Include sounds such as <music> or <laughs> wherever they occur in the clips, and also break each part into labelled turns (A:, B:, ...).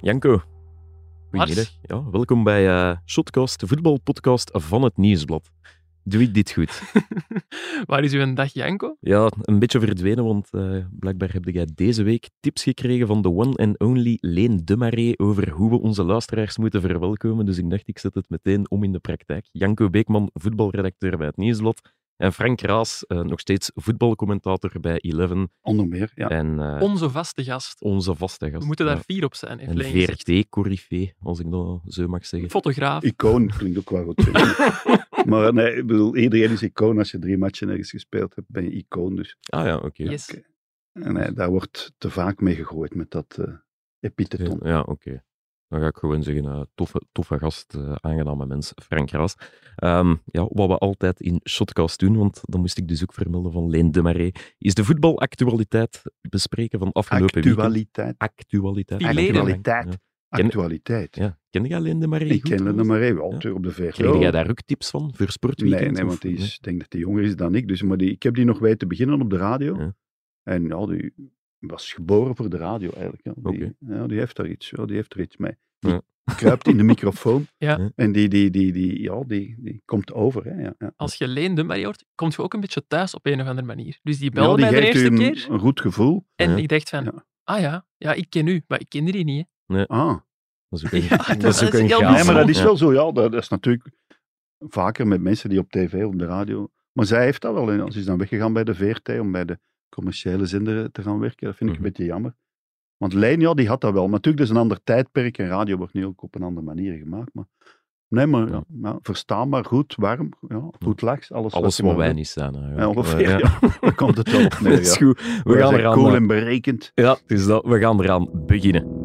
A: Janko, goedemiddag. Ja, welkom bij eh, Shotcast, de voetbalpodcast van het Nieuwsblad. Doe ik dit goed?
B: <laughs> Waar is uw dag, Janko?
A: <laughs> Ja, een beetje verdwenen, want eh, blijkbaar heb jij deze week tips gekregen van de one and only Leen de Marais over hoe we onze luisteraars moeten verwelkomen. Dus ik dacht, ik zet het meteen om in de praktijk. Janko Beekman, voetbalredacteur bij het Nieuwsblad. En Frank Raas, eh, nog steeds voetbalcommentator bij Eleven.
C: Onder meer, ja.
A: En eh,
B: Onze vaste gast.
A: onze vaste gast.
B: We moeten
A: ja.
B: daar fier op zijn, heeft
A: En
B: Leen gezegd.
A: VRT-corrifee, als ik dat zo mag zeggen.
B: Fotograaf.
C: Icoon klinkt ook wel goed. maar nee, ik bedoel, iedereen is icoon. Als je drie matchen ergens gespeeld hebt, ben je icoon. Dus.
A: Ah ja, oké.
B: Yes.
C: oké. En eh, daar wordt te vaak mee gegooid met dat eh epiteton.
A: Ja, oké. Dan ga ik gewoon zeggen, eh, toffe, toffe gast, eh, aangename mens, Frank Raas. Ehm, ja, wat we altijd in Shotcast doen, want dan moest ik dus ook vermelden van Leen de Marais, is de voetbalactualiteit bespreken van afgelopen weekend.
C: Actualiteit.
A: Actualiteit.
B: Die leden.
C: Actualiteit.
A: Ja. Ken-
C: Actualiteit.
A: ja. Ken jij Leen de Marais
C: Ik
A: goed,
C: ken hem
A: trouwens?
C: maar even, altijd op de
A: Kreeg jij
C: VRT.
A: daar ook tips van, voor sportweekend?
C: Nee, nee,
A: of-
C: want die is, ik denk dat hij jonger is dan ik. Dus, maar die, ik heb die nog weten beginnen op de radio.
A: Ja.
C: En ja, die was geboren voor de radio eigenlijk. Ja. Die, ja, die heeft daar iets, ja, die heeft er iets mee. Die
A: Ja.
C: kruipt in de microfoon.
B: <laughs> Ja.
C: En die, die, die, die, ja, die, die komt over. Hè, ja, ja.
B: Als je Leen de Marie hoort, komt je ook een beetje thuis op een of andere manier. Dus die
C: Ja,
B: belde
C: die
B: mij de
C: geeft
B: eerste
C: u een,
B: keer.
C: een goed gevoel.
B: En
A: Ja.
B: ik dacht van,
C: Ja.
B: ah ja, ja, ik ken u, maar ik kende die niet. hè.
C: Ah,
A: Dat is ook een,
B: <laughs> Ja,
A: dat
B: dat
A: is ook
B: is
A: een
B: heel
A: chaos.
B: Ja,
C: nee, maar dat is
A: Ja.
C: wel zo. Ja, dat, dat is natuurlijk vaker met mensen die op tv of op de radio. Maar zij heeft dat wel. En ze is dan weggegaan bij de VRT om bij de commerciële zender eh, te gaan werken. Dat vind ik
A: Mhm.
C: een beetje jammer. Want Lijn, ja, die had dat wel. Maar natuurlijk, dat is een ander tijdperk. En radio wordt nu ook op een andere manier gemaakt. Maar nee, maar ja, ja, verstaan maar goed, warm, ja, goed laks. Alles,
A: Alles
C: je
A: wat
C: maar
A: wij
C: wil.
A: niet zijn.
C: Ja,
A: eigenlijk.
C: ongeveer,
A: <laughs> Ja.
C: ja. Daar komt het
A: <laughs>
C: wel op neer,
A: Dat is
C: ja.
A: goed. We
C: Wij
A: gaan
C: zijn
A: eraan...
C: cool
A: eh,
C: en berekend.
A: Ja, dus dat, we gaan eraan beginnen.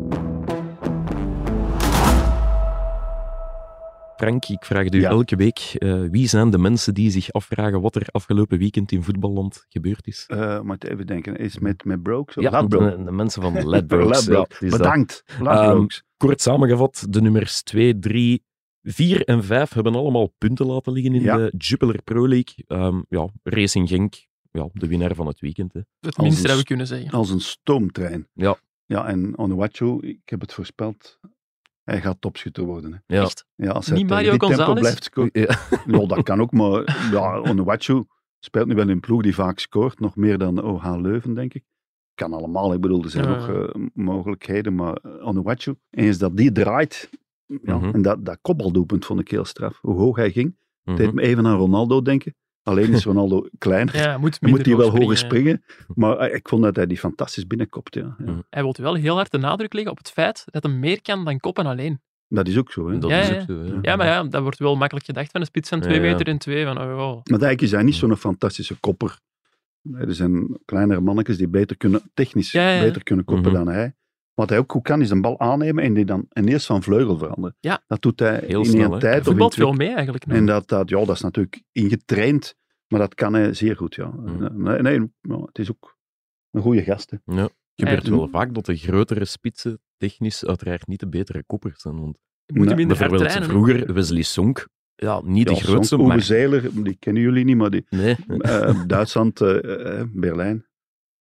A: Frank, ik vraag u
C: Ja.
A: elke week, eh, wie zijn de mensen die zich afvragen wat er afgelopen weekend in voetballand gebeurd is?
C: Eh, maar even denken, is met, met Brooks? of
A: want
C: Ladbrokes?
A: de, de mensen van <laughs> Ladbrokes. ja,
C: Ladbrokes.
A: het is dat. Ehm,
C: Bedankt, Ladbrokes.
A: Kort samengevat, de nummers 2, 3, 4 en 5 hebben allemaal punten laten liggen in
C: Ja.
A: de Jupiler Pro League. Ehm, ja, Racing Genk, ja, de winnaar van het weekend. Hè.
B: Het
C: Als
B: minste
C: een
B: dat we kunnen zeggen.
C: Als een stoomtrein.
A: Ja.
C: Ja, en Onuachu, ik heb het voorspeld. Hij gaat topschutter worden. Hè.
A: Ja.
B: Echt.
C: Ja, als hij
B: Niet
C: tegen
B: Mario
C: die tempo
B: Gonzalez?
C: blijft scoren.
A: Ja.
C: Ja, dat kan ook, maar ja, Onuachu speelt nu wel in een ploeg die vaak scoort. Nog meer dan OH Leuven, denk ik. Kan allemaal, ik bedoel, er zijn
B: Ja.
C: nog eh, mogelijkheden. Maar eh, Onuachu, eens dat die draait... Ja,
A: Mhm.
C: En dat, dat kopbaldoelpunt vond ik heel straf. Hoe hoog hij ging, deed
A: Mhm.
C: me even aan Ronaldo denken. Alleen is Ronaldo kleiner.
B: Ja, moet
C: Dan moet hij
B: minder
C: wel
B: hoog
C: hoger
B: springen.
C: springen. Maar eh, ik vond dat hij die fantastisch binnenkopt. Ja. Ja.
A: Mhm.
B: Hij wil wel heel hard de nadruk leggen op het feit dat hij meer kan dan koppen alleen.
C: Dat is ook zo. Hè?
A: Dat
B: Ja,
A: is
B: ja,
A: ook zo, hè.
B: Ja, maar ja, dat wordt wel makkelijk gedacht van een spits van 2
A: Ja, ja.
B: meter en 2. Van, oh, wow.
C: Maar eigenlijk is hij niet zo'n fantastische kopper. Nee, Er zijn kleinere mannetjes die beter kunnen, technisch
B: Ja, ja, ja.
C: beter kunnen koppen
A: Mhm.
C: dan hij. Wat hij ook goed kan, is een bal aannemen en die dan en eerst van vleugel veranderen.
B: Ja.
C: Dat doet hij
A: Heel
C: in
A: snel,
C: een
A: hè.
C: tijd. of in
B: Voetbalt
C: twee-
B: veel mee eigenlijk. nu.
C: En dat, dat, ja, dat is natuurlijk ingetraind, maar dat kan hij zeer goed. Ja. Eh,
A: Mhm.
C: Nee, nee, ja, het is ook een goede gast. Hè.
A: gebeurt
C: Ja.
A: wel vaak dat de grotere spitsen technisch uiteraard niet de betere koppers zijn. Want
B: Je moet
C: Nee,
B: hem minder hard
A: bijvoorbeeld
B: trainen.
A: vroeger Wesley Sonk, ja, niet de
C: Ja,
A: grootste,
C: Owe
A: maar...
C: Zeiler, die kennen jullie niet, <laughs> maar die,
A: Nee. <laughs>
C: Eh, Duitsland, eh, eh, Berlijn.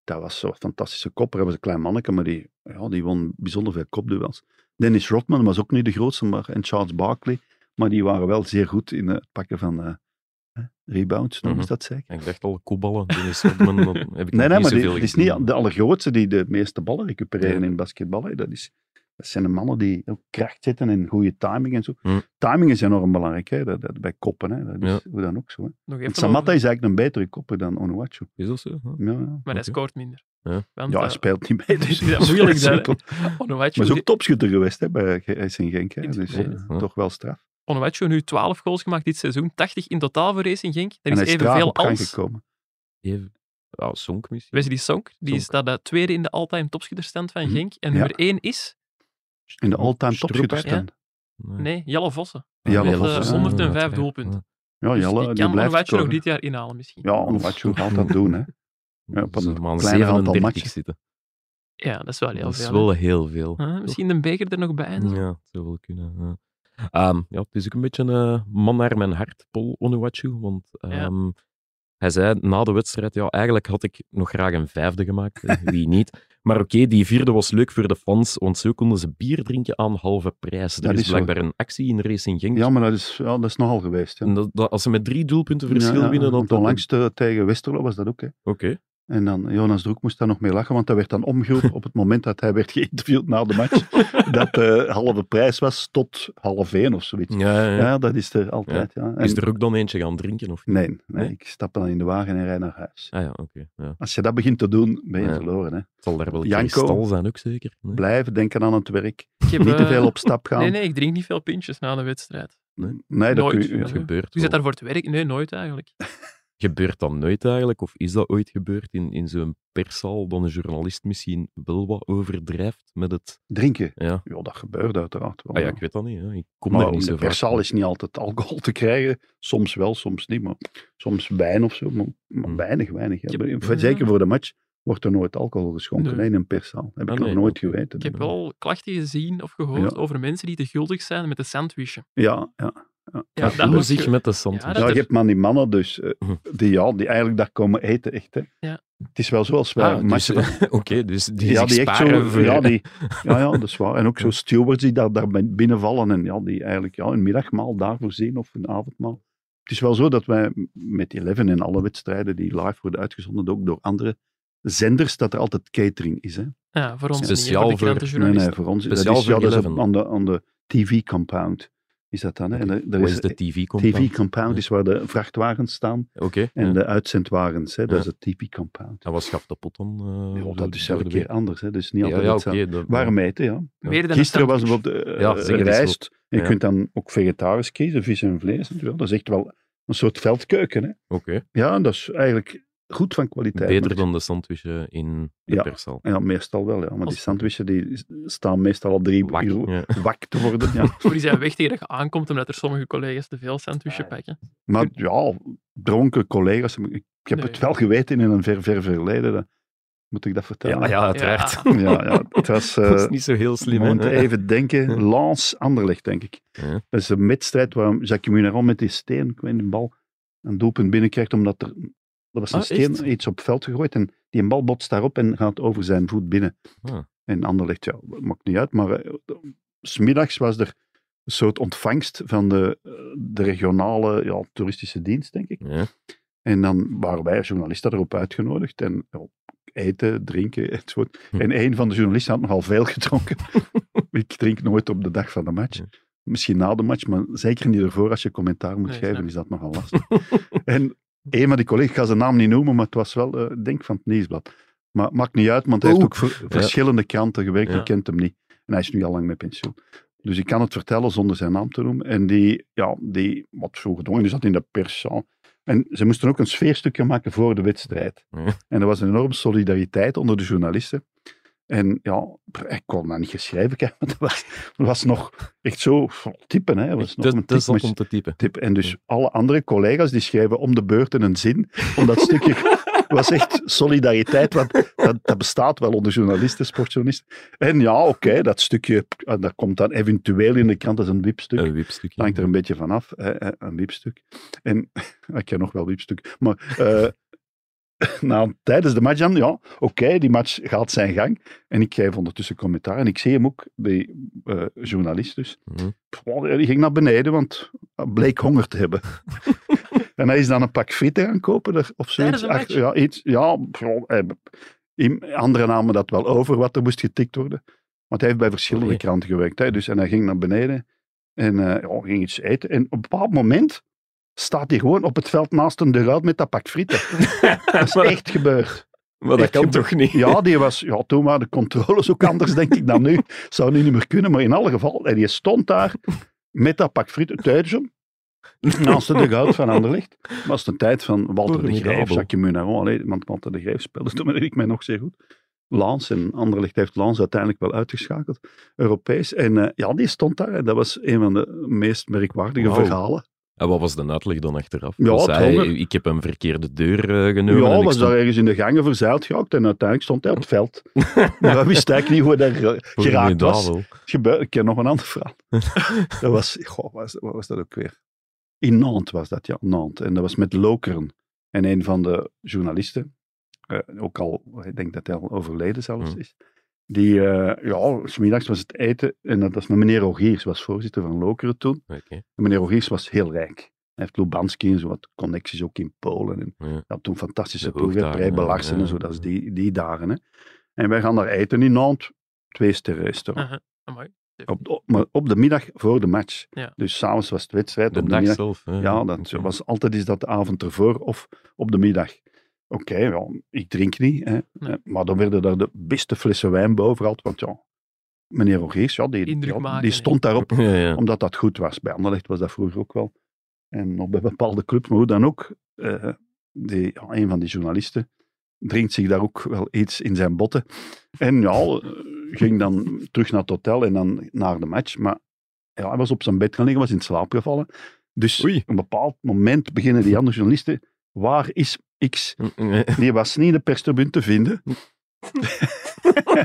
C: Dat was zo'n fantastische kopper. Hij was een klein manneke, maar die, ja, die won bijzonder veel kopduels. Dennis Rodman was ook niet de grootste, maar, en Charles Barkley. Maar die waren wel zeer goed in het pakken van eh, eh, rebounds, noemen ze dat zeker?
A: Mhm. Ik dacht al, koeballen, Dennis Rodman, dan heb
C: <laughs>
A: ik
C: Nee,
A: nog niet
C: nee, maar die,
A: zoveel
C: die is
A: gezien.
C: niet de allergrootste die de meeste ballen recupereren
A: Nee.
C: in basketbal. hè. Dat, is, dat zijn de mannen die ook kracht zetten en goede timing en zo.
A: Hm.
C: Timing is enorm belangrijk, hè? Dat, dat, bij koppen. Hè? Dat is hoe dan ook zo. Hè?
B: Nog even
C: Want Samatta
B: over-
C: is eigenlijk een betere kopper dan Onuachu.
A: Is dat zo? Huh?
C: Ja, ja.
B: Maar hij
A: Oké.
B: scoort minder.
A: Ja.
B: Want,
C: Ja, hij
B: eh,
C: speelt niet
B: <laughs>
C: mee. Dus
B: Dus is dat
C: dat is
B: moeilijk
C: vrij
B: dan,
C: simpel.
B: Onuachu,
C: Maar is ook topschutter geweest hè, bij Racing Genk. Hè? Dus eh,
A: Inderdaad, ja.
C: toch wel straf.
B: Onuachu nu 12 goals gemaakt dit seizoen, 80 in totaal voor Racing Genk. Er
C: en
B: is
C: hij is traag
B: evenveel
C: op gang
B: als
C: gekomen.
A: Even... Ja, Sonk misschien.
B: Wesley Sonk, die
A: Sonk.
B: staat de tweede in de all-time topschutterstand van
A: Mhm.
C: Hm.
B: Genk. En
C: Ja.
B: nummer 1 is,
C: In de all-time
A: Stroeper,
C: topschutterstand.
B: nee, Jelle Vossen.
C: Ja, Jelle
B: Met, eh,
C: Vossen, ja,
B: 105
A: ja.
B: doelpunten.
C: Ja,
B: Dus
C: Oh, Jelle,
B: die
C: die
B: kan
C: blijft
B: Onuachu nog
C: scoren.
B: dit jaar inhalen misschien.
C: Ja, Onuachu gaat dat
B: <laughs>
C: doen. Hè. Ja, op
A: Dat is
C: een
A: er maar
C: kleiner aantal
A: 37
C: matchen.
A: zitten.
B: Ja, dat is wel heel
A: Dat is
B: veel.
A: wel heel veel.
B: hè. Huh, misschien de beker er nog bij. en zo.
A: Ja, het zou wel kunnen. Ja. Ehm, ja, het is ook een beetje een eh, man naar mijn hart, Paul Onuachu. Want
B: Ja.
A: ehm, Hij zei na de wedstrijd, ja, eigenlijk had ik nog graag een vijfde gemaakt.
B: <laughs>
A: Eh, Wie niet? Maar oké, die vierde was leuk voor de fans, want zo konden ze bier drinken aan halve prijs. Er
C: Dat
A: is
C: is zo.
A: blijkbaar een actie in Racing Genk.
C: Ja, maar dat is, ja, dat is nogal geweest. Ja.
A: En dat, dat- als ze met drie doelpunten verschil
C: Ja, ja,
A: winnen, dan...
C: want onlangs te- tegen Westerlo was dat ook. Hè.
A: Oké.
C: En dan, Jonas Droek moest daar nog mee lachen, want hij werd dan
B: <laughs>
C: omgeroepen op het moment dat hij werd geïnterviewd na de match, dat de halve prijs was tot half één of zoiets.
A: Ja, Mm, ja, ja.
C: Ja, dat is er altijd. Ja. En-
A: Is er ook dan eentje gaan drinken? Of... niet?
C: nee, nee,
A: Nee?
C: ik stap dan in de wagen en rijd naar huis.
A: Ah ja, oké. Ja.
C: Als je dat begint te doen, ben je
A: Ja.
C: verloren. Hè.
A: Het zal daar wel
C: Janko.
A: een stal zijn ook zeker. Nee.
C: Blijven denken aan het werk,
B: Ik heb,
C: niet te
B: eh,
C: veel op
A: <laughs>
C: stap gaan.
B: Nee, nee, ik drink niet veel pintjes na de wedstrijd.
C: nee. dat kun
B: Nooit.
C: je- ja.
A: Het gebeurt,
B: Je zit
A: wel.
B: daar voor het werk? Nee, nooit eigenlijk.
A: gebeurt dat nooit eigenlijk? Of is dat ooit gebeurd in, in zo'n perszaal dat een journalist misschien wel wat overdrijft met het...
C: Drinken,
A: Ja,
C: ja, dat gebeurt uiteraard wel.
A: ah, ja
C: ja.
A: ik weet dat niet. Hè. Ik kom
C: Oh. Maar
A: daar niet
C: in
A: zo
C: de
A: vaak.
C: perszaal is niet altijd alcohol te krijgen. Soms wel, soms niet. Maar soms wijn of zo. Maar, maar
A: Hmm.
C: weinig, weinig. ja.
B: Ik
C: Maar
B: heb-
C: voor-
B: ja.
C: Zeker voor de match wordt er nooit alcohol geschonken
B: Nee.
C: hè, in een perszaal. Heb
A: Ah,
C: ik
A: nee,
C: nog nooit
A: oké.
C: geweten.
B: Ik heb wel klachten gezien of gehoord
C: Ja.
B: over mensen die te guldig zijn met de sandwichen.
C: Ja, ja.
B: Ja, dat
A: Voel
B: wordt
A: zich
B: ge-
A: met de zand.
B: Ja, Ah, dat-
C: Ja, je hebt maar die mannen dus, eh,
A: Hm.
C: die, ja, die eigenlijk daar komen eten, echt. Hè.
B: Ja.
C: Het is wel zo als wij
A: Ah,
C: een
A: dus,
C: match-
A: eh, <laughs> Oké, dus die
C: ja,
A: zich
C: die echt
A: sparen
C: zo,
A: voor-
C: ja, die, ja, ja, dat is waar. En ook zo stewards die daar, daar bin- binnenvallen en ja, die eigenlijk ja, een middagmaal daarvoor zien of een avondmaal. Het is wel zo dat wij met Eleven en alle wedstrijden die live worden uitgezonden, ook door andere zenders, dat er altijd catering is. Hè?
B: Ja, voor ons
A: Speciaal
B: niet,
A: voor-
B: hè, voor de
C: Nee,
B: krantenjournalisten.
C: nee, voor ons.
A: Speciaal
C: dat is, ja,
A: voor
C: dat is
A: 11.
C: aan de, aan de TV-compound. Is dat dan? Hè? En eh, er, er
A: Wat
C: is
A: is de TV compound?
C: TV-compound is waar de vrachtwagens staan
A: Oké.
C: en
A: ja.
C: de uitzendwagens. Hè?
A: Ja.
C: Dat is het TV-compound.
A: En wat schaft de pot dan? eh,
C: Ja,
A: door-
C: dat is
A: door
C: elke
A: de week?
C: keer anders. Hè? Dus niet
A: Ja,
C: altijd
A: ja, oké.
C: hetzelfde.
A: dat-
C: Warm eten, ja.
B: Meer dan een
C: Gisteren was
B: sandwich.
C: bijvoorbeeld de eh,
A: Ja, zeg het eens
C: rijst. En je
A: Ja.
C: kunt dan ook vegetarisch kiezen, vis en vlees. en zo. Dat is echt wel een soort veldkeuken. Hè?
A: Oké.
C: Ja, dat is eigenlijk goed van kwaliteit.
A: Beter
C: Maar-
A: dan de sandwich eh, in de
C: Ja.
A: perszaal.
C: Ja, meestal wel. Ja. Maar die
B: Als-
C: sandwichen die staan meestal al drie
A: Wak.
C: uur
A: Ja.
C: wak te worden. Ja.
A: <laughs>
B: Voor die zijn weg tegen dat je aankomt, omdat er sommige collega's te veel sandwichen
C: Ah.
B: pakken.
C: maar ja, dronken collega's. Ik heb
B: Nee.
C: het wel geweten in een ver, ver verleden. dat- Moet ik dat vertellen?
A: Ja, ja, uiteraard. <laughs>
B: Ja.
C: ja, ja, het was... eh,
A: dat is niet zo heel slim,
C: Moet
A: hè?
C: even denken,
A: Ja.
C: Lance Anderlecht, denk ik.
A: Ja.
C: Dat is een wedstrijd waar Jacques Munaron met die steen, ik weet niet, een bal, een doelpunt binnenkrijgt, omdat er, er was een
A: Ah,
C: steen,
A: echt?
C: iets op het veld gegooid, en die bal botst daarop en gaat over zijn voet binnen.
A: Ah.
C: En Anderlecht, ja, maakt niet uit, maar eh, smiddags was er een soort ontvangst van de, eh, de regionale ja, toeristische dienst, denk ik.
A: Ja.
C: En dan waren wij als journalisten erop uitgenodigd. En ja, eten, drinken <laughs> enzovoort.
A: Hm.
C: En een van de journalisten had nogal veel gedronken. ik drink nooit op de dag van de match.
A: Ja.
C: Misschien na de match, maar zeker niet ervoor. Als je commentaar moet
B: Nee,
C: geven,
B: snap
C: is dat nogal lastig. <laughs> en een van die collega's, ik ga zijn naam niet noemen, maar het was wel, eh, ik denk van het Nieuwsblad. Maar maakt niet uit, want hij heeft ook voor verschillende kranten gewerkt.
B: Ja.
C: Je kent hem niet. En hij is nu al lang met pensioen. Dus ik kan het vertellen zonder zijn naam te noemen. En die, ja, die wat zo gedwongen, die zat in de perszaal. En ze moesten ook een sfeerstukje maken voor de wedstrijd.
A: Ja.
C: En er was een enorme solidariteit onder de journalisten. En ja, ik kon dat niet geschreven krijgen, want dat was, dat was nog echt zo typen. Hè. Dat was nog een
A: Dat is
C: tikmes-
A: dat om te typen.
C: tip. En dus alle andere collega's die schrijven om de beurt in een zin, om dat stukje... Het was echt solidariteit, want dat, dat bestaat wel onder journalisten, sportjournalisten. En ja, oké, dat stukje, eh, dat komt dan eventueel in de krant als een wipstuk.
A: Een wipstukje.
C: Het hangt er een beetje van af, hè, hè, een wiepstuk. En <laughs> ik ken nog wel wiepstuk. Maar eh, <laughs> nou, tijdens de match dan, ja, oké, die match gaat zijn gang. En ik geef ondertussen commentaar. En ik zie hem ook, die eh, journalist dus.
A: Mhm.
C: Pff, Die ging naar beneden, want hij bleek honger te hebben. en hij is dan een pak frieten gaan kopen er, of zoiets.
B: Tijdens een match?
C: ja, iets, ja pff, eh, in- anderen namen dat wel over, wat er moest getikt worden. Want hij heeft bij verschillende
A: Oei.
C: kranten gewerkt. Hè, dus, en hij ging naar beneden en eh, ja, ging iets eten. En op een bepaald moment staat hij gewoon op het veld naast een deur met dat pak frieten. <laughs> Dat is echt
A: <laughs>
C: gebeurd.
A: Maar dat
C: Echt
A: kan
C: gebeurd.
A: toch niet?
C: Ja, die was, ja, toen waren de controles ook anders, denk ik, dan nu. Zou nu niet meer kunnen, maar in alle geval. En je stond daar met dat pak frieten tijdens hem. Naast de dugout van Anderlecht. Dat was de tijd van Walter de
A: Formidabel.
C: Grijf, Jacques Munaron. Allee, Oh, want Walter de Grijf speelde toen, weet ik mij nog zeer goed. Lans en Anderlecht heeft Lans uiteindelijk wel uitgeschakeld, Europees. En eh, ja, die stond daar. En dat was een van de meest merkwaardige
A: Wauw.
C: verhalen.
A: En wat was de uitleg dan achteraf?
C: Ja,
A: Was
C: het
A: hij,
C: honger.
A: ik heb een verkeerde deur eh, genomen. en
C: ja,
A: ik
C: was
A: stond-
C: daar ergens in de gangen verzeild gehakt en uiteindelijk stond hij op het veld. maar hij wist eigenlijk niet hoe hij daar eh, geraakt was.
A: Formidabel.
C: Het gebeurde- ik ken nog een ander
A: <laughs>
C: verhaal. dat was, goh, was, wat was dat ook weer? In Nantes was dat, ja, Nantes. En dat was met Lokeren. En een van de journalisten, eh, ook al, ik denk dat hij al overleden zelfs
A: Hmm.
C: is, die, eh, ja, smiddags was het eten, en dat was met meneer Rogiers, was voorzitter van Lokeren toen.
A: Oké.
C: En meneer Rogiers was heel rijk. Hij heeft Lubanski en zo wat connecties ook in Polen. En
A: Ja.
C: hij had toen fantastische
A: De
C: ploegen,
A: hoogdagen,
C: Prij Belarsen
A: ja,
C: en zo, dat is
A: ja.
C: die, die dagen. Hè. En wij gaan daar eten in Nantes, twee sterren restaurant.
B: Aha, amai.
C: Op, op, maar op de middag voor de match.
B: Ja.
C: Dus s'avonds was het wedstrijd.
A: De
C: op de middag
A: dag zelf. hè.
C: ja, dat
A: Oké.
C: was altijd is dat de avond ervoor of op de middag. Oké, wel, ik drink niet, hè,
B: Nee.
C: Eh, maar dan werden daar de beste flessen wijn beoverhaald, want ja, meneer Rogeers, ja, die,
B: Indruk
C: ja,
B: maken,
C: die
B: hè.
C: stond
A: <laughs>
C: daarop
A: Ja, ja.
C: omdat dat goed was. Bij Anderlecht was dat vroeger ook wel. En op bij bepaalde clubs, maar hoe dan ook, eh, die, ja, een van die journalisten drinkt zich daar ook wel iets in zijn botten. En ja, eh, ging dan terug naar het hotel en dan naar de match. Maar ja, hij was op zijn bed gaan liggen, was in slaap gevallen. Dus
A: Oei.
C: op een bepaald moment beginnen die andere journalisten, waar is X? Die was niet in de perstribune te vinden.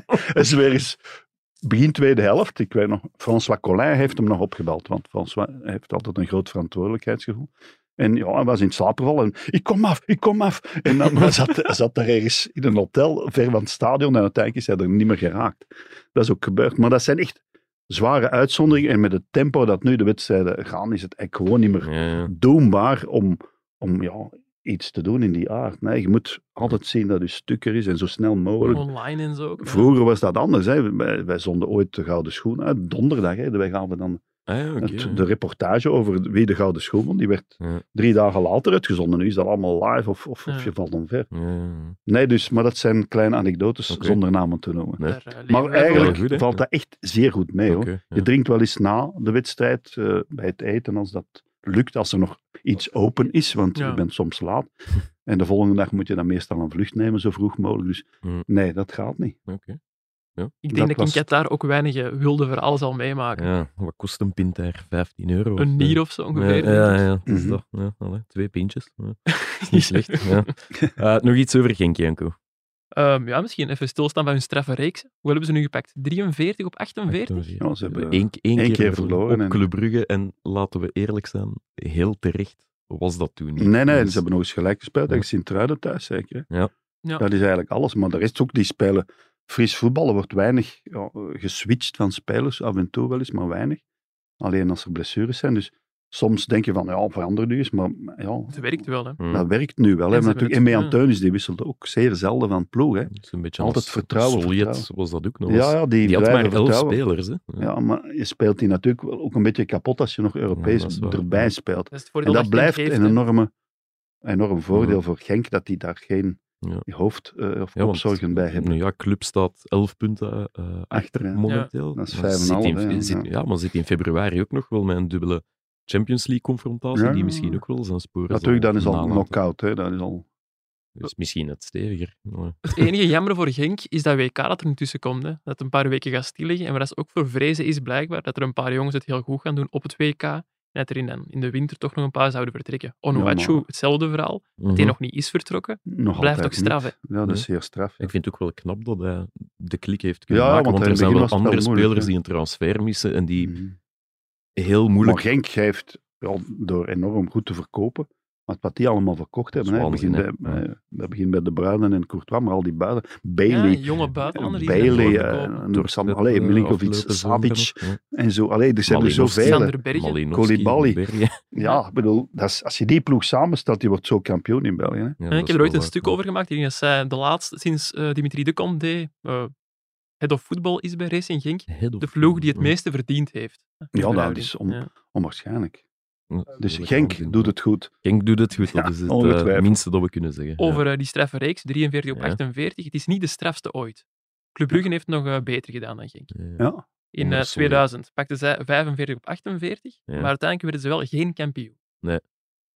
C: Het is weer eens begin tweede helft. Ik weet nog, François Collin heeft hem nog opgebeld, want François heeft altijd een groot verantwoordelijkheidsgevoel. En ja, hij was in slaap gevallen. En, ik kom af, ik kom af. En dan <laughs> hij zat hij zat daar ergens in een hotel, ver van het stadion. En uiteindelijk is hij er niet meer geraakt. Dat is ook gebeurd. Maar dat zijn echt zware uitzonderingen. En met het tempo dat nu de wedstrijden gaan, is het eigenlijk gewoon niet meer
A: Ja, ja.
C: doenbaar om, om ja, iets te doen in die aard. Nee, je moet altijd zien dat je stuk er is en zo snel mogelijk.
B: Online en zo ook.
C: Vroeger was dat anders. Hè. Wij, wij zonden ooit de Gouden Schoen uit. Donderdag, hè. wij gaven dan
A: Ah, ja, oké.
C: het- de reportage over wie de Gouden Schoen won. Die werd
A: Ja.
C: drie dagen later uitgezonden. Nu is dat allemaal live of, of, of
B: Ja.
C: je valt omver.
A: Ja, ja.
C: Nee, dus, maar dat zijn kleine anekdotes
A: Oké.
C: zonder namen te noemen.
A: Nee.
B: Daar, eh, leven
C: Maar
B: wij voor.
C: eigenlijk
A: Wel goed, hè?
C: valt dat echt zeer goed mee. Hoor.
A: Oké,
C: Je
A: ja.
C: drinkt wel eens na de wedstrijd eh, bij het eten, als dat lukt, als er nog iets open is, want
B: Ja.
C: je bent soms laat. En de volgende dag moet je dan meestal een vlucht nemen, zo vroeg mogelijk. Dus
A: Hmm.
C: nee, dat gaat niet.
A: Oké.
B: Ik
C: dat
B: denk dat,
C: was-
B: ik in Qatar ook weinig eh, wilde voor alles al meemaken.
A: Ja, wat kost een pint daar? 15 euro?
B: Een nier of zo ongeveer.
A: Ja, ja, ja. dat is
C: Mhm.
A: toch. Ja, allee, twee pintjes.
C: <laughs>
A: Ja. is Niet slecht. Ja. Eh, nog iets over Genk, Janko.
B: Ehm, ja, misschien even stilstaan bij hun straffe reeks. Hoe hebben ze nu gepakt? 43 op 48?
C: Ja, ze hebben
A: Eén, één
C: één
A: keer,
C: keer verloren
A: Op
C: en-
A: Club Brugge, en laten we eerlijk zijn, heel terecht was dat toen niet.
C: Nee, nee,
A: Dus-
C: ze hebben nog eens gelijk gespeeld
A: Ja.
C: tegen Sint-Truiden thuis, zeker. hè?
A: Ja.
B: Ja.
C: Dat is eigenlijk alles. Maar de rest ook, die spelen fris voetbal. Er wordt weinig ja, eh, geswitcht van spelers, af en toe wel eens, maar weinig. Alleen als er blessures zijn. Dus soms denk je van, ja, verander nu eens. Maar ja,
B: Het werkt wel, hè.
A: Hmm.
C: dat werkt nu wel.
B: En
C: Hè.
B: ze
C: Natuurlijk, en
B: hebben het-
C: Mean Teunis, die wisselt ook zeer zelden van ploeg. Hè.
A: Dat is Dus een beetje
C: Altijd
A: als
C: vertrouwen,
A: Soljet
C: vertrouwen.
A: was dat ook nog.
C: Ja,
A: eens.
C: ja, die,
A: Die had maar
C: blijven
A: elf
C: vertrouwen.
A: spelers. Hè. Ja.
C: Ja, maar je speelt die natuurlijk wel ook een beetje kapot als je nog Europees
A: dat is waar.
C: erbij speelt.
B: Dat is het
C: En
B: voordeel
C: dat
B: Genk
C: blijft
B: heeft,
C: een
B: hè.
C: enorme, enorm voordeel
A: Ja.
C: voor Genk, dat die daar geen
A: Ja.
C: hoofd- eh, of
A: Ja, want-
C: kopzorgen bij hebben.
A: Nou ja, club staat 11 punten eh, achter
C: ja.
A: momenteel.
C: Dat is
A: Maar
C: vijf en
A: zit in-
C: half, hè,
A: zit-
C: ja.
A: ja, maar zit in februari ook nog wel met een dubbele Champions League confrontatie,
C: Ja.
A: die misschien ook wel zijn sporen
C: Natuurlijk,
A: zal
C: dat is al
A: nalaten.
C: knock-out. Hè. Dat is al...
A: Dus misschien het steviger. Ja.
B: Het enige jammer voor Genk is dat WK dat er nu tussen komt. Hè. Dat het een paar weken gaat stilliggen. En wat ze ook voor vrezen is blijkbaar dat er een paar jongens het heel goed gaan doen op het WK. En dat er in, dan in de winter toch nog een paar zouden vertrekken. Onuachu,
C: Ja, maar-
B: hetzelfde verhaal.
A: Mhm.
B: Die nog niet is vertrokken.
C: Nog
B: Blijft
C: altijd
B: toch straf,
C: niet. Ja, dat is zeer straf.
A: Hm. Ik vind het ook wel knap dat hij de klik heeft kunnen
C: Ja,
A: maken,
C: want
A: want,
C: in
A: er zijn
C: het begin
A: wel
C: was het wel
A: andere
C: moeilijk,
A: spelers
C: hè.
A: die een transfer missen en die
C: Mhm.
A: heel
C: Maar
A: moeilijk...
C: Genk heeft, ja, door enorm goed te verkopen, maar wat die allemaal verkocht hebben, hè, dat
A: Dat is
C: begint bij,
A: waanzin, hè.
C: eh, dat begint bij De Bruyne en Courtois, maar al die buiten.
B: Ja,
C: Bailey,
B: een jonge buitenlander die zijn
C: Bailey,
B: doorgekomen.
C: eh,
A: door-
C: door Sam- allee,
A: eh,
C: Milinkovic,
A: afgelopen
C: Savic
A: zomer.
C: en zo. Allee, er zijn er
A: Malinowski.
C: zoveel. hè.
B: Sander
A: Ja.
B: Bergen.
A: Malinowski,
C: Koulibaly.
A: Bergen.
C: Ja, ik bedoel, dat is, als je die ploeg samenstelt, die wordt zo kampioen in België. Hè.
A: Ja,
B: Eh,
A: dat
B: ik
A: is
B: heb er ooit
A: wel
B: een
A: waar.
B: stuk over gemaakt. Ik denk dat zij de laatste, sinds eh, Dimitri de Kom deed, eh head of voetbal is bij Racing Genk,
A: Head of-
B: de ploeg die het
A: Ja.
B: meeste verdiend heeft.
C: Ja, dat
B: Verhouding.
C: is on-
B: Ja.
C: onwaarschijnlijk.
A: Ja,
C: Dus
A: dat is waanzin.
C: Genk doet het goed.
A: Genk doet het goed, dat
C: Ja,
A: is het eh,
C: ongetwijfeld.
A: minste dat we kunnen zeggen. Ja.
B: Over eh, die straffe reeks, 43 op
A: Ja.
B: 48. Het is niet de strafste ooit. Club Brugge heeft het nog eh, beter gedaan dan Genk.
A: Ja.
C: Ja,
B: In eh,
A: Onder Solje.
B: 2000 pakten zij 45 op 48,
A: Ja.
B: maar uiteindelijk werden ze wel geen kampioen.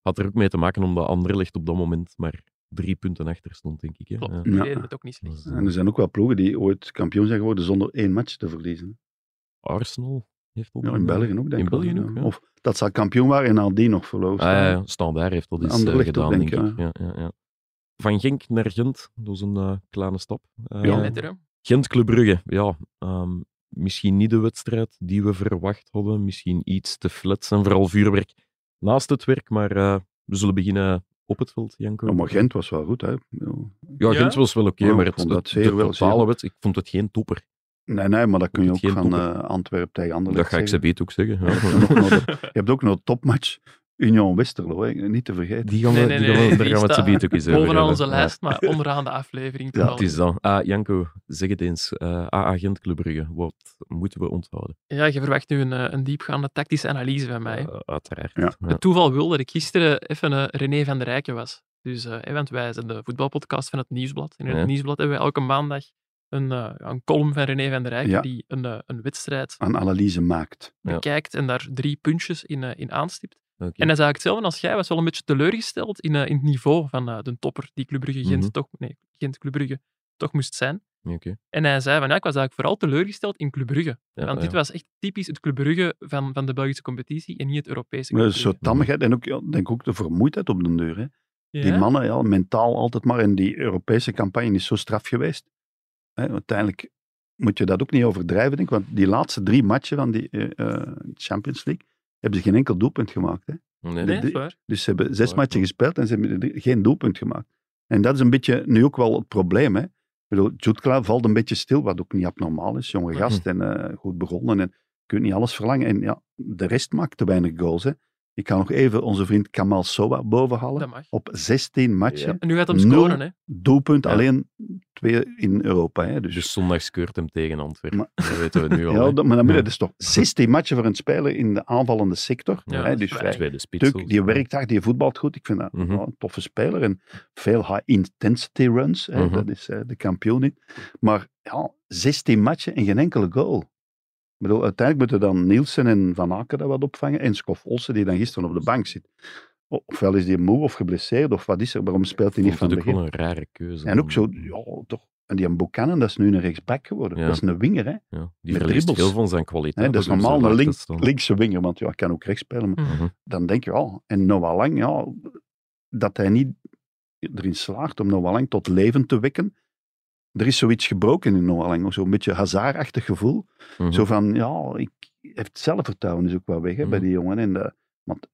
A: Had er ook mee te maken omdat Anderlecht op dat moment maar drie punten achter stond, denk ik. Hè?
B: Klopt,
A: Ja.
B: die
C: Ja.
B: deden het ook niet slecht.
A: Dat is, eh,
C: en er zijn ook wel ploegen die ooit kampioen zijn geworden zonder één match te verliezen.
A: Arsenal heeft dat
C: Ja,
A: dan,
C: in
A: ja.
C: België ook, denk ik.
A: In
C: wel,
A: België
C: ja.
A: ook, ja.
C: Of dat ze al kampioen waren en nadien nog verloofd.
A: Ah, ja, Standaard heeft dat eens eh,
C: Anderlecht ook,
A: gedaan,
C: denk
A: denk,
C: ik,
A: ik. Ja, ja, ja. Van Genk naar Gent, dat is een eh, kleine stap. Eh,
B: Ja,
C: Ja.
B: letter, hè.
A: Gent Club Brugge, ja. ehm, misschien niet de wedstrijd die we verwacht hadden. Misschien iets te flats en vooral vuurwerk naast het werk. Maar eh, we zullen beginnen op het veld, Janko?
C: Ja, maar Gent was wel goed, hè. Ja.
A: Ja,
B: Ja?
A: Gent was wel oké,
C: Ja,
A: maar het,
C: ik vond dat
A: het-
C: zeer
A: de
C: wel,
A: totale
C: zeer.
A: wet, ik vond het geen topper.
C: Nee, nee, maar dat kun je
A: Moet
C: ook
A: het geen
C: van
A: topper?
C: eh, Antwerpen tegen Anderlecht
A: Dat ga ik ze
C: zeggen.
A: beet ook
C: <laughs>
A: zeggen. Ja,
C: Je
A: maar-
C: hebt ook nog de- Je hebt ook nog de topmatch Union-Westerlo, hè, niet te vergeten.
A: Die gaan we,
B: Nee, nee,
A: die gaan
B: nee,
A: we, daar
B: die
A: gaan we het zo
B: staat
A: beet ook eens over
B: Bovenaan
A: hebben.
B: onze
A: Ja. <laughs>
B: lijst, maar onderaan de aflevering.
C: Ja,
A: Het is dan. Ah, Janko, zeg het eens. Eh AA Gent Club Brugge, wat moeten we onthouden?
B: ja, je verwacht nu een, eh, een diepgaande tactische analyse van mij.
A: Eh, uiteraard.
C: Ja.
B: Het toeval wil dat ik gisteren even eh, René van der Rijken was. Dus, eh, hè, want wij zijn de voetbalpodcast van het Nieuwsblad. En in
A: Ja.
B: het Nieuwsblad hebben wij elke maandag een, eh, ja, een column van René van der Rijken
C: Ja.
B: die een, eh, een wedstrijd
C: Aan analyse maakt.
A: Ja.
B: bekijkt en daar drie puntjes in, eh, in aanstipt.
A: Oké.
B: En hij is eigenlijk hetzelfde als jij, was wel een beetje teleurgesteld in, eh, in het niveau van eh, de topper die Club Brugge Gent,
A: Mhm.
B: toch, nee, Gent Club Brugge toch moest zijn.
A: Oké.
B: En hij zei van ja, ik was eigenlijk vooral teleurgesteld in Club Brugge.
A: Ja, eh,
B: want dit
A: ja.
B: was echt typisch het Club Brugge van, van de Belgische competitie en niet het Europese.
C: Maar
B: Club
C: dat is zo'n
B: Brugge.
C: tammigheid en ook, ja, denk ook de vermoeidheid op de deur. Hè. Die
B: Ja?
C: mannen, ja, mentaal altijd maar. En die Europese campagne is zo straf geweest. Hè, uiteindelijk moet je dat ook niet overdrijven, denk ik. Want die laatste drie matchen van die eh, eh, Champions League hebben ze geen enkel doelpunt gemaakt. Hè.
A: Nee,
B: Nee,
A: nee.
B: dat is waar.
C: Dus ze hebben zes
A: Waar,
C: matchen gespeeld en ze hebben er drie- geen doelpunt gemaakt. En dat is een beetje nu ook wel het probleem. Hè? Ik bedoel, Jutkla valt een beetje stil, wat ook niet abnormaal is. Jonge
B: Mhm.
C: gast en eh, goed begonnen. En je kunt niet alles verlangen. En ja, de rest maakt te weinig goals. Hè? Ik kan nog even onze vriend Kamal Sowa bovenhalen.
B: Dat mag.
C: Op 16 matchen,
B: En nu gaat hem
C: Nul.
B: scoren, hè?
C: doelpunt
A: Ja.
C: alleen twee in Europa. Hè? Dus,
A: Dus zondags keurt hem tegen Antwerpen.
C: Maar-
A: Dat weten we
C: <laughs>
A: nu al.
C: ja,
A: hè.
C: dat, maar dan moet
A: Ja.
C: je dus toch 16 matchen voor een speler in de aanvallende sector.
A: Ja,
C: hè?
B: dat is
C: Dus
B: waar.
C: vrij
A: Tweede spits.
C: Tuk, die werkt hard, die voetbalt goed. Ik vind dat
A: Mhm.
C: wel een toffe speler. En veel high-intensity runs, hè,
A: Mhm.
C: dat is eh, de kampioen in. Maar ja, 16 matchen en geen enkele goal. Ik bedoel, uiteindelijk moeten dan Nielsen en Van Aken dat wat opvangen. En Skof Olsen, die dan gisteren op de bank zit. O- Ofwel is die moe of geblesseerd, of wat is er? Waarom speelt hij
A: Ik
C: niet
A: vond
C: van
A: het ook
C: begin?
A: wel een rare keuze.
C: En ook zo, ja, toch. En die Buchanan, dat is nu een rechtsback geworden.
A: Ja.
C: Dat is een winger, hè.
A: Ja, die
C: met
A: verliest
C: dribbles.
A: veel van zijn kwaliteit.
C: Hè, dat is
A: door zo
C: normaal
A: laag
C: een
A: te
C: link-
A: staan.
C: linkse winger, want ja, hij kan ook rechts spelen. Maar
B: Mhm.
C: dan denk je, oh, en Noah Lang, ja, dat hij niet erin slaagt om Noah Lang tot leven te wekken. Er is zoiets gebroken in Noah Lang, zo'n beetje hazardachtig gevoel.
A: Mhm.
C: Zo van, ja, ik heb het zelfvertrouwen is ook wel weg hè, bij
A: Mhm.
C: die jongen. En de, want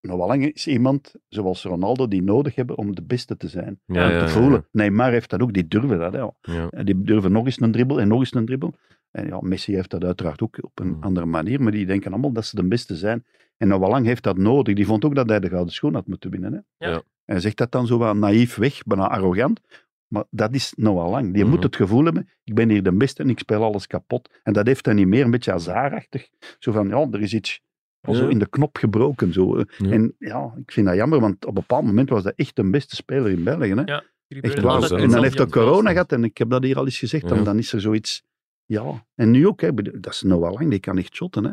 C: Noah Lang is iemand, zoals Ronaldo, die nodig hebben om de beste te zijn.
A: Ja, ja,
C: te
A: ja,
C: voelen. Neymar heeft dat ook, die durven dat. Hè,
A: ja.
C: en Eh, die durven nog eens een dribbel en nog eens een dribbel. En ja, Messi heeft dat uiteraard ook op een
A: Mm.
C: andere manier, maar die denken allemaal dat ze de beste zijn. En nou, lang heeft dat nodig? Die vond ook dat hij de gouden schoen had moeten winnen. Hè?
B: Ja.
A: Ja.
C: En hij zegt dat dan zo wat naïef weg, bijna arrogant. Maar dat is Noah Lang. Die
A: Mhm.
C: moet het gevoel hebben, ik ben hier de beste en ik speel alles kapot. En dat heeft hij niet meer, een beetje hazardachtig. Zo van, ja, er is iets al zo
A: Ja.
C: in de knop gebroken. Zo.
A: Ja.
C: En ja, ik vind dat jammer, want op een bepaald moment was dat echt de beste speler in België. Hè? Echt
A: En
C: waar.
A: dan-
C: En dan heeft hij
B: dat
C: corona gehad, en ik heb dat hier al eens gezegd, dan,
A: Ja.
C: dan is er zoiets... Ja, en nu ook, hè, Ik bedoel, dat is Noah Lang, die kan echt shotten. Hè.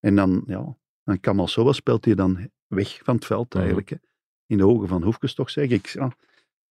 C: En dan, ja, dan Kamal Sowa speelt hij dan weg van het veld
A: Mhm.
C: eigenlijk. Hè. In de ogen van Hoefkes toch, zeg ik. Ja,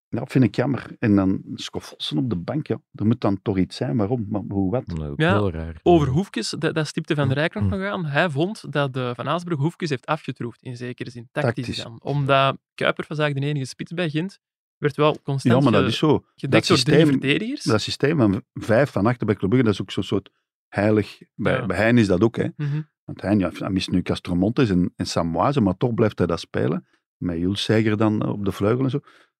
C: dat vind ik jammer. En dan Skoffelsen op de bank, ja. Er moet dan toch iets zijn, waarom, maar hoe, wat?
A: Dat is ook
B: Ja,
A: heel raar.
B: Over Hoefkes, dat, dat stipte Van der Rijk nog
A: Mm.
B: nog aan. Hij vond dat de Van Aasbrug Hoefkes heeft afgetroefd, in zekere zin. Tactisch,
C: Tactisch.
B: dan. Omdat Kuiper was eigenlijk de enige spits bij Gent. Werd wel constant
C: Ja, maar dat
B: ge-
C: is zo.
B: gedekt
C: dat
B: door drie
C: systeem-
B: verdedigers.
C: Dat systeem van vijf van achter bij Club Brugge, dat is ook zo'n soort heilig... Bij,
B: Ja.
C: bij Heijn is dat ook, hè.
B: Mhm.
C: Want hij, ja, hij mist nu Castromontes en, en Samoise, maar toch blijft hij dat spelen. Met Jules Seiger dan eh, op de vleugel en zo.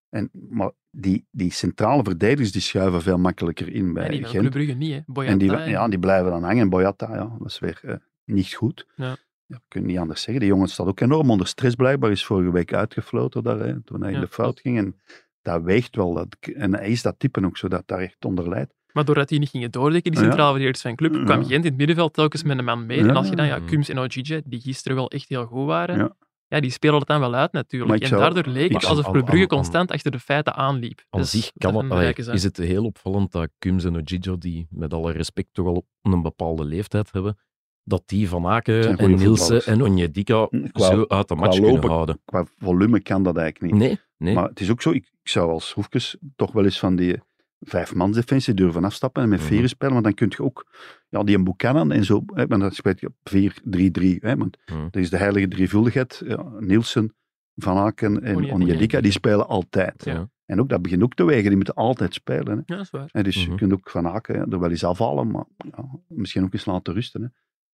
C: En, maar die, die centrale verdedigers die schuiven veel makkelijker in bij
B: Ja, die van Club
C: Gent.
B: Brugge niet, hè.
C: En die,
B: Boyata,
C: ja, die blijven dan hangen. En Boyata, ja, was weer eh, niet goed.
B: Ja.
C: Ja, kun je niet anders zeggen. Die jongen staat ook enorm onder stress blijkbaar. Is vorige week uitgefloten daar, hè, toen hij
B: Ja,
C: in de fout
B: klopt.
C: ging. En dat weegt wel. Dat, en hij is dat type ook zo, dat daar echt onder lijdt.
B: Maar doordat die niet gingen doordekken, die
C: Ja.
B: centrale verdedigers van club, kwam
C: Ja.
B: Gent in het middenveld telkens met een man mee.
C: Ja.
B: En als je dan, ja,
A: Mm.
B: Kums en Ojije, die gisteren wel echt heel goed waren, ja,
C: Ja.
B: die spelen het dan wel uit
C: Maar
B: natuurlijk.
C: ik
B: En
C: zou-
B: daardoor leek
A: ik
B: het
A: zou-
B: alsof
A: al-
B: Club Brugge
A: al- al-
B: constant achter de feiten aanliep.
A: Aan
B: Dus
A: zich
B: dat
A: kan het,
B: Van
A: allee,
B: Rijken zei.
A: is het heel opvallend dat Kums en Ojijo, die met alle respect toch al op een bepaalde leeftijd hebben, dat die Van Aken
C: Zijn
A: en
C: goede
A: Nielsen
C: voetballers. Hm,
A: en Onjedika
C: Qua-
A: zo uit de match
C: lopen.
A: kunnen houden.
C: Qua volume kan dat eigenlijk niet.
A: Nee, nee.
C: Maar het is ook zo, ik, ik zou als Hoefkes toch wel eens van die vijfmansdefensie durven afstappen en met
A: Mhm.
C: vieren spelen, want dan kun je ook ja, die een Buchanan en zo, hè, want dat speelt je op 4-3-3, hè, want
A: Mhm.
C: er is de heilige drievuldigheid, ja, Nielsen, Van Aken en
B: Onyedika.
C: Onjedika, die spelen altijd.
A: Ja.
C: En ook, dat begint ook te wegen, die moeten altijd spelen. Hè.
B: Ja, dat is waar.
C: En dus
A: Mhm.
C: je kunt ook Van Aken ja, er wel eens afhalen, maar ja, misschien ook eens laten rusten. Hè.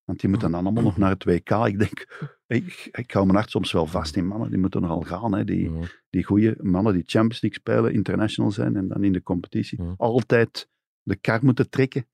C: Want die moeten dan allemaal nog naar het WK. Ik denk, Ik, ik hou mijn hart soms wel vast in mannen, die moeten nogal gaan. Hè. Die,
A: Ja.
C: die goede mannen die Champions League spelen, international zijn en dan in de competitie.
A: Ja.
C: Altijd de kar moeten trekken.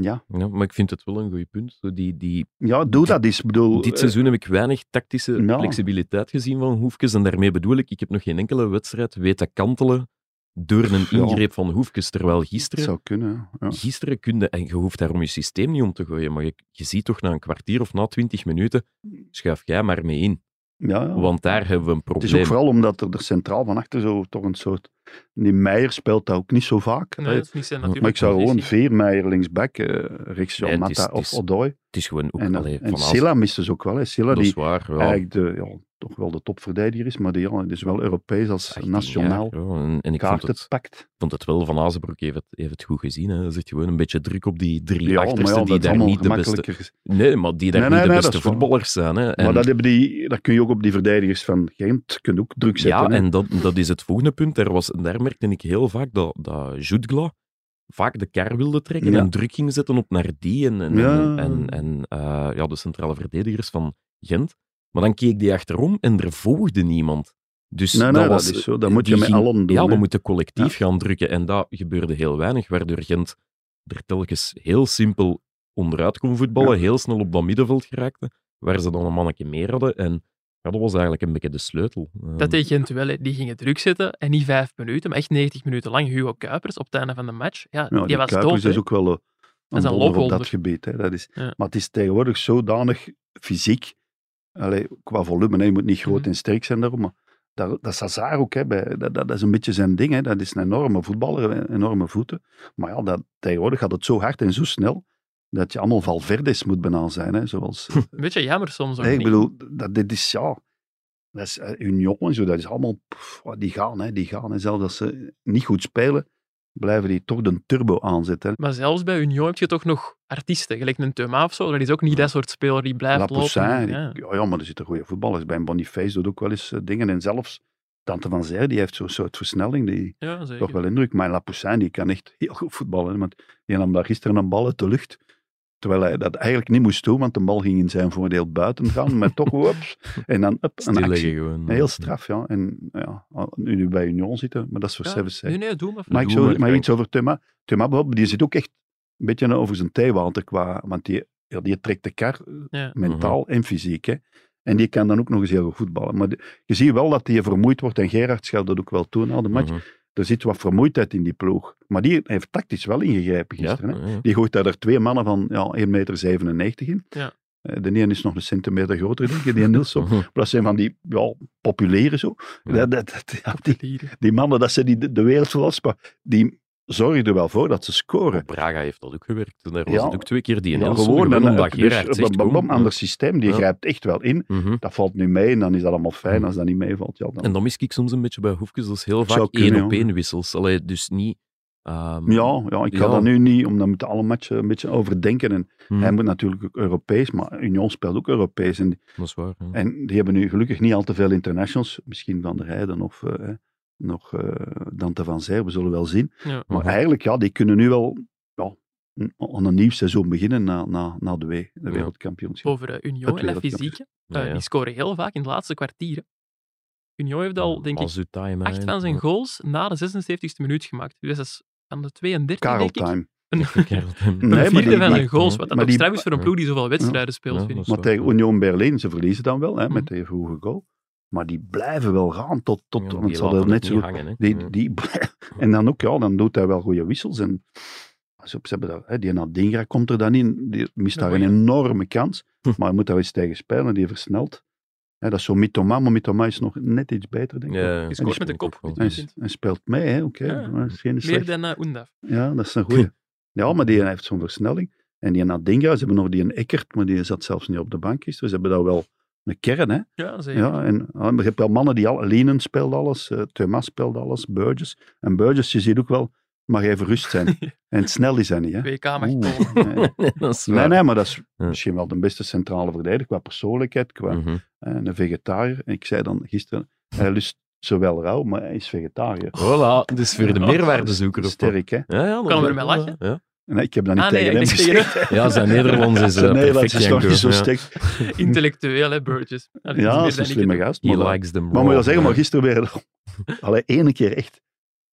C: Ja,
A: Ja, maar ik vind het wel een goed punt. Zo die, die,
C: ja doe dat eens. Ik bedoel,
A: dit
C: eh,
A: seizoen heb ik weinig tactische
C: ja.
A: flexibiliteit gezien van Hoefkes. En daarmee bedoel ik, ik heb nog geen enkele wedstrijd weten kantelen door een
C: Ja.
A: ingreep van Hoefkes. Terwijl
C: het
A: gisteren
C: zou kunnen. Ja.
A: gisteren kunde, en je hoeft daarom je systeem niet om te gooien, maar je, je ziet toch na een kwartier of na twintig minuten, schuif jij maar mee in.
C: Ja, ja.
A: Want daar hebben we een
C: Het is ook
A: probleem.
C: vooral omdat er, er centraal van achter zo toch een soort. Die Meijer speelt dat ook niet zo vaak.
B: Nee,
C: hè.
B: dat is niet zijn
A: Maar
B: natuurlijk.
C: maar ik zou gewoon Veermeijer linksback, eh rechts
A: Nee,
C: Jan
A: het is-
C: Mata
A: het is-
C: of Odoi.
A: Het is gewoon ook
C: En,
A: allee,
C: en
A: van alles.
C: Silla mist dus ook wel. Hè. Silla
A: Dat
C: die
A: is waar. Ja.
C: eigenlijk de, ja, toch wel de topverdediger is, maar die ja, is wel Europees als
A: 18
C: nationaal
A: jaar, ja. En, en ik vond
C: kaarten
A: het,
C: pakt.
A: vond het wel, Van Azenbroek heeft het, heeft het goed gezien. Hè. Hij zegt gewoon een beetje druk op die drie
C: Ja, maar
A: achtersten
C: ja,
A: die
C: dat is
A: daar
C: allemaal
A: niet de beste...
C: gemakkelijker.
A: Nee, maar die daar
C: Nee,
A: niet
C: nee,
A: de
C: nee,
A: beste
C: dat is waar.
A: voetballers zijn. Hè. En,
C: Maar dat, hebben die, dat kun je ook op die verdedigers van Gent kun je ook druk zetten.
A: ja,
C: hè.
A: en dat, dat is het volgende punt. Daar, was, daar merkte ik heel vaak dat, dat Jutgla vaak de kar wilde trekken
C: Ja.
A: en druk ging zetten op naar die en, en,
C: Ja.
A: en, en eh, ja, de centrale verdedigers van Gent. Maar dan keek die achterom en er volgde niemand. Dus
C: nee, nee,
A: dat,
C: dat,
A: was,
C: is zo. Dat moet je
A: die
C: met
A: ging-
C: allen doen.
A: ja, we
C: hè.
A: moeten collectief gaan drukken. En dat gebeurde heel weinig, waardoor Gent er telkens heel simpel onderuit kon voetballen,
C: Ja.
A: heel snel op dat middenveld geraakte, waar ze dan een mannetje meer hadden. En ja, dat was eigenlijk een beetje de sleutel. eh,
B: Dat deed Gent wel, hè. die gingen druk zitten. En niet vijf minuten, maar echt 90 minuten lang. Hugo Kuipers op het einde van de match. Ja,
C: Ja,
B: die,
C: die
B: was
C: Kuipers
B: dood. hè.
C: is ook wel eh,
B: Dat
C: een
B: is een
C: wonder op dat
B: loopwonder.
C: gebied. Hè. Dat is,
B: Ja.
C: Maar het is tegenwoordig zodanig fysiek, allee, qua volume, hè, je moet niet groot
B: Mhm.
C: en sterk zijn daarom, maar dat, dat is Hazard ook, hè, bij, dat, dat, dat is een beetje zijn ding. Hè. Dat is een enorme voetballer, een- enorme voeten. Maar ja, dat, tegenwoordig gaat het zo hard en zo snel, dat je allemaal Valverdes moet banaan zijn. Hè, zoals, eh,
B: Een beetje jammer soms ook
C: Nee, ik
B: niet.
C: bedoel, dat, dit is ja. Dat is eh, Union en zo, dat is allemaal. pff, wat die gaan, hè, die gaan. En zelfs als ze niet goed spelen, blijven die toch de turbo aanzetten. hè.
B: Maar zelfs bij Union heb je toch nog artiesten, gelijk een Thuma of zo. Dat is ook niet dat soort speler die blijft
C: Lapoussin,
B: lopen.
C: die-
B: Ja.
C: ja. ja, maar er zitten goede voetballers bij. En Boniface doet ook wel eens eh, dingen. En zelfs Dante van Zijr, die heeft zo'n soort versnelling, die
B: Ja, zeker.
C: toch wel indruk. Maar Lapoussin, die kan echt heel goed voetballen. hè, Want die nam daar gisteren een bal uit de lucht. Terwijl hij dat eigenlijk niet moest doen, want de bal ging in zijn voordeel buiten gaan.
B: <laughs>
C: Maar toch, whoops. En dan, up, een actie.
A: Stilleggen gewoon.
C: Heel straf, ja. En ja, nu die bij Union zitten, maar dat is voor
B: Ja,
C: service.
B: Nee,
C: hè.
B: nee, doe maar.
C: Maar, ik
A: Doe
C: zo,
A: maar,
C: maar
A: Frank.
C: iets over Thuma. Thuma bijvoorbeeld, die zit ook echt een beetje over zijn theewater qua... Want die, ja, die trekt de kar, eh,
A: Mhm.
B: Ja.
C: <laughs> mentaal en fysiek. Hè. En die kan dan ook nog eens heel goed voetballen. Maar de- je ziet wel dat die vermoeid wordt. En Gerard schuilt dat ook wel toe na de match.
A: Mhm.
C: Er zit wat vermoeidheid in die ploeg. Maar die heeft tactisch wel ingegrepen
A: Ja,
C: gisteren. hè.
A: ja, ja.
C: Die gooit daar er twee mannen van ja, 1,97 meter. Eh,
B: Ja.
C: De ene is nog een centimeter groter, denk ik, die Nilsson.
A: Mhm.
C: Maar dat zijn van die ja, populaire zo.
A: Ja.
C: Dat, dat, dat- ja, die,
B: Hier.
C: die mannen, dat ze die, de- de wereld was, maar die zorgen er wel voor dat ze scoren.
A: Braga heeft dat ook gewerkt. En daar was
C: Ja.
A: het ook twee keer die
C: Ja,
A: in ja,
C: gewoon
A: gewonnen,
C: een
A: omdat Gerard
C: dus,
A: zegt,
C: bam, bam,
A: kom,
C: ander systeem, die
A: Ja.
C: grijpt echt wel in.
A: eh, mhm.
C: Dat valt nu mee en dan is dat allemaal fijn.
A: Ja.
C: Als dat niet meevalt, ja, dan...
A: En dan mis ik soms een beetje bij Hoefkes, dat is heel
C: zou
A: vaak
C: kunnen,
A: één op
C: ja.
A: één wissels. Allee, dus niet... ehm,
C: Ja, ja, ik kan
A: Ja.
C: dat nu niet, omdat we moeten alle matchen een beetje overdenken. En
A: hm,
C: Hij moet natuurlijk ook Europees, maar Union speelt ook Europees. En,
A: Dat is waar. ja.
C: en die hebben nu gelukkig niet al te veel internationals. Misschien Van der Heijden of eh, eh, nog eh, Dante van Zijl, we zullen wel zien.
B: Ja.
C: Maar
A: Mhm.
C: eigenlijk, ja, die kunnen nu wel ja, n- aan een nieuw seizoen beginnen na, na, na de, we- de
A: Ja.
C: wereldkampioenschap.
B: Over eh, Union
C: Dat
B: en dat
C: wereldkampioen.
B: fysieke.
A: Ja,
B: eh,
A: nou ja.
B: Die scoren heel vaak in het laatste kwartier. hè. Union heeft al, denk ik,
A: Mazutai,
B: acht
A: man.
B: van zijn goals na de 76e minuut gemaakt. Dus dat is aan de 32e,
C: Karel
B: denk ik.
C: time.
A: Ja,
B: <laughs>
A: Karel Tem.
C: Nee, maar
B: Een vierde
C: die-
B: van
C: die-
B: zijn goals. Wat dat
C: maar
B: ook
C: die-
B: straf is voor een ploeg die zoveel wedstrijden speelt,
A: Ja,
B: vind
A: dat
B: ik.
A: is
C: Maar
A: waar.
C: tegen Union Berlin, ze verliezen dan wel hè, met
B: Mhm.
C: die vroege goal. Maar die blijven wel gaan tot... tot
A: Ja,
C: want
A: die
C: ze
A: laten
C: hadden
A: het
C: net zo
A: niet
C: goed
A: hangen, hè. Ja.
C: Die, die, <laughs> en dan ook, ja, dan doet hij wel goede wissels. En, ze ze hebben dat, hè, die Nadingra komt er dan in, die mist daar een
B: Ja.
C: enorme kans,
A: Hm.
C: maar hij moet daar eens tegen spelen, die versnelt. Hè, dat is zo Mitoma, maar Mitoma is nog net iets beter, denk ik.
A: Ja, ja.
B: Die scoort met de kop.
A: Ook wel.
C: Hij, is- hij speelt mee, hè, oké.
B: Ja.
C: dat is geen
B: Ah, Meer
C: slecht-
B: dan eh, Undaf.
C: Ja, dat is een goeie. Ja, maar die heeft zo'n versnelling. En die Nadingra, ze hebben nog die een Eckert, maar die zat zelfs niet op de bank gisteren. Ze hebben daar wel een kern, hè.
B: Ja, zeker.
C: Ja, en ah, maar je hebt wel mannen die al... Lenen speelt alles, eh Thomas speelt alles, Burgess. En Burgess, je ziet ook wel, mag even
B: <laughs>
C: rust zijn. en snel is hij niet, hè.
B: WK mag
C: Oeh, <laughs>
B: komen.
C: nee.
A: <laughs>
B: <laughs>
A: dat is
C: nee,
A: waar.
C: nee, maar dat is
A: Ja.
C: misschien wel de beste centrale verdediger qua persoonlijkheid, qua
A: Mhm.
C: eh, een vegetariër. En ik zei dan gisteren, hij lust zowel rauw, maar hij is vegetariër.
A: Voilà, dus voor de
C: Ja.
A: meerwaardezoeker. op-
C: Sterk, hè.
A: Ja, ja, dat
B: Kan
A: is
B: er
A: wel-
B: mee lachen.
A: Ja.
C: En ik heb dat niet
B: Ah, nee,
C: tegen hem
B: ik denk
C: gezegd.
A: Ja, zijn Nederlands
C: <laughs>
A: is eh,
C: Zijn
A: perfect,
C: Nederlands is nog
A: Janko.
C: niet zo
A: Ja.
C: <laughs> sterk.
B: Intellectueel, hè, Burgess. Allee,
C: Ja,
B: meer
C: dat is
B: dan
C: een
B: ik
C: slimme
B: het
C: gast.
A: He
C: Maar, dat-
A: likes them
C: maar moet je
A: raw.
C: dat zeggen, maar gisteren weer... Allee, ene keer echt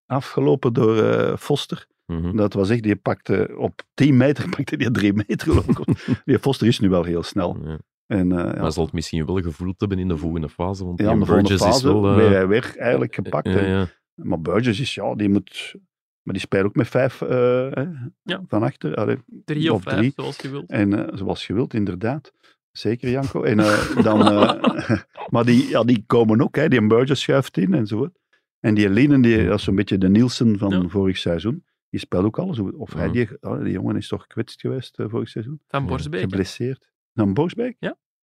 C: afgelopen door eh, Foster.
A: Mhm.
C: Dat was echt, die pakte op 10 meter, <laughs> pakte die 3 meter
A: <laughs>
C: geloof ik. Die Foster is nu wel heel snel.
A: Ja.
C: En, eh, ja,
A: Maar zal het misschien wel gevoeld hebben in de volgende fase, want
C: ja,
A: Ian
C: in de volgende
A: Burgess is
C: fase
A: wel... eh,
C: ben jij weer eigenlijk gepakt.
A: ja,
C: En-
A: ja.
C: Maar Burgess is, ja, die moet... Maar die speelt ook met vijf eh, hè,
B: Ja.
C: van achter. Allee,
B: niet. Drie of
C: Of
B: vijf,
C: drie.
B: zoals je wilt.
C: En eh, zoals je wilt, inderdaad. Zeker, Janko. En eh, dan... eh, <laughs> maar die, ja, die komen ook, hè. Die Burgess schuift in en zo. En die Lienen, die, dat is een beetje de Nielsen van
B: Ja.
C: vorig seizoen. Die speelt ook alles. Of hij,
A: Mhm.
C: die, ah, die jongen is toch kwetst geweest eh, vorig seizoen?
B: Van
A: Ja,
B: Borsbeek, hè,
C: Geblesseerd. Dan Boosbeek?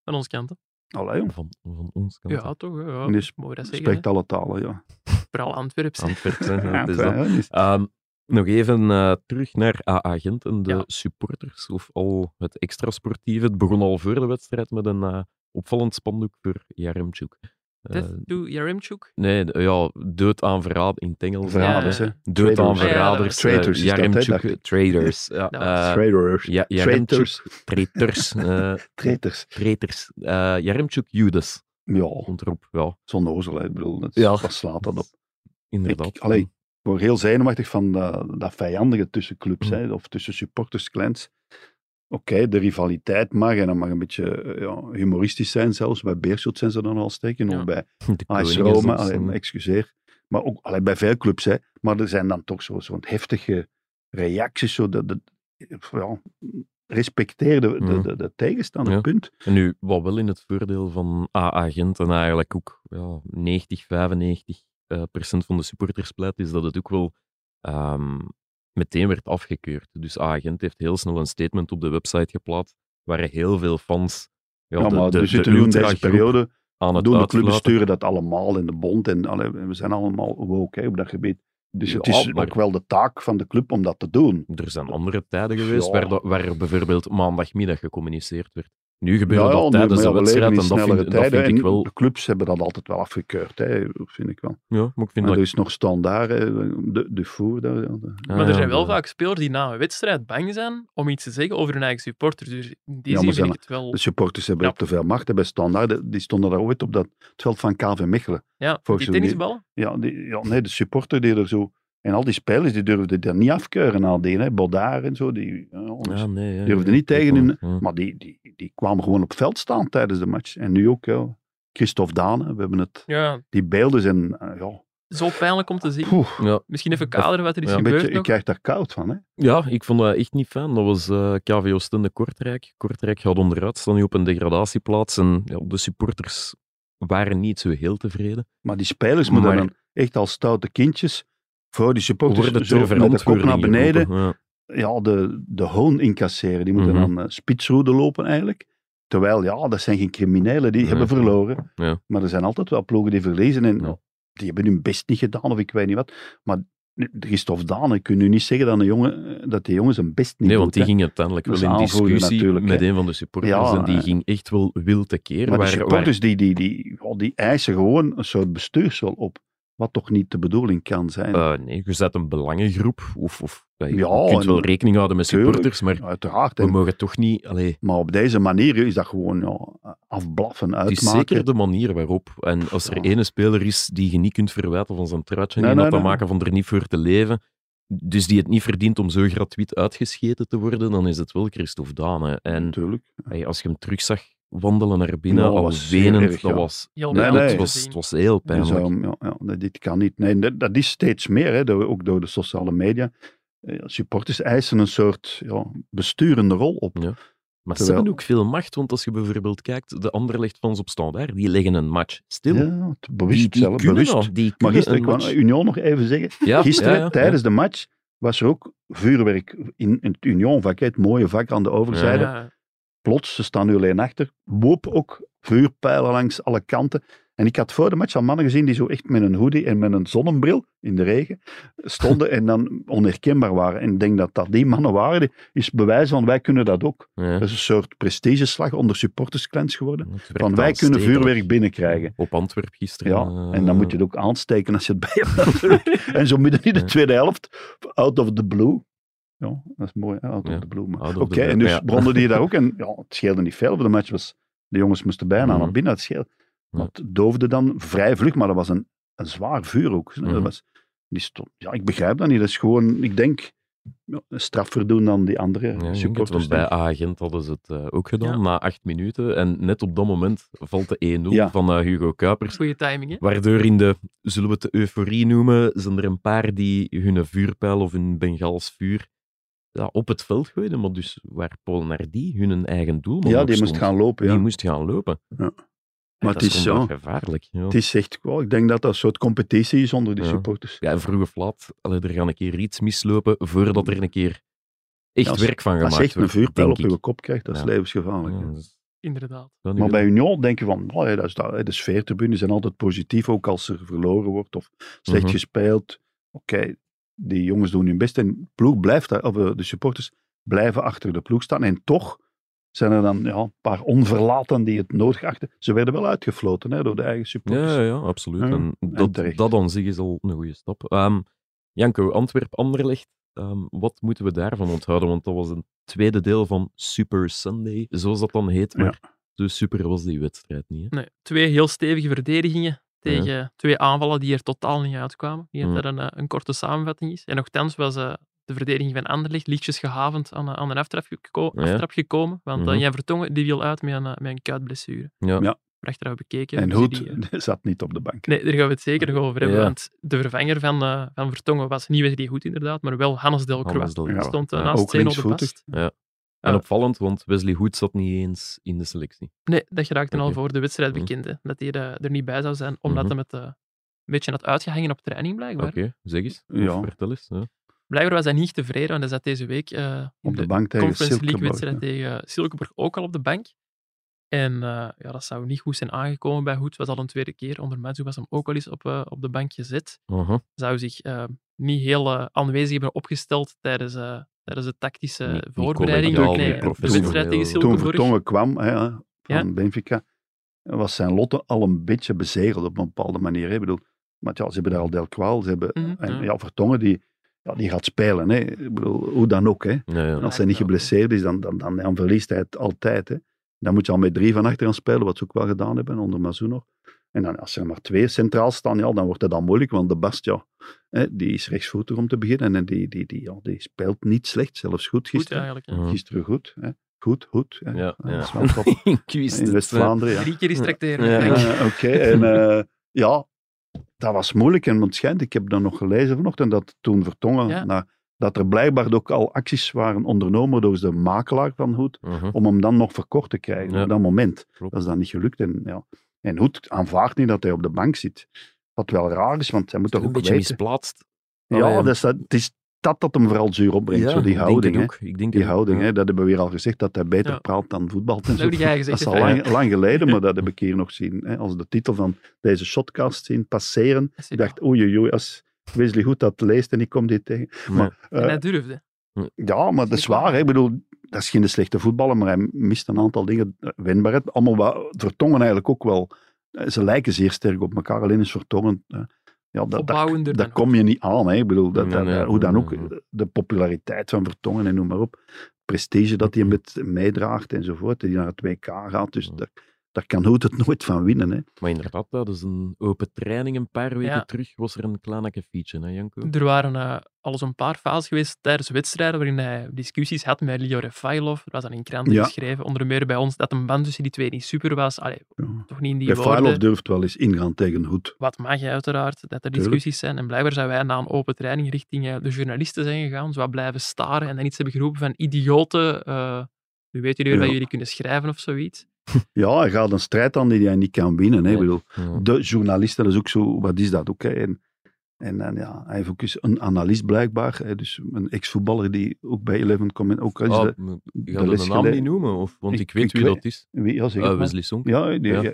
B: van ons kant. hè.
C: Allee, jong.
A: Van, van ons kant.
B: Ja, toch. hè, Ja,
C: En die
B: mooi dat zeggen.
C: Spreekt alle talen, ja.
B: hè. Vooral Antwerps.
A: Antwerp,
C: <laughs>
A: hè,
C: Ja,
A: dat is dat.
C: fijn, hè. Dus-
A: Ehm, nog even eh, terug naar AA-agent en de
B: Ja.
A: supporters, of al het extra sportieve. Het begon al voor de wedstrijd met een eh, opvallend spandoek voor Jaremchuk. Eh,
B: Death to Yaremchuk.
A: nee, d- ja, dood aan verraad in het Engels.
C: Verraders,
A: Ja.
B: Ja.
C: hè.
A: Dood aan
C: Traders.
B: Ja, ja,
A: verraders.
C: dat-
A: eh,
C: Traitors is dat, hè,
A: Jaremchuk,
C: dacht ik.
A: Traders. Ja,
B: Dat
A: eh,
C: Traders.
A: ja, Jaremchuk,
C: Traitors.
A: Traitors. eh,
C: Traitors.
A: traitors. Eh, Jaremchuk Judas
C: Ja,
A: komt erop. Ja,
C: zo'n ozel, hè. Ik bedoel, dat,
A: Ja.
C: wat slaat dat op?
A: inderdaad.
C: Ik, allee, ik word heel zenuwachtig van dat, dat vijandige tussen clubs,
A: Mm.
C: hè, of tussen supporters, clans. Oké, de rivaliteit mag, en dat mag een beetje eh, ja, humoristisch zijn zelfs. Bij Beerschot zijn ze dan al steken,
B: Ja.
C: of bij
A: Hm, De koning
C: AS
A: is
C: Roma,
A: ons,
C: allee,
A: eh,
C: excuseer. Maar ook allee, bij veel clubs, hè. Maar er zijn dan toch zo- zo'n heftige reacties. Zo dat, dat, ja, respecteer de, de,
A: Mm.
C: de, de tegenstander,
A: Ja.
C: punt.
A: En nu, wat wel in het voordeel van AA-agent en eigenlijk ook ja, 90, 95 eh, procent van de supporters pleit, is dat het ook wel ehm, meteen werd afgekeurd. Dus AA-agent heeft heel snel een statement op de website geplaatst, waar heel veel fans ja,
C: Ja,
A: de-
C: maar
A: de,
C: we
A: de
C: zitten nu in deze
A: ultragroep
C: periode...
A: aan het
C: doen de
A: uitfluiten.
C: clubs sturen dat allemaal in de bond en allee, we zijn allemaal woke hè, op dat gebied. Dus het
A: Ja,
C: is
A: maar-
C: ook wel de taak van de club om dat te doen.
A: Er zijn andere tijden geweest
C: Ja.
A: waar, dat- waar bijvoorbeeld maandagmiddag gecommuniceerd werd. Nu gebeurt dat
C: nu-
A: tijdens
C: maar
A: de
C: ja, we leven
A: wedstrijd
C: in
A: en dat
C: snellere
A: vind, dat
C: tijden
A: vind ik
C: en
A: wel...
C: De clubs hebben dat altijd wel afgekeurd, hè, vind ik wel.
A: Ja, maar ik vind
C: Maar
A: dat...
C: er is nog standaard, hè, de, de voer. daar- ja, de-
A: Ah,
B: maar er
A: ja,
B: zijn wel
A: ja.
B: vaak spelers die na een wedstrijd bang zijn om iets te zeggen over hun eigen supporters. Dus in die
C: Ja,
B: zin
C: maar dus
B: vind
C: zijn
B: ik het wel...
C: De supporters hebben
B: Ja.
C: ook te veel macht. hè, Bij standaard, hè, die stonden daar ooit op dat, het veld van KV Mechelen.
B: Ja,
C: voor
B: die
C: zo'n-
B: tennisbal.
C: Ja, die, ja, nee, de supporter die er zo... En al die spelers, die durfden daar niet afkeuren aan deden. hè, Bodaar en zo, die ja, ons-
A: Ja, nee, ja,
C: durfde
A: ja,
C: niet
A: ik
C: tegen
A: vond-
C: hun-
A: ja.
C: Maar die, die, die kwamen gewoon op het veld staan tijdens de match. En nu ook, ja. Christophe Dane, we hebben het.
B: Ja,
C: Die beelden zijn, eh, ja,
B: zo pijnlijk om te zien.
C: poeh,
A: Ja,
B: Misschien even kaderen wat er is
A: Ja,
C: een
B: gebeurd
C: beetje, je
B: nog.
C: krijgt daar koud van, hè.
A: Ja, ik vond dat echt niet fijn. Dat was eh KVO Stende Kortrijk. Kortrijk gaat onderuit, staan nu op een degradatieplaats. En ja, de supporters waren niet zo heel tevreden.
C: Maar die spelers moeten
A: Maar-
C: dan echt als stoute kindjes voor die supporters
A: Worden
C: Oh, dus zo
A: ter
C: met de kop
A: verantwoording
C: naar beneden
A: geroepen, ja.
C: ja, de, de hoon incasseren. Die moeten
A: Mhm.
C: dan eh, spitsroede lopen eigenlijk. Terwijl, ja, dat zijn geen criminelen, die
A: Ja.
C: hebben verloren.
A: Ja.
C: Maar er zijn altijd wel ploegen die verliezen en
A: Ja.
C: die hebben hun best niet gedaan of ik weet niet wat. Maar Christophe Dane, kun je nu niet zeggen dat, een jongen, eh, dat die jongen zijn best niet
A: Nee,
C: doet,
A: want die
C: hè.
A: ging uiteindelijk
C: Dat
A: wel in
C: is aanvoerder
A: discussie
C: natuurlijk, hè.
A: met een van de supporters.
C: Ja,
A: en die
C: eh.
A: ging echt wel wil tekeer.
C: Maar
A: waar,
C: de supporters die, die, die, oh, die eisen gewoon een soort bestuursel op. Wat toch niet de bedoeling kan zijn.
A: waar- eh, nee, je zet een belangengroep. Of, of, eh, je
C: Ja,
A: kunt wel
C: en-
A: rekening houden met
C: Tuurlijk.
A: supporters, maar
C: Uiteraard. hè.
A: we mogen toch niet... Allee,
C: Maar op deze manier is dat gewoon ja, afblaffen,
A: Het is
C: uitmaken.
A: zeker de manier waarop. En als er
C: Ja.
A: ene speler is die je niet kunt verwijten van zijn truitje en
C: Nee,
A: dat
C: nee,
A: te
C: nee.
A: maken van er niet voor te leven, dus die het niet verdient om zo gratuit uitgescheten te worden, dan is het wel Christophe Dane. En
C: Natuurlijk.
A: hey, als je hem terug zag wandelen naar binnen,
C: Ja, dat
A: al
C: Nou, was zeer
A: wenend,
C: erg,
A: dat
C: ja.
A: was...
B: Heel
C: Nee,
A: ja,
B: pijnlijk
C: nee.
A: Het,
B: om te
A: was,
B: zien.
A: het was heel
C: Dus,
A: pijnlijk.
C: um, ja, ja, nee, dit kan niet. Nee, dat, dat is steeds meer, hè, door- ook door de sociale media. Eh, Supporters eisen een soort ja, besturende rol op.
A: Ja. Maar ze
C: terwijl-
A: hebben ook veel macht, want als je bijvoorbeeld kijkt, de Anderlecht-fans op standaard, die leggen een match
C: Ja,
A: stil.
C: het- bewust
A: die, die
C: zelf,
A: kunnen
C: bewust.
A: dat, die
C: Maar
A: kunnen
C: gisteren,
A: een
C: ik wou
A: match-
C: Union nog even zeggen,
A: Ja,
C: Gisteren,
A: ja, ja,
C: tijdens de match, was er ook vuurwerk in, in het Unionvak. hè, Het mooie vak aan de overzijde.
B: Ja,
C: Plots, ze staan nu alleen achter. Woop ook vuurpijlen langs alle kanten. En ik had voor de match al mannen gezien die zo echt met een hoodie en met een zonnebril in de regen
A: <laughs>
C: stonden en dan onherkenbaar waren. En ik denk dat dat die mannen waren, die- is bewijs van wij kunnen dat ook.
A: ja. Ja.
C: Dat is een soort prestigeslag onder supportersclans geworden.
A: Het werkt
C: Van wij
A: als
C: kunnen
A: stedelijk.
C: vuurwerk binnenkrijgen.
A: Op Antwerp gisteren.
C: Ja,
A: eh,
C: en dan moet je
A: <laughs>
B: <laughs>
C: het <laughs> ook aansteken als je het bij hebt natuurlijk. En zo midden in de tweede helft, out of the blue, Ja, dat is mooi, hè? Out of
A: Ja.
C: the blue. maar-
A: Out of the
C: Oké,
A: blue,
C: en dus
A: ja.
C: bronnen
A: <laughs>
C: die daar ook. En ja, het scheelde niet veel, want de match was... De jongens moesten bijna
A: Mhm.
C: naar binnen, het scheelde.
A: Ja.
C: Want het doofde dan vrij vlug, maar dat was een, een zwaar vuur ook. hè.
A: Mhm.
C: dat was, die stond, ja, ik begrijp dat niet. Dat is gewoon, ik denk, ja, een strafverdoen dan die andere
A: Ja, ik denk het,
C: supporters.
A: want bij Agent hadden ze het eh, ook gedaan, na acht minuten. En net op dat moment valt de 1-0
C: Ja.
A: van eh, Hugo Kuipers.
B: Goede timing, hè?
A: Waardoor in de, zullen we het euforie noemen, zijn er een paar die hun vuurpijl of hun Bengaals vuur ja, op het veld gooiden. Maar dus waar Polnardi hun eigen doel
C: ja, die moest gaan lopen, ja.
A: Die moest gaan lopen.
C: Ja.
A: En
C: Maar
A: dat
C: het is
A: gewoon
C: zo.
A: gevaarlijk. Ja.
C: Het is echt, wel, ik denk dat dat een soort competitie is onder die
A: Ja.
C: supporters.
A: Ja, en vroeg of laat, allee, er gaan een keer iets mislopen voordat er een keer echt
C: Ja, als-
A: werk van gemaakt
C: Als
A: wordt.
C: je echt een vuurpijl op
A: denk
C: je
A: ik.
C: kop krijgt, dat is
A: Ja.
C: levensgevaarlijk.
A: Ja,
C: hè.
A: dat is-
B: Inderdaad.
A: dat nu
C: Maar
A: wel.
C: bij Union denk je van, oh, ja, dat is dat, hè, de sfeertribunes zijn altijd positief, ook als er verloren wordt of slecht
A: Mhm.
C: gespeeld. Oké, die jongens doen hun best en de ploeg blijft, daar- of eh, de supporters blijven achter de ploeg staan. En toch zijn er dan ja, een paar onverlaten die het nodig achten. Ze werden wel uitgefloten hè, door de eigen supporters.
A: Ja, ja, ja, absoluut.
C: Ja,
A: en dat,
C: terecht.
A: dat aan zich is al een goede stap. Ehm, Janko, Antwerp-Anderlecht, ehm, wat moeten we daarvan onthouden? Want dat was een tweede deel van Super Sunday, zoals dat dan heet.
C: Ja.
A: Maar zo super was die wedstrijd niet. Hè?
B: Nee, twee heel stevige verdedigingen tegen twee aanvallen die er totaal niet uitkwamen. Ik denk
A: Ja.
B: dat dat een, eh, een korte samenvatting is. En nogthans was eh, de verdediging van Anderlecht lichtjes gehavend aan, eh, aan een aftrap, geko-
A: Ja.
B: aftrap gekomen. Want eh,
A: Mhm.
B: Jan Vertongen die viel uit met een, eh, met een kuitblessure.
A: Ja.
C: Ja.
B: Achteraf bekeken.
C: en
B: dus
C: Hoed
B: die, eh,
C: <laughs> zat niet op de bank.
B: Nee, daar gaan we het zeker nog over hebben.
A: Ja.
B: Want de vervanger van, eh, van Vertongen was niet Wesley Goed inderdaad, maar wel Hannes Del
A: Anders
B: Croix.
A: dan-
C: Ja.
B: Stond eh,
A: Ja,
B: naast
C: ook
B: Zeno de
C: linksvoetig.
B: Bast.
C: eh.
A: En
B: Ja.
A: opvallend, want Wesley Hoed zat niet eens in de selectie.
B: Nee, dat geraakte al
A: Oké.
B: voor de wedstrijd
A: Mhm.
B: bekend. hè. Dat hij eh, er niet bij zou zijn, omdat
A: Mhm.
B: hij met, eh, een beetje had uitgehangen op training blijkbaar.
A: Oké, zeg eens.
C: Ja.
A: Of vertel eens. Ja.
B: Blijkbaar was hij niet tevreden, want hij zat deze week eh, in
C: Op de
B: de,
C: bank tegen
B: Conference League
C: Silkeborg.
B: wedstrijd tegen Silkeborg ook al op de bank. En eh, ja, dat zou niet goed zijn aangekomen bij Hoed. was al een tweede keer. Onder Matsu was hem ook al eens op, eh, op de bank gezet.
A: Aha.
B: Zou zich eh, niet heel eh, aanwezig hebben opgesteld tijdens, eh, tijdens de tactische
A: Niet- niet
B: voorbereiding.
A: collegiaal,
B: Nee,
A: niet
B: de
A: professioneel.
B: wedstrijd tegen
C: Toen
B: Silkeborg.
C: Vertongen kwam hè, van Benfica, was zijn lotte al een beetje bezegeld op een bepaalde manier. Hè. Ik bedoel, maar ja, ze hebben daar al Del Kwaal, ze hebben...
B: Mhm,
C: en,
B: ja.
C: Mm, ja. Vertongen, die, ja, die gaat spelen, hè. Ik bedoel, hoe dan ook, hè.
A: Ja, ja.
C: En als hij niet geblesseerd is, dan, dan, dan, dan verliest hij het altijd, hè. Dan moet je al met drie van achteraan spelen, wat ze ook wel gedaan hebben, onder Mazou nog. En dan, als er maar twee centraal staan, ja, dan wordt het dan moeilijk, want de Bast, ja, hè, die is rechtsvoetig om te beginnen. En die, die, die, ja, die speelt niet slecht, zelfs
B: Goed
C: goed gisteren.
B: eigenlijk. ja.
A: Mhm.
C: Gisteren goed, hè. Goed, goed. Hè.
A: Ja,
C: Dat is
A: ja.
C: wel top.
A: <laughs> Ik wist
C: In
A: het.
C: West-Vlaanderen, ja.
B: Drie keer is tracteren.
A: eh, Ja.
B: Dank je.
C: Eh, Oké, en eh, ja, dat was moeilijk. En het schijnt, ik heb dat nog gelezen vanochtend, dat toen Vertongen,
B: Ja.
C: na- dat er blijkbaar ook al acties waren ondernomen door de makelaar van Hoed,
A: Aha,
C: om hem dan nog verkocht te krijgen
A: Ja.
C: op dat moment.
A: klopt.
C: Dat is dan niet gelukt. En, ja. en Hoed aanvaardt niet dat hij op de bank zit. Wat wel raar is, want hij moet toch
A: Een
C: ook
A: beetje
C: weten...
A: misplaatst.
C: Ja,
A: Allee,
C: dat is, dat, het is dat dat hem vooral zuur opbrengt,
A: ja,
C: zo die
A: ik denk het
C: houding. hè.
A: ook. Ik denk
C: Die
A: het ook,
C: houding,
A: ja.
C: hè, dat hebben we weer al gezegd, dat hij beter
B: Ja.
C: praat dan voetbalt en
B: Dat
C: zo.
B: heb jij gezegd.
C: Dat is al
B: hè, Frank?
C: lang, lang geleden, maar dat heb
B: <laughs>
C: ik hier nog zien. Hè, als de titel van deze shotcast zien passeren.
B: Dat is
C: Ik
B: het.
C: dacht, oei, oei, oei, als Wesley Goed dat leest en ik kom dit tegen. Maar,
B: En
C: eh,
B: hij durfde.
C: ja, maar dat is waar. Hè. Ik bedoel, dat is geen slechte voetballer, maar hij mist een aantal dingen. Eh, Winbaarheid, allemaal wat Vertongen eigenlijk ook wel. Eh, Ze lijken zeer sterk op elkaar, alleen is Vertongen... eh, ja, dat, dat,
B: Opbouwender
C: daar
B: dan
C: kom je niet aan. Hè. Ik bedoel, dat,
A: Nee,
C: dat-
A: nee,
C: dat- hoe dan
A: nee,
C: ook,
A: nee.
C: de populariteit van Vertongen en noem maar op. Prestige dat hij met meedraagt enzovoort. Die naar het WK gaat. Dus
A: Ja.
C: daar, daar kan Hoed het <laughs> nooit van winnen. Hè.
A: Maar inderdaad, dat is een open training. Een paar weken
B: Ja.
A: terug was er een kleine fietje, hè, Janko?
B: Er waren eh, al eens een paar fases geweest tijdens wedstrijden waarin hij discussies had met Leo Refailov. Dat was dan in kranten
C: Ja.
B: geschreven, onder meer bij ons, dat een band tussen die twee niet super was. Allee,
C: Ja.
B: toch niet in die
C: Refailov
B: woorden.
C: durft wel eens ingaan tegen Hoed.
B: Wat mag je uiteraard, dat er
C: Tuurlijk.
B: discussies zijn. En blijkbaar zijn wij na een open training richting eh, de journalisten zijn gegaan, zo wat blijven staren en dan iets hebben geroepen van idioten. eh, nu weten jullie weer
C: Ja.
B: wat jullie kunnen schrijven of zoiets.
C: Ja, hij gaat een strijd aan die hij niet kan winnen. Hè. Ik
A: Nee.
C: bedoel,
A: Ja.
C: de journalisten, dat is ook zo, wat is dat? Oké, en, en, dan, ja, hij heeft ook eens een analist blijkbaar. Hè. Dus een ex-voetballer die ook bij Eleven komt. Ook al is
A: Ah,
C: de-
A: maar je
C: de
A: gaat de
C: les
A: naam
C: gele-
A: niet noemen, of, want ik,
C: Ik-
A: weet
C: ik
A: wie
C: weet-
A: dat is.
C: wie, ja, zeg het
A: Ah,
C: maar.
A: Wesley Song.
C: Ja, die-
A: Ja.
C: ja.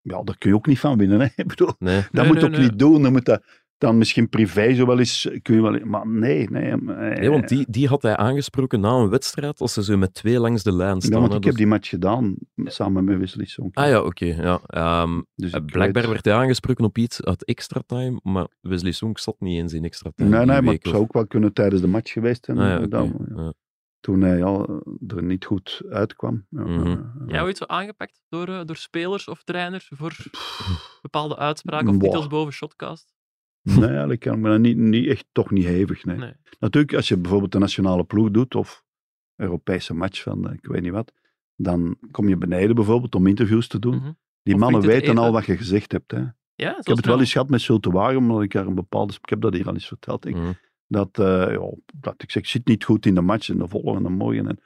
C: ja, daar kun je ook niet van winnen. Hè. <laughs> Ik bedoel,
A: Nee.
C: Dat
B: Nee,
C: moet
B: nee,
C: ook
B: nee.
C: niet doen. Dan moet dat, dan misschien privé zo wel eens, kun je wel, maar nee, nee. maar-
A: Nee, want die, die had hij aangesproken na een wedstrijd, als ze zo met twee langs de lijn staan.
C: Ja, want
A: hè,
C: ik
A: dus-
C: heb die match gedaan, samen met Wesley Sonk.
A: Ah ja, oké. ja. Ehm,
C: Dus ik
A: blijkbaar
C: weet-
A: werd hij aangesproken op iets uit extra time, maar Wesley Song zat niet eens in extra time.
C: Nee,
A: die
C: nee, maar
A: week,
C: het zou
A: of-
C: ook wel kunnen tijdens de match geweest zijn.
A: Ah ja,
C: inderdaad,
A: oké,
C: ja.
A: ja.
C: Toen hij al er niet goed uitkwam. Ja, eh,
A: Mhm.
C: ja, ja.
B: Jij ooit zo aangepakt door, eh, door spelers of trainers voor bepaalde uitspraken of
C: Mwah.
B: titels boven Shotcast?
C: Nee, eigenlijk kan ik me dat niet, niet echt, toch niet hevig. Nee.
B: Nee.
C: Natuurlijk, als je bijvoorbeeld de nationale ploeg doet of Europese match van eh, ik weet niet wat, dan kom je beneden bijvoorbeeld om interviews te doen.
B: Mhm.
C: Die
B: Of
C: mannen
B: frieten
C: weten al
B: eten.
C: wat je gezegd hebt. Hè. Ik
B: Ja, zo
C: heb het
B: snel.
C: wel eens gehad met Zulte Wagen, omdat ik daar een bepaalde... Ik heb dat hier al eens verteld. denk ik.
A: Mhm.
C: dat, eh, ja, dat ik zeg, ik zit niet goed in de match en de volgende morgen. En,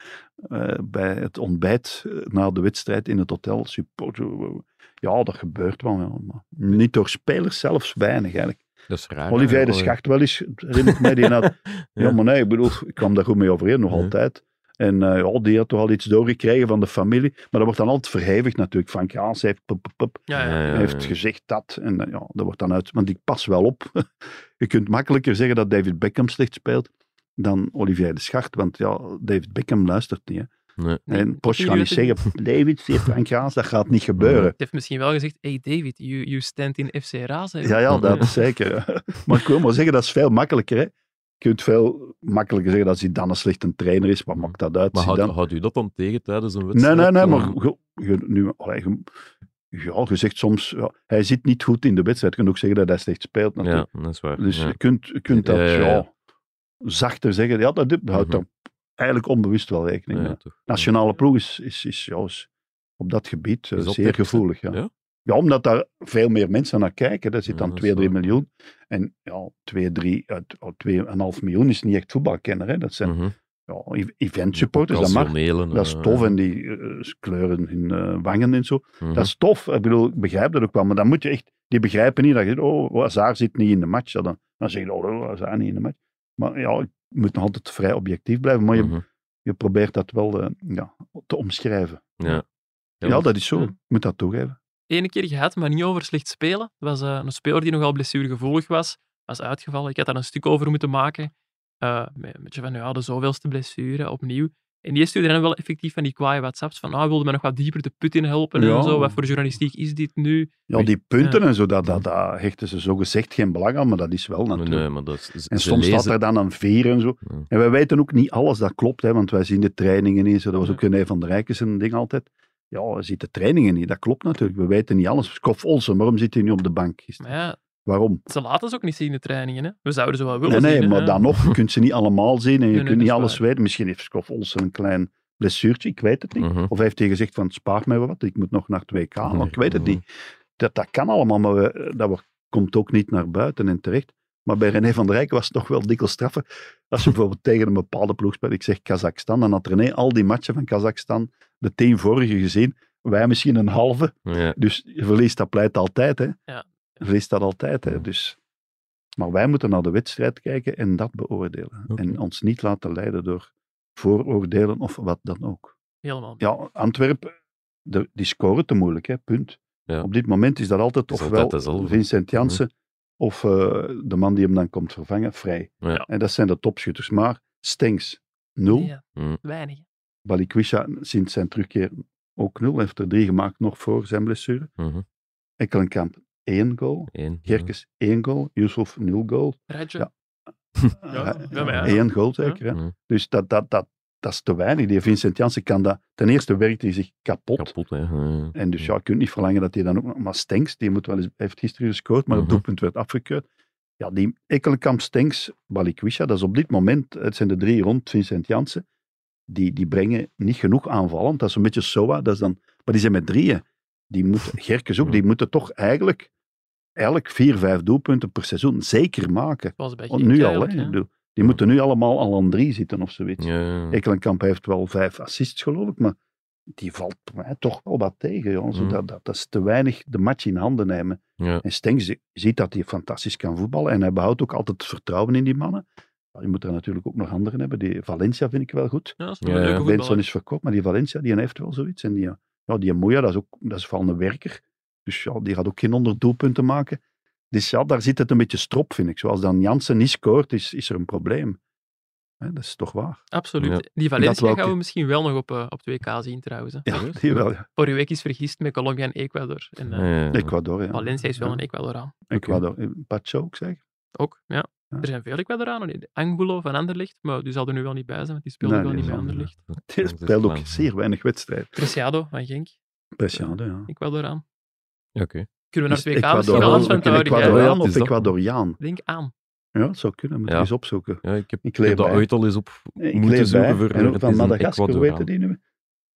C: eh, bij het ontbijt eh, na de wedstrijd in het hotel. support- ja, dat gebeurt wel. ja, maar niet door spelers zelfs weinig eigenlijk.
A: Dat is raar. oh
C: Olivier de
A: eigenlijk.
C: Schacht wel eens, herinner ik mij die
A: <laughs>
C: had. Ja. maar nee, ik bedoel, ik kwam daar goed mee overeen, nog
A: Ja.
C: altijd. En eh, ja, die had toch al iets doorgekregen van de familie. Maar dat wordt dan altijd verhevigd natuurlijk. Van Kraans heeft, pup, pup, pup,
B: Ja, ja.
A: Ja, ja,
C: heeft
A: ja.
C: gezegd dat. En eh, ja, dat wordt dan uit. Want ik pas wel op. <laughs> Je kunt makkelijker zeggen dat David Beckham slecht speelt dan Olivier de Schacht. Want ja, David Beckham luistert niet. Hè.
A: Nee.
C: En Posch
B: nu
C: gaat niet
B: weet ik
C: zeggen, David zegt Van Kraans, dat gaat niet gebeuren.
B: Het heeft misschien wel gezegd, hey David, you, you stand in FC Razen.
C: Ja, ja, <laughs> dat is zeker. Maar ik wil maar zeggen, dat is veel makkelijker. Hè. Je kunt veel makkelijker zeggen dat Zidane een slechte trainer is. Wat maakt dat uit?
A: Maar houdt,
C: Zidane-
A: houdt u dat dan tegen tijdens een
C: Nee,
A: wedstrijd?
C: nee, nee,
A: Om-
C: maar ge- ge- nu, allee, ge- ja, je zegt soms, ja, hij zit niet goed in de wedstrijd. Je kunt ook zeggen dat hij slecht speelt.
A: Ja,
C: natuurlijk.
A: dat is waar.
C: Dus
A: ja.
C: je kunt, je kunt dat
A: Ja, ja, ja.
C: ja, zachter zeggen. Ja, dat, dat houdt
A: Mhm.
C: er eigenlijk onbest wel rekening
A: Ja,
C: mee.
A: toch.
C: Nationale ploeg is, is, is, ja, is op dat gebied eh,
A: Is dat
C: zeer
A: tekst, hè?
C: gevoelig. Ja.
A: Ja?
C: Ja? omdat daar veel meer mensen naar kijken. Daar zit
A: Ja,
C: dan
A: dat is
C: 2, 3
A: waar.
C: miljoen. En ja, eh, 2, 3, uit 2,5 miljoen is niet echt voetbalkenner. Hè. Dat zijn
A: Mhm.
C: ja, event supporters, dat mag.
A: Occasionelen,
C: Dat is
A: eh,
C: tof en die eh, kleuren hun eh, wangen en zo.
A: mhm.
C: Dat is tof. Ik bedoel, ik begrijp dat ook wel. Maar dan moet je echt... Die begrijpen niet dat je... Oh, Hazard zit niet in de match. Ja, Dan, dan zeg je, oh, Hazard niet in de match. Maar ja, je moet nog altijd vrij objectief blijven. Maar je,
A: Mhm.
C: je probeert dat wel eh, ja, te omschrijven.
A: Ja.
C: Ja,
A: want-
C: dat is zo.
B: Ja.
C: Ik moet dat toegeven.
B: Ene keer gehad, maar niet over slecht spelen. Dat was eh, een speler die nogal blessuregevoelig was. Was uitgevallen. Ik had daar een stuk over moeten maken. Eh, met een beetje van, ja, de zoveelste blessure, opnieuw. En die stuurde dan wel effectief van die kwaaie whatsapps. Van, ah, wilde me nog wat dieper de put in helpen
C: Ja.
B: en zo. Wat voor journalistiek is dit nu?
C: Ja, die punten en zo, dat, dat, dat hechten ze zo gezegd geen belang aan. Maar dat is wel
A: Nee,
C: natuurlijk.
A: nee, maar dat is... ze-
C: En
A: ze
C: soms staat
A: lezen-
C: er dan een veer en zo.
A: Ja.
C: En wij weten ook niet alles dat klopt, hè, want wij zien de trainingen niet. zo. Dat was ook René van der Rijken zijn ding altijd. Ja, we zien de trainingen niet, dat klopt natuurlijk. We weten niet alles. Kof Olsen, waarom zit hij nu op de bank? gisteren?
B: Maar ja,
C: Waarom?
B: ze laten ons ook niet zien in de trainingen. Hè. We zouden ze wel
C: Nee,
B: willen zien.
C: nee,
B: hè.
C: maar dan nog, je kunt ze niet allemaal zien en je
B: Nee, nee,
C: kunt
B: dat
C: niet
B: is
C: alles
B: waar.
C: weten. Misschien heeft Kof Olsen een klein blessuurtje, ik weet het niet.
A: Mhm.
C: Of heeft hij gezegd van, spaar mij wat, ik moet nog naar het WK, maar ik weet het
A: Mhm.
C: niet. Dat, dat kan allemaal, maar we- eh, dat wordt- komt ook niet naar buiten en terecht. Maar bij René van der Rijken was het toch wel dikwijls straffen. Als je bijvoorbeeld <laughs> tegen een bepaalde ploeg speelt, ik zeg Kazachstan, dan had René al die matchen van Kazachstan, de tien vorige gezien, wij misschien een halve.
A: Ja.
C: Dus je verliest dat pleit altijd, hè.
B: Ja.
C: Je verliest dat altijd,
A: Ja.
C: hè. Dus, maar wij moeten naar de wedstrijd kijken en dat beoordelen.
A: Oké.
C: En ons niet laten leiden door vooroordelen of wat dan ook
B: Helemaal.
C: ja, Antwerpen, de- die scoren te moeilijk, hè, punt.
A: Ja.
C: Op dit moment is dat altijd
A: Is
C: ofwel
A: altijd dezelfde. Mhm.
C: Vincent Jansen of eh, de man die hem dan komt vervangen, Vrij.
A: Ja.
C: En dat zijn de topschutters. Maar Stenks, nul.
B: Ja,
A: Mhm.
B: weinig.
C: Balikwisha sinds zijn terugkeer ook nul. Hij heeft er drie gemaakt nog voor zijn blessure.
A: Mhm.
C: Ekkelenkamp, één goal.
A: Eén. ja.
C: Gerkes, één goal. Yusuf, nul goal.
B: Radje.
C: Ja.
B: Ja,
C: Eh,
B: ja, maar ja.
C: Eén goal zeker. Hè?
A: Mhm.
C: Dus dat, dat, dat, dat is te weinig. Die Vincent Jansen kan dat... Ten eerste werkt hij zich kapot.
A: Kapot, hè. Ja.
C: En dus ja, je kunt niet verlangen dat hij dan ook nog... Maar Stenks, die moet wel eens, hij heeft gisteren gescoord, maar
A: Mhm.
C: het doelpunt werd afgekeurd. Ja, die Ekkelenkamp, Stenks, Balikwisha, dat is op dit moment, het zijn de drie rond Vincent Jansen, die, die brengen niet genoeg aanvallend. Dat is een beetje SOA, dat is dan... Maar die zijn met drieën. Die moeten, Gerkes ook, die moeten toch eigenlijk, eigenlijk vier, vijf doelpunten per seizoen zeker maken.
B: Was bij
C: Want
B: Genk
C: nu al,
B: eigenlijk,
C: hè.
B: ja.
C: Ik bedoel, Die moeten nu allemaal al aan drie zitten of zoiets.
A: Ja.
C: Ekelenkamp heeft wel vijf assists, geloof ik, maar die valt mij toch wel wat tegen. Joh. Zo
A: Mhm.
C: Dat, dat, dat is te weinig de match in handen nemen.
A: Ja.
C: En Stenks zi- ziet dat hij fantastisch kan voetballen en hij behoudt ook altijd vertrouwen in die mannen. Maar je moet er natuurlijk ook nog anderen hebben. Die Valencia vind ik wel goed.
B: Ja, dat is wel een
A: Ja, ja.
B: leuke voetballer.
C: Benson is verkoopt, maar die Valencia die heeft wel zoiets. En die, ja, die Moeja, dat is ook dat is vooral een werker. Dus ja, die gaat ook geen honderd doelpunten maken. Dus ja, daar zit het een beetje strop, vind ik. Zoals dan Jansen niet scoort, is, is er een probleem. Hè, dat is toch waar?
B: Absoluut.
A: Ja.
B: Die
C: Dat
B: Valencia
C: wel-
B: gaan we misschien wel nog op, eh, op 2K zien trouwens. hè.
C: Ja, die wel. ja.
B: Vorige week is vergist met Colombia en Ecuador. En, eh,
A: Ja, ja.
C: Ecuador, ja.
B: Valencia is wel
C: Ja.
B: een Ecuadoraan.
C: Ecuador. Pacho ook, zeg.
B: Ook, ja.
C: Ja.
B: Er zijn veel Ecuadoranen. De Angulo van Anderlecht, maar die zal er nu wel niet bij zijn, want die speelde
C: Nee,
B: wel
C: die
B: niet bij
C: zal-
B: Anderlecht.
C: <laughs>
A: Dat
C: Die
A: is
C: speelt ook
A: waar.
C: zeer weinig wedstrijd.
B: Preciado van Genk,
C: Preciado, ja.
B: Ecuadoraan.
A: Oké.
B: Kunnen we
C: Is
B: naar 2K misschien
A: Ecuador-
B: gaan, Sven,
C: een
B: terwijl jij-
A: Ecuador- Ja, het
C: Ecuadoriaan of
A: is dat.
C: Ecuadoriaan?
B: Denk aan.
C: Ja, dat zou kunnen. Moet je
A: Ja.
C: eens opzoeken.
A: Ja, ik heb,
C: Ik
A: ik heb
C: leef
A: dat
C: bij.
A: ooit al eens op
C: Ik
A: moeten
C: leef bij.
A: zoeken. Voor,
C: En ook van Madagaskar,
A: Ecuador.
C: weten die nu?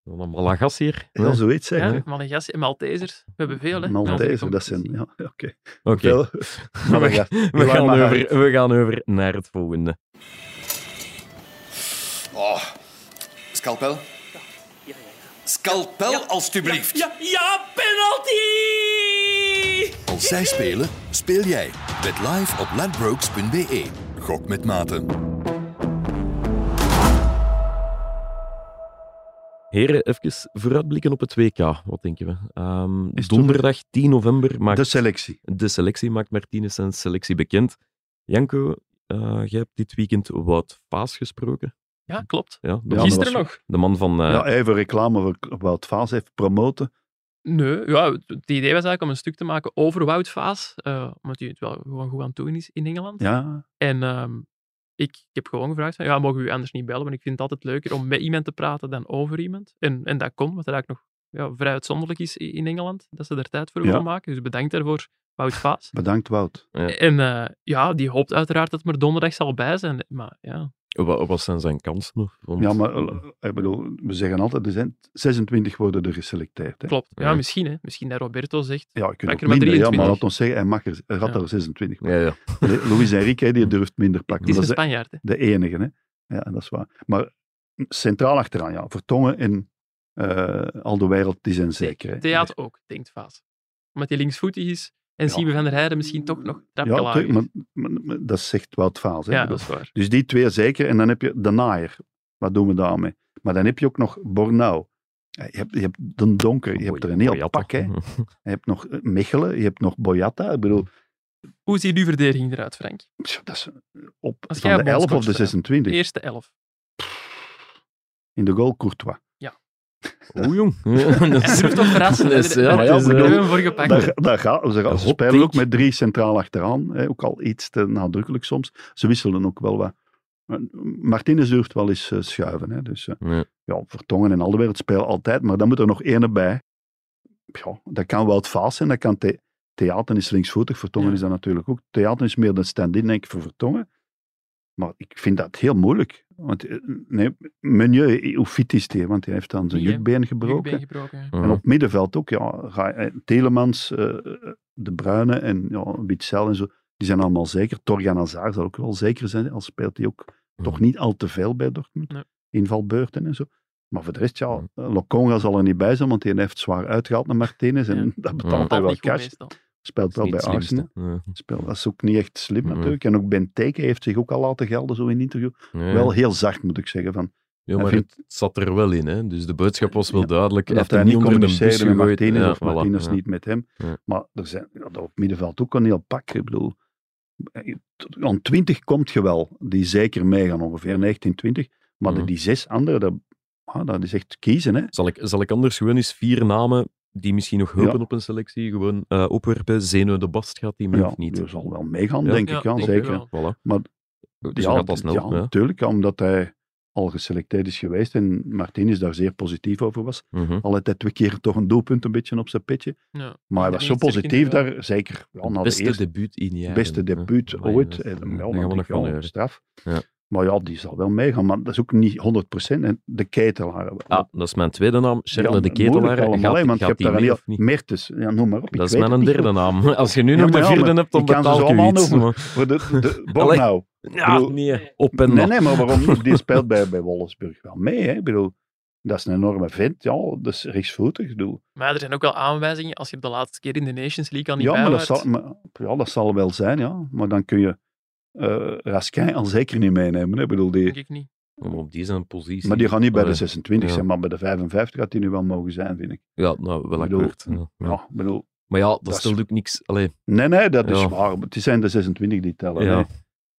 A: Een Malagassier.
C: Ja, zoiets, zeg.
B: Ja,
C: hè.
B: Malagasy- Maltesers. We hebben veel, hè.
C: Malteser, dat zijn...
B: competitie.
C: Ja, oké.
A: Oké.
B: <laughs>
C: Veel- Madagas-
A: We, gaan
C: maar
A: over,
C: uit.
A: we gaan over naar het volgende.
D: Oh, scalpel? Scalpel, alstublieft.
E: Ja, ja, penalty!
D: Als zij spelen, speel jij. Bet live op ladbrokes.be. Gok met maten.
A: Heren, even vooruitblikken op het WK. Wat denken we? Ehm,
C: Is het
A: donderdag 10 november maakt
C: De selectie.
A: de selectie, maakt Martinez zijn selectie bekend. Janko, eh, jij hebt dit weekend Wout Paas gesproken.
B: Ja, klopt.
A: Ja, de,
C: Ja,
A: man,
C: dat
B: Gisteren
C: was-
B: nog.
A: de man van... eh,
C: ja, even reclame voor Wout Vaas heeft promoten.
B: Nee, ja, het het idee was eigenlijk om een stuk te maken over Wout Vaas, eh, omdat hij het wel gewoon goed aan het doen is in Engeland.
C: Ja,
B: En ehm, ik, ik heb gewoon gevraagd, van, ja, mogen we u anders niet bellen? Want ik vind het altijd leuker om met iemand te praten dan over iemand. En, en dat kon, want dat eigenlijk nog ja, vrij uitzonderlijk is i- in Engeland, dat ze er tijd voor
C: Ja.
B: willen maken. Dus bedankt daarvoor, Wout Vaas.
C: bedankt Wout.
A: Ja.
B: En eh, ja, die hoopt uiteraard dat het maar donderdag zal bij zijn. Maar ja,
A: wa- wat zijn zijn kansen? nog? Want-
C: Ja, maar eh, ik bedoel, we zeggen altijd, er zijn 26 worden er geselecteerd. Hè.
B: klopt. Ja,
A: Ja.
B: misschien. Hè. Misschien dat Roberto zegt,
C: Ja, ik
B: Maar
C: kunt
B: ik er
C: ook
B: maar
C: minder, ja, maar
B: 23.
C: laat ons zeggen, hij, mag er, hij had
B: Ja.
C: er 26.
A: Ja, ja.
C: Le- Luis Enrique, die durft minder
B: het
C: pakken.
B: is
C: Dat
B: een
C: is de,
B: Spanjaard. Hè.
C: de enige, hè. Ja, dat is waar. Maar centraal achteraan, ja. Vertongen en eh al de wereld, die zijn zeker. Hè.
B: Theaat ook, denkt Vaas. Omdat hij linksvoetig is en
C: Ja.
B: Siemen van der Heijden misschien toch nog een trapje
C: Ja,
B: lager
C: tuurlijk,
B: is.
C: maar, maar- maar dat zegt Wout Vaas. Hè.
B: ja,
C: Ik bedoel,
B: dat is waar.
C: Dus die twee zeker. En dan heb je de naaier. Wat doen we daarmee? Maar dan heb je ook nog Bornau. Ja, Je hebt, je hebt de donker, je hebt er een heel
A: Boyata.
C: pak. Hè.
A: <laughs>
C: Je hebt nog eh, Mechelen, je hebt nog Boyata. Ik bedoel,
B: Hoe ziet uw verdediging eruit, Frank?
C: pff, dat is op
B: Als jij
C: van de 11 of
B: bondscoach
C: de
B: bent,
C: 26.
B: Eerste elf.
C: In de goal Courtois.
A: Oeh,
C: <laughs>
A: jong. Ja, dat
B: En
A: is-
B: ze toch verrassen.
A: dat
B: hè.
A: is- ja,
B: Daar
A: het
C: ja,
A: is,
B: hebben
A: eh,
B: we
C: bedoel-
B: hem voor gepakt.
C: Daar, daar gaan, ze
A: Een
C: gaan, ze
A: hot
C: spelen
A: take.
C: ook met drie centraal achteraan. Hè. Ook al iets te nadrukkelijk soms. Ze wisselen ook wel wat. Maar eh, Martinez durft wel eens eh, schuiven. Hè. Dus, eh,
A: Ja.
C: ja, Vertongen en Alderwereld spelen altijd, maar dan moet er nog ene bij. Ja, dat kan wel het vaas zijn, dat kan the Theaten is linksvoetig, Vertongen
B: Ja.
C: is dat natuurlijk ook. Theaten is meer de stand-in, denk ik, voor Vertongen. Maar ik vind dat heel moeilijk. Want, eh, nee, Meunier, hoe fit is die? Want hij heeft dan zijn
B: Die, hè?
C: jukbeen
B: Ik
C: gebroken.
B: ben gebroken.
A: Mhm.
C: En op middenveld ook, ja. ga- eh, Telemans, eh, De Bruyne en ja, Witzel en zo, die zijn allemaal zeker. Torgan Hazard zal ook wel zeker zijn, al speelt hij ook
A: Mhm.
C: toch niet al te veel bij Dortmund.
B: Nee.
C: Invalbeurten en zo. Maar voor de rest,
A: Mhm.
C: ja, eh, Lokonga zal er niet bij zijn, want die heeft zwaar uitgehaald naar Martinez en
B: Ja.
C: <laughs>
A: Ja.
C: dat betaalt hij
B: Valt
C: wel
B: niet goed
C: cash.
B: meestal.
C: Speelt wel
A: Mhm. Niet
C: bij
A: het slimste.
C: Arsenal.
A: Ja.
C: Speelt, dat is ook niet echt slim
A: Mhm.
C: natuurlijk. En ook Benteke heeft zich ook al laten gelden, zo in een interview.
A: Ja.
C: Wel heel zacht, moet ik zeggen. Van,
A: Ja,
C: Hij
A: maar
C: vindt-
A: het zat er wel in, hè. Dus de boodschap was wel
C: Ja,
A: duidelijk. Hij
C: dat
A: heeft
C: hij
A: hem
C: niet
A: niet onder de bus
C: communiceerde met
A: gegooid.
C: Martinez
A: Ja,
C: of
A: voilà.
C: Martinez
A: Ja.
C: niet met hem.
A: Ja.
C: Maar er zijn, ja, dat op middenveld ook een heel pak. Ik bedoel, eh, tot- aan 20 komt je wel, die zeker meegaan, ongeveer 19, 20. Maar de-
A: Mhm.
C: die zes anderen, dat, ah, dat is echt kiezen, hè.
A: Zal ik, zal ik anders gewoon eens vier namen die misschien nog hulpen
C: Ja.
A: op een selectie gewoon eh, opwerpen? Zeno de Bast gaat die mee
C: Ja,
A: of niet?
C: die zal wel meegaan,
A: Ja.
C: denk
B: Ja,
C: ik. Ja,
B: denk ik
C: zeker.
B: wel.
A: Voilà.
C: Maar-
A: dus
C: ja,
A: dat gaat al snel.
C: Ja,
A: hè.
C: natuurlijk, ja, omdat hij al geselecteerd is geweest en Martinez daar zeer positief over was.
A: Mhm.
C: Al had hij twee keer toch een doelpunt een beetje op zijn petje.
B: Ja.
C: Maar hij
B: Ik
C: was zo
B: denk niet
C: positief
B: zeker,
C: daar, zeker. Ja, na de
A: Beste
C: eerste-
A: debuut in jaren.
C: beste debuut
A: Ja, eh,
C: ooit. Eh,
A: ja,
C: En,
A: daar
C: ja,
A: gaan we nog
C: dan
A: eh,
C: denk ik,
A: van
C: ja,
A: leren.
C: straf.
A: Ja.
C: Maar ja, die zal wel meegaan. Maar dat is ook niet 100%. En de ketelaar.
A: Ah, dat is mijn tweede naam. Charles
C: Ja,
A: de
C: moeilijk
A: Ketelaar.
C: allemaal,
A: Gaat,
C: hè, want je
A: gaat
C: hebt
A: die
C: daar een
A: mee
C: heel...
A: of niet?
C: Mertens, ja, noem maar op.
A: Dat is
C: ik weet
A: mijn
C: het niet
A: derde
C: goed.
A: naam. <laughs> Als je nu
C: Ja,
A: nog
C: maar
A: de
C: ja,
A: vierde
C: maar
A: hebt, dan
C: ik kan ze
A: betaal
C: zo
A: ik u
C: allemaal
A: iets.
C: noemen.
A: maar-
C: Voor de,
A: <laughs>
C: de
A: Allee.
C: Bornau.
A: Ja,
C: bedoel-
A: nee. Op en
C: Nee,
A: af.
C: nee, maar waarom? Die
A: <laughs>
C: speelt bij, bij Wolfsburg wel mee. Hè? Ik bedoel, dat is een enorme vent. Ja, dat is rechtsvoetig. Ik bedoel,
B: Maar er zijn ook wel aanwijzingen. Als je de laatste keer in de Nations League al niet
C: Ja,
B: bij
C: maar dat,
B: waart.
C: zal, maar, ja, dat zal wel zijn, ja. Maar dan kun je eh Raskin al zeker niet meenemen. Hè? Ik bedoel, die,
B: Denk ik niet.
A: Maar op die zijn positie.
C: Maar die gaan niet bij de
A: Allee.
C: 26
A: eh, ja.
C: zijn, maar bij de 55 gaat die nu wel mogen zijn, vind ik.
A: Ja, nou, wel
C: Ik bedoel,
A: akkoord. Ja, ja.
C: Ja, ik bedoel,
A: Maar ja, dat,
C: Dat is-
A: stelt ook niks. Allee,
C: Nee, nee, dat is
A: Ja.
C: waar. Het zijn de 26 die tellen.
A: Ja.
C: hè.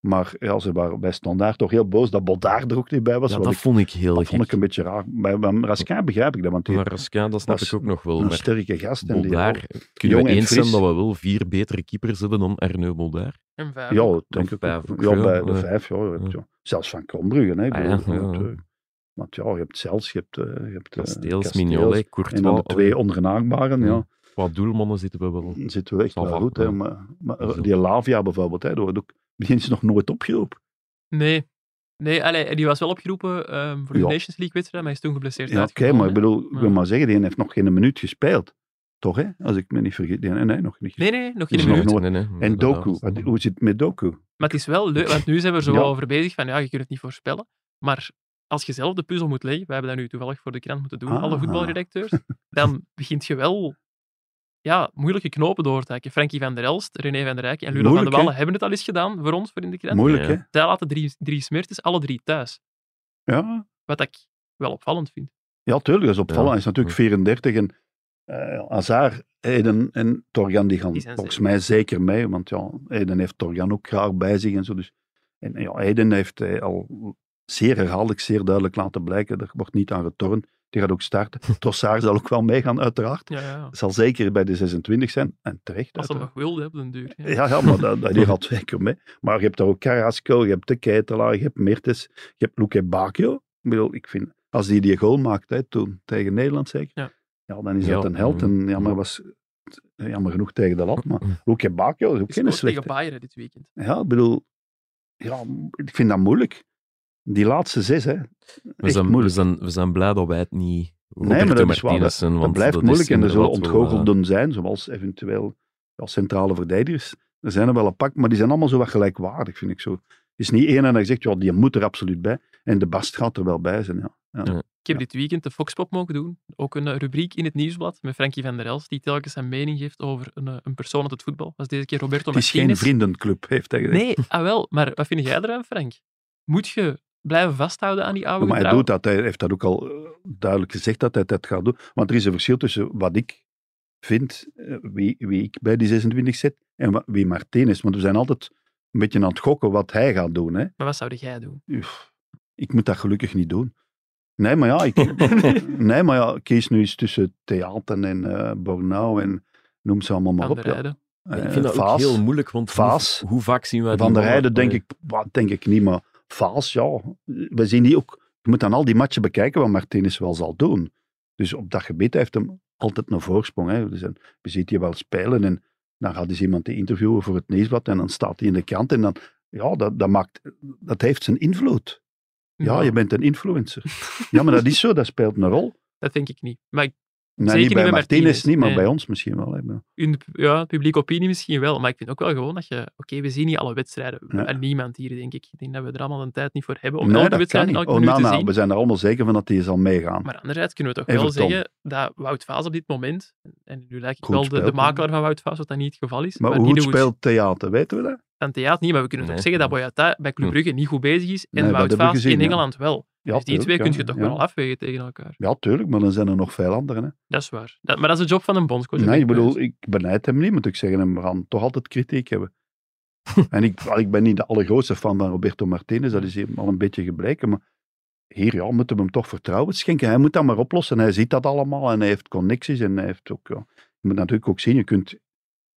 C: Maar ja, ze waren bij Standaard toch heel boos dat Bodaar er ook niet bij was.
A: ja,
C: wat
A: dat
C: ik,
A: vond ik heel
C: dat
A: gek.
C: vond ik een beetje raar. Bij, bij Raskin begrijp ik dat, want die
A: Maar Raskin, dat snap
C: dat is
A: ik ook nog wel.
C: een
A: Maar
C: sterke gast. En die,
A: Boldaar, kunnen
C: Jong
A: we
C: en
A: eens zijn
C: fris.
A: dat we wel vier betere keepers hebben dan Arnaud Boldaar?
B: En vijf.
C: ja, dat denk
A: Of
C: ik
A: vijf ook,
C: ook. Ja,
A: ja.
C: bij de
A: Ja.
C: vijf. Ja, je hebt,
A: Ja.
C: ja. Zelfs van Krombrugge. Hè, ik
A: Ah,
C: bedoel,
A: ja,
C: je
A: ja,
C: hebt,
A: ja.
C: eh, Want ja, je hebt zelfs, je hebt, eh, je hebt eh,
A: Kasteels,
C: Kasteels.
A: Mignolet,
C: En dan de
A: Courtois.
C: twee ongenaakbaren, ja.
A: Ja. Qua doelmannen zitten we wel.
C: Dan zitten we echt
A: Zal
C: wel
A: wel,
C: goed. Hè,
A: ja.
C: maar, maar, eh,
A: Zo.
C: die Lavia bijvoorbeeld, hè, daar wordt ook- <laughs> die is nog nooit opgeroepen.
B: Nee. Nee, allee, die was wel opgeroepen ehm, voor de
C: Ja.
B: Nations League-wedstrijd, maar hij is toen geblesseerd
C: Ja, oké,
B: uitgevallen,
C: maar ik
B: hè.
C: bedoel, ik wil
B: Ja.
C: maar zeggen, die heeft nog geen minuut gespeeld. Toch, hè? Als ik me niet vergis. Die- Nee, nee, nog niet.
B: Nee, nee, nog
C: Is
B: geen
C: nog
B: minuut.
C: nooit-
A: Nee, nee,
C: en
A: inderdaad. Mm.
C: Doku, wat- hoe zit het met Doku?
B: Maar het is wel leuk, want nu zijn we er zo
C: Ja.
B: wel over bezig van, ja, je kunt het niet voorspellen. Maar als je zelf de puzzel moet leggen, wij hebben dat nu toevallig voor de krant moeten doen, alle
C: Ah.
B: voetbalredacteurs, dan begint je wel ja, moeilijke knopen door te hakken. Frankie van der Elst, René van der Rijk en Ludo van
C: Moeilijk,
B: der
C: hè?
B: Wallen hebben het al eens gedaan voor ons, voor in de krant.
C: Moeilijk,
A: ja.
C: hè?
B: Zij laten drie, drie smertes, alle drie thuis.
C: Ja,
B: Wat ik wel opvallend vind.
C: ja tuurlijk, dat is opvallend.
A: Ja.
C: Hij is natuurlijk 34 en eh Azar, Eden en Torgan, die gaan
B: Die zijn
C: volgens
B: zeker.
C: mij zeker mee. Want ja, Eden heeft Torgan ook graag bij zich en zo. Dus, en ja, Eden heeft eh, al zeer herhaaldelijk, zeer duidelijk laten blijken. Er wordt niet aan getornd. Die gaat ook starten. Trossard zal ook wel meegaan, uiteraard.
B: Ja, ja.
C: Zal zeker bij de 26 zijn. En terecht.
B: Als dat
C: uiteraard.
B: nog wilde, op den duur. Ja.
C: Ja, ja maar dat, dat, die gaat zeker mee. Maar je hebt daar ook Carrasco, je hebt de Keitelaar, je hebt Mertens, je hebt Luque Bacchio. Ik bedoel, ik vind, als die die goal maakt, hè, toen tegen Nederland zeker,
B: Ja.
C: ja. dan is
A: Ja,
C: dat een held.
A: mm,
C: En jammer,
A: mm.
C: was, jammer genoeg tegen de lat, maar Luque Bacchio is ook
B: Die
C: geen
B: scoort tegen
C: slechte.
B: Bayern dit weekend.
C: Ja, ik bedoel, ja, ik vind dat moeilijk. Die laatste zes, hè.
A: We
C: Echt
A: zijn, we,
C: moeilijk.
A: zijn, we zijn blij dat wij het niet Roberto
C: maar dat is waar,
A: Martinez zijn,
C: Dat
A: want
C: blijft
A: dat is
C: moeilijk en er zullen
A: inderdaad wel, eh,
C: ontgoochelden zijn, zoals eventueel ja, centrale verdedigers. Er zijn er wel een pak, maar die zijn allemaal zo wat gelijkwaardig, vind ik zo. Het is niet één en dat je zegt, ja, die moet er absoluut bij. En de Bast gaat er wel bij zijn, ja.
B: Ik heb dit weekend de Foxpop mogen doen. Ook een eh, rubriek in het nieuwsblad met Frankie van der Els, die telkens zijn mening geeft over een, eh, een persoon uit het voetbal. Dat is deze keer Roberto
C: Het is geen
B: Martinez.
C: vriendenclub, heeft hij gezegd.
B: Nee, ah wel. Maar wat vind jij eraan, Frank? Moet je blijven vasthouden aan die oude
C: maar hij doet
B: getrouwen?
C: dat, hij heeft dat ook al eh, duidelijk gezegd dat hij dat gaat doen. Want er is een verschil tussen wat ik vind, eh, wie, wie ik bij die 26 zet, en wa- wie Martin is. Want we zijn altijd een beetje aan het gokken wat hij gaat doen, hè.
B: Maar wat zou jij doen?
C: Uf, ik moet dat gelukkig niet doen. Nee, maar ja,
A: <laughs>
C: ik, nee, maar ja, ik kies nu eens tussen theater en eh Bornau en noem ze allemaal maar
B: Aan
C: op.
B: de
C: ja.
B: rijden?
A: Ja, ik
C: Eh,
A: vind dat ook
C: Vaas,
A: heel moeilijk, want
C: Vaas.
A: Hoe, hoe vaak zien wij
C: Van der Heijden
A: eh.
C: denk ik, wat denk ik niet, maar Vaas, ja. We zien die ook, je moet dan al die matchen bekijken wat Martinez wel zal doen. Dus op dat gebied heeft hem altijd een voorsprong. Hè. Dus dan, je ziet die wel spelen en dan gaat dus iemand die interviewen voor het nieuwsblad en dan staat hij in de krant en dan, ja, dat, dat, maakt, dat heeft zijn invloed.
B: Nou,
C: Ja, je bent een influencer. Ja, maar dat is zo, dat speelt een rol.
B: Dat denk ik niet. Maar ik-
C: Nee,
B: Zeker
C: niet bij
B: niet bij
C: Martinez,
B: Martinez,
C: niet, maar
B: nee.
C: bij ons misschien wel. hè. Maar-
B: in de pu- ja, publieke opinie misschien wel, maar ik vind ook wel gewoon dat je... Oké, we zien niet alle wedstrijden.
C: Ja.
B: En niemand hier, denk ik. Ik denk dat we er allemaal de tijd niet voor hebben om
C: Nee,
B: elke
C: dat kan
B: wedstrijd
C: niet.
B: elke
C: Oh,
B: minuut
C: nou,
B: te
C: nou,
B: zien.
C: we zijn er allemaal zeker van dat hij zal meegaan.
B: Maar anderzijds kunnen we toch wel
C: Everton.
B: zeggen dat Wout Vaas op dit moment, en nu lijkt ik
C: Goed
B: wel de, de
C: speelt, hè?
B: makelaar van Wout Vaas, wat dat niet het geval is,
C: maar
B: die
C: hoe
B: doet
C: speelt theater, weten we dat?
B: aan theater niet, maar we kunnen
A: Nee.
B: toch zeggen dat Boyata bij Club
A: Hm.
B: Brugge niet goed bezig is en
C: Nee, dat
B: Wout
C: hebben we
B: Vaas
C: gezien,
B: in
C: ja.
B: Engeland wel.
C: Ja,
B: dus die
C: tuurlijk,
B: twee kun
C: ja,
B: je toch
C: ja.
B: wel afwegen tegen elkaar.
C: Ja, tuurlijk, maar dan zijn er nog veel anderen. Hè.
B: Dat is waar. Dat- maar dat is de job van een bondscoach.
C: Nee,
B: dat
C: ik
B: ben
C: bedoel,
B: eens.
C: ik benijd hem niet, moet ik zeggen. En we gaan toch altijd kritiek hebben. en ik, wel, ik ben niet de allergrootste fan van Roberto Martinez, dat is hier al een beetje gebleken. Maar hier ja, moeten we hem toch vertrouwen schenken. Hij moet dat maar oplossen. Hij ziet dat allemaal en hij heeft connecties. En hij heeft ook, ja, je moet natuurlijk ook zien, je kunt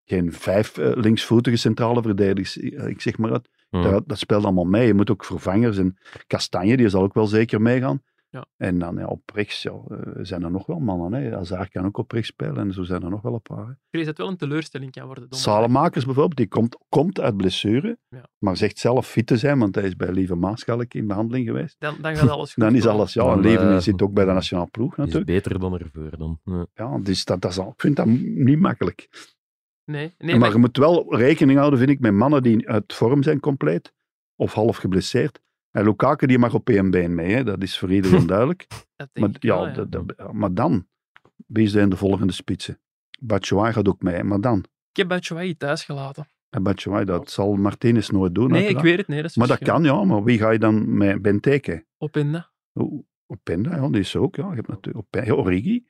C: geen vijf eh, linksvoetige centrale verdedigers, eh, ik zeg maar dat,
A: Ja.
C: dat, dat speelt allemaal mee. Je moet ook vervangers en Kastanje, die zal ook wel zeker meegaan.
B: Ja.
C: En dan ja, op rechts ja, eh, zijn er nog wel mannen. Hè. Azar kan ook op rechts spelen en zo zijn er nog wel een paar. hè.
B: Ik vrees dat het wel een teleurstelling kan worden. donderdag.
C: Salemakers bijvoorbeeld, die komt, komt uit blessure,
B: Ja.
C: maar zegt zelf fit te zijn, want hij is bij Lieve Maaschalk in behandeling geweest.
B: Dan, dan gaat alles goed.
C: <laughs> Dan is
B: komen.
C: alles, ja,
A: Dan,
C: een leven
A: eh,
C: zit ook bij de nationale ploeg
A: is
C: natuurlijk.
A: beter dan ervoor dan. Ja.
C: Ja, dus dat, dat is al, ik vind dat niet makkelijk.
B: Nee, nee
C: maar
B: maar,
C: je moet wel rekening houden, vind ik, met mannen die uit vorm zijn compleet of half geblesseerd. En Lukaku die mag op één been mee, hè. dat is voor
B: <laughs>
C: iedereen duidelijk.
B: dat denk
C: Maar,
B: ik wel,
C: ja, dat- dat- maar dan, wie zijn de volgende spitsen? Batshuayi gaat ook mee, maar dan?
B: Ik heb Batshuayi thuis gelaten.
C: En Batshuayi, dat zal Martinez nooit doen.
B: Oh. Nee, ik
C: uiteraard.
B: weet het. Nee, dat is
C: Maar dat
B: verschil.
C: kan, ja. Maar wie ga je dan met Benteke?
B: Op in de...
C: Openda, ja, die is er ook, ja. Je hebt natuurlijk Open- ja, Origi.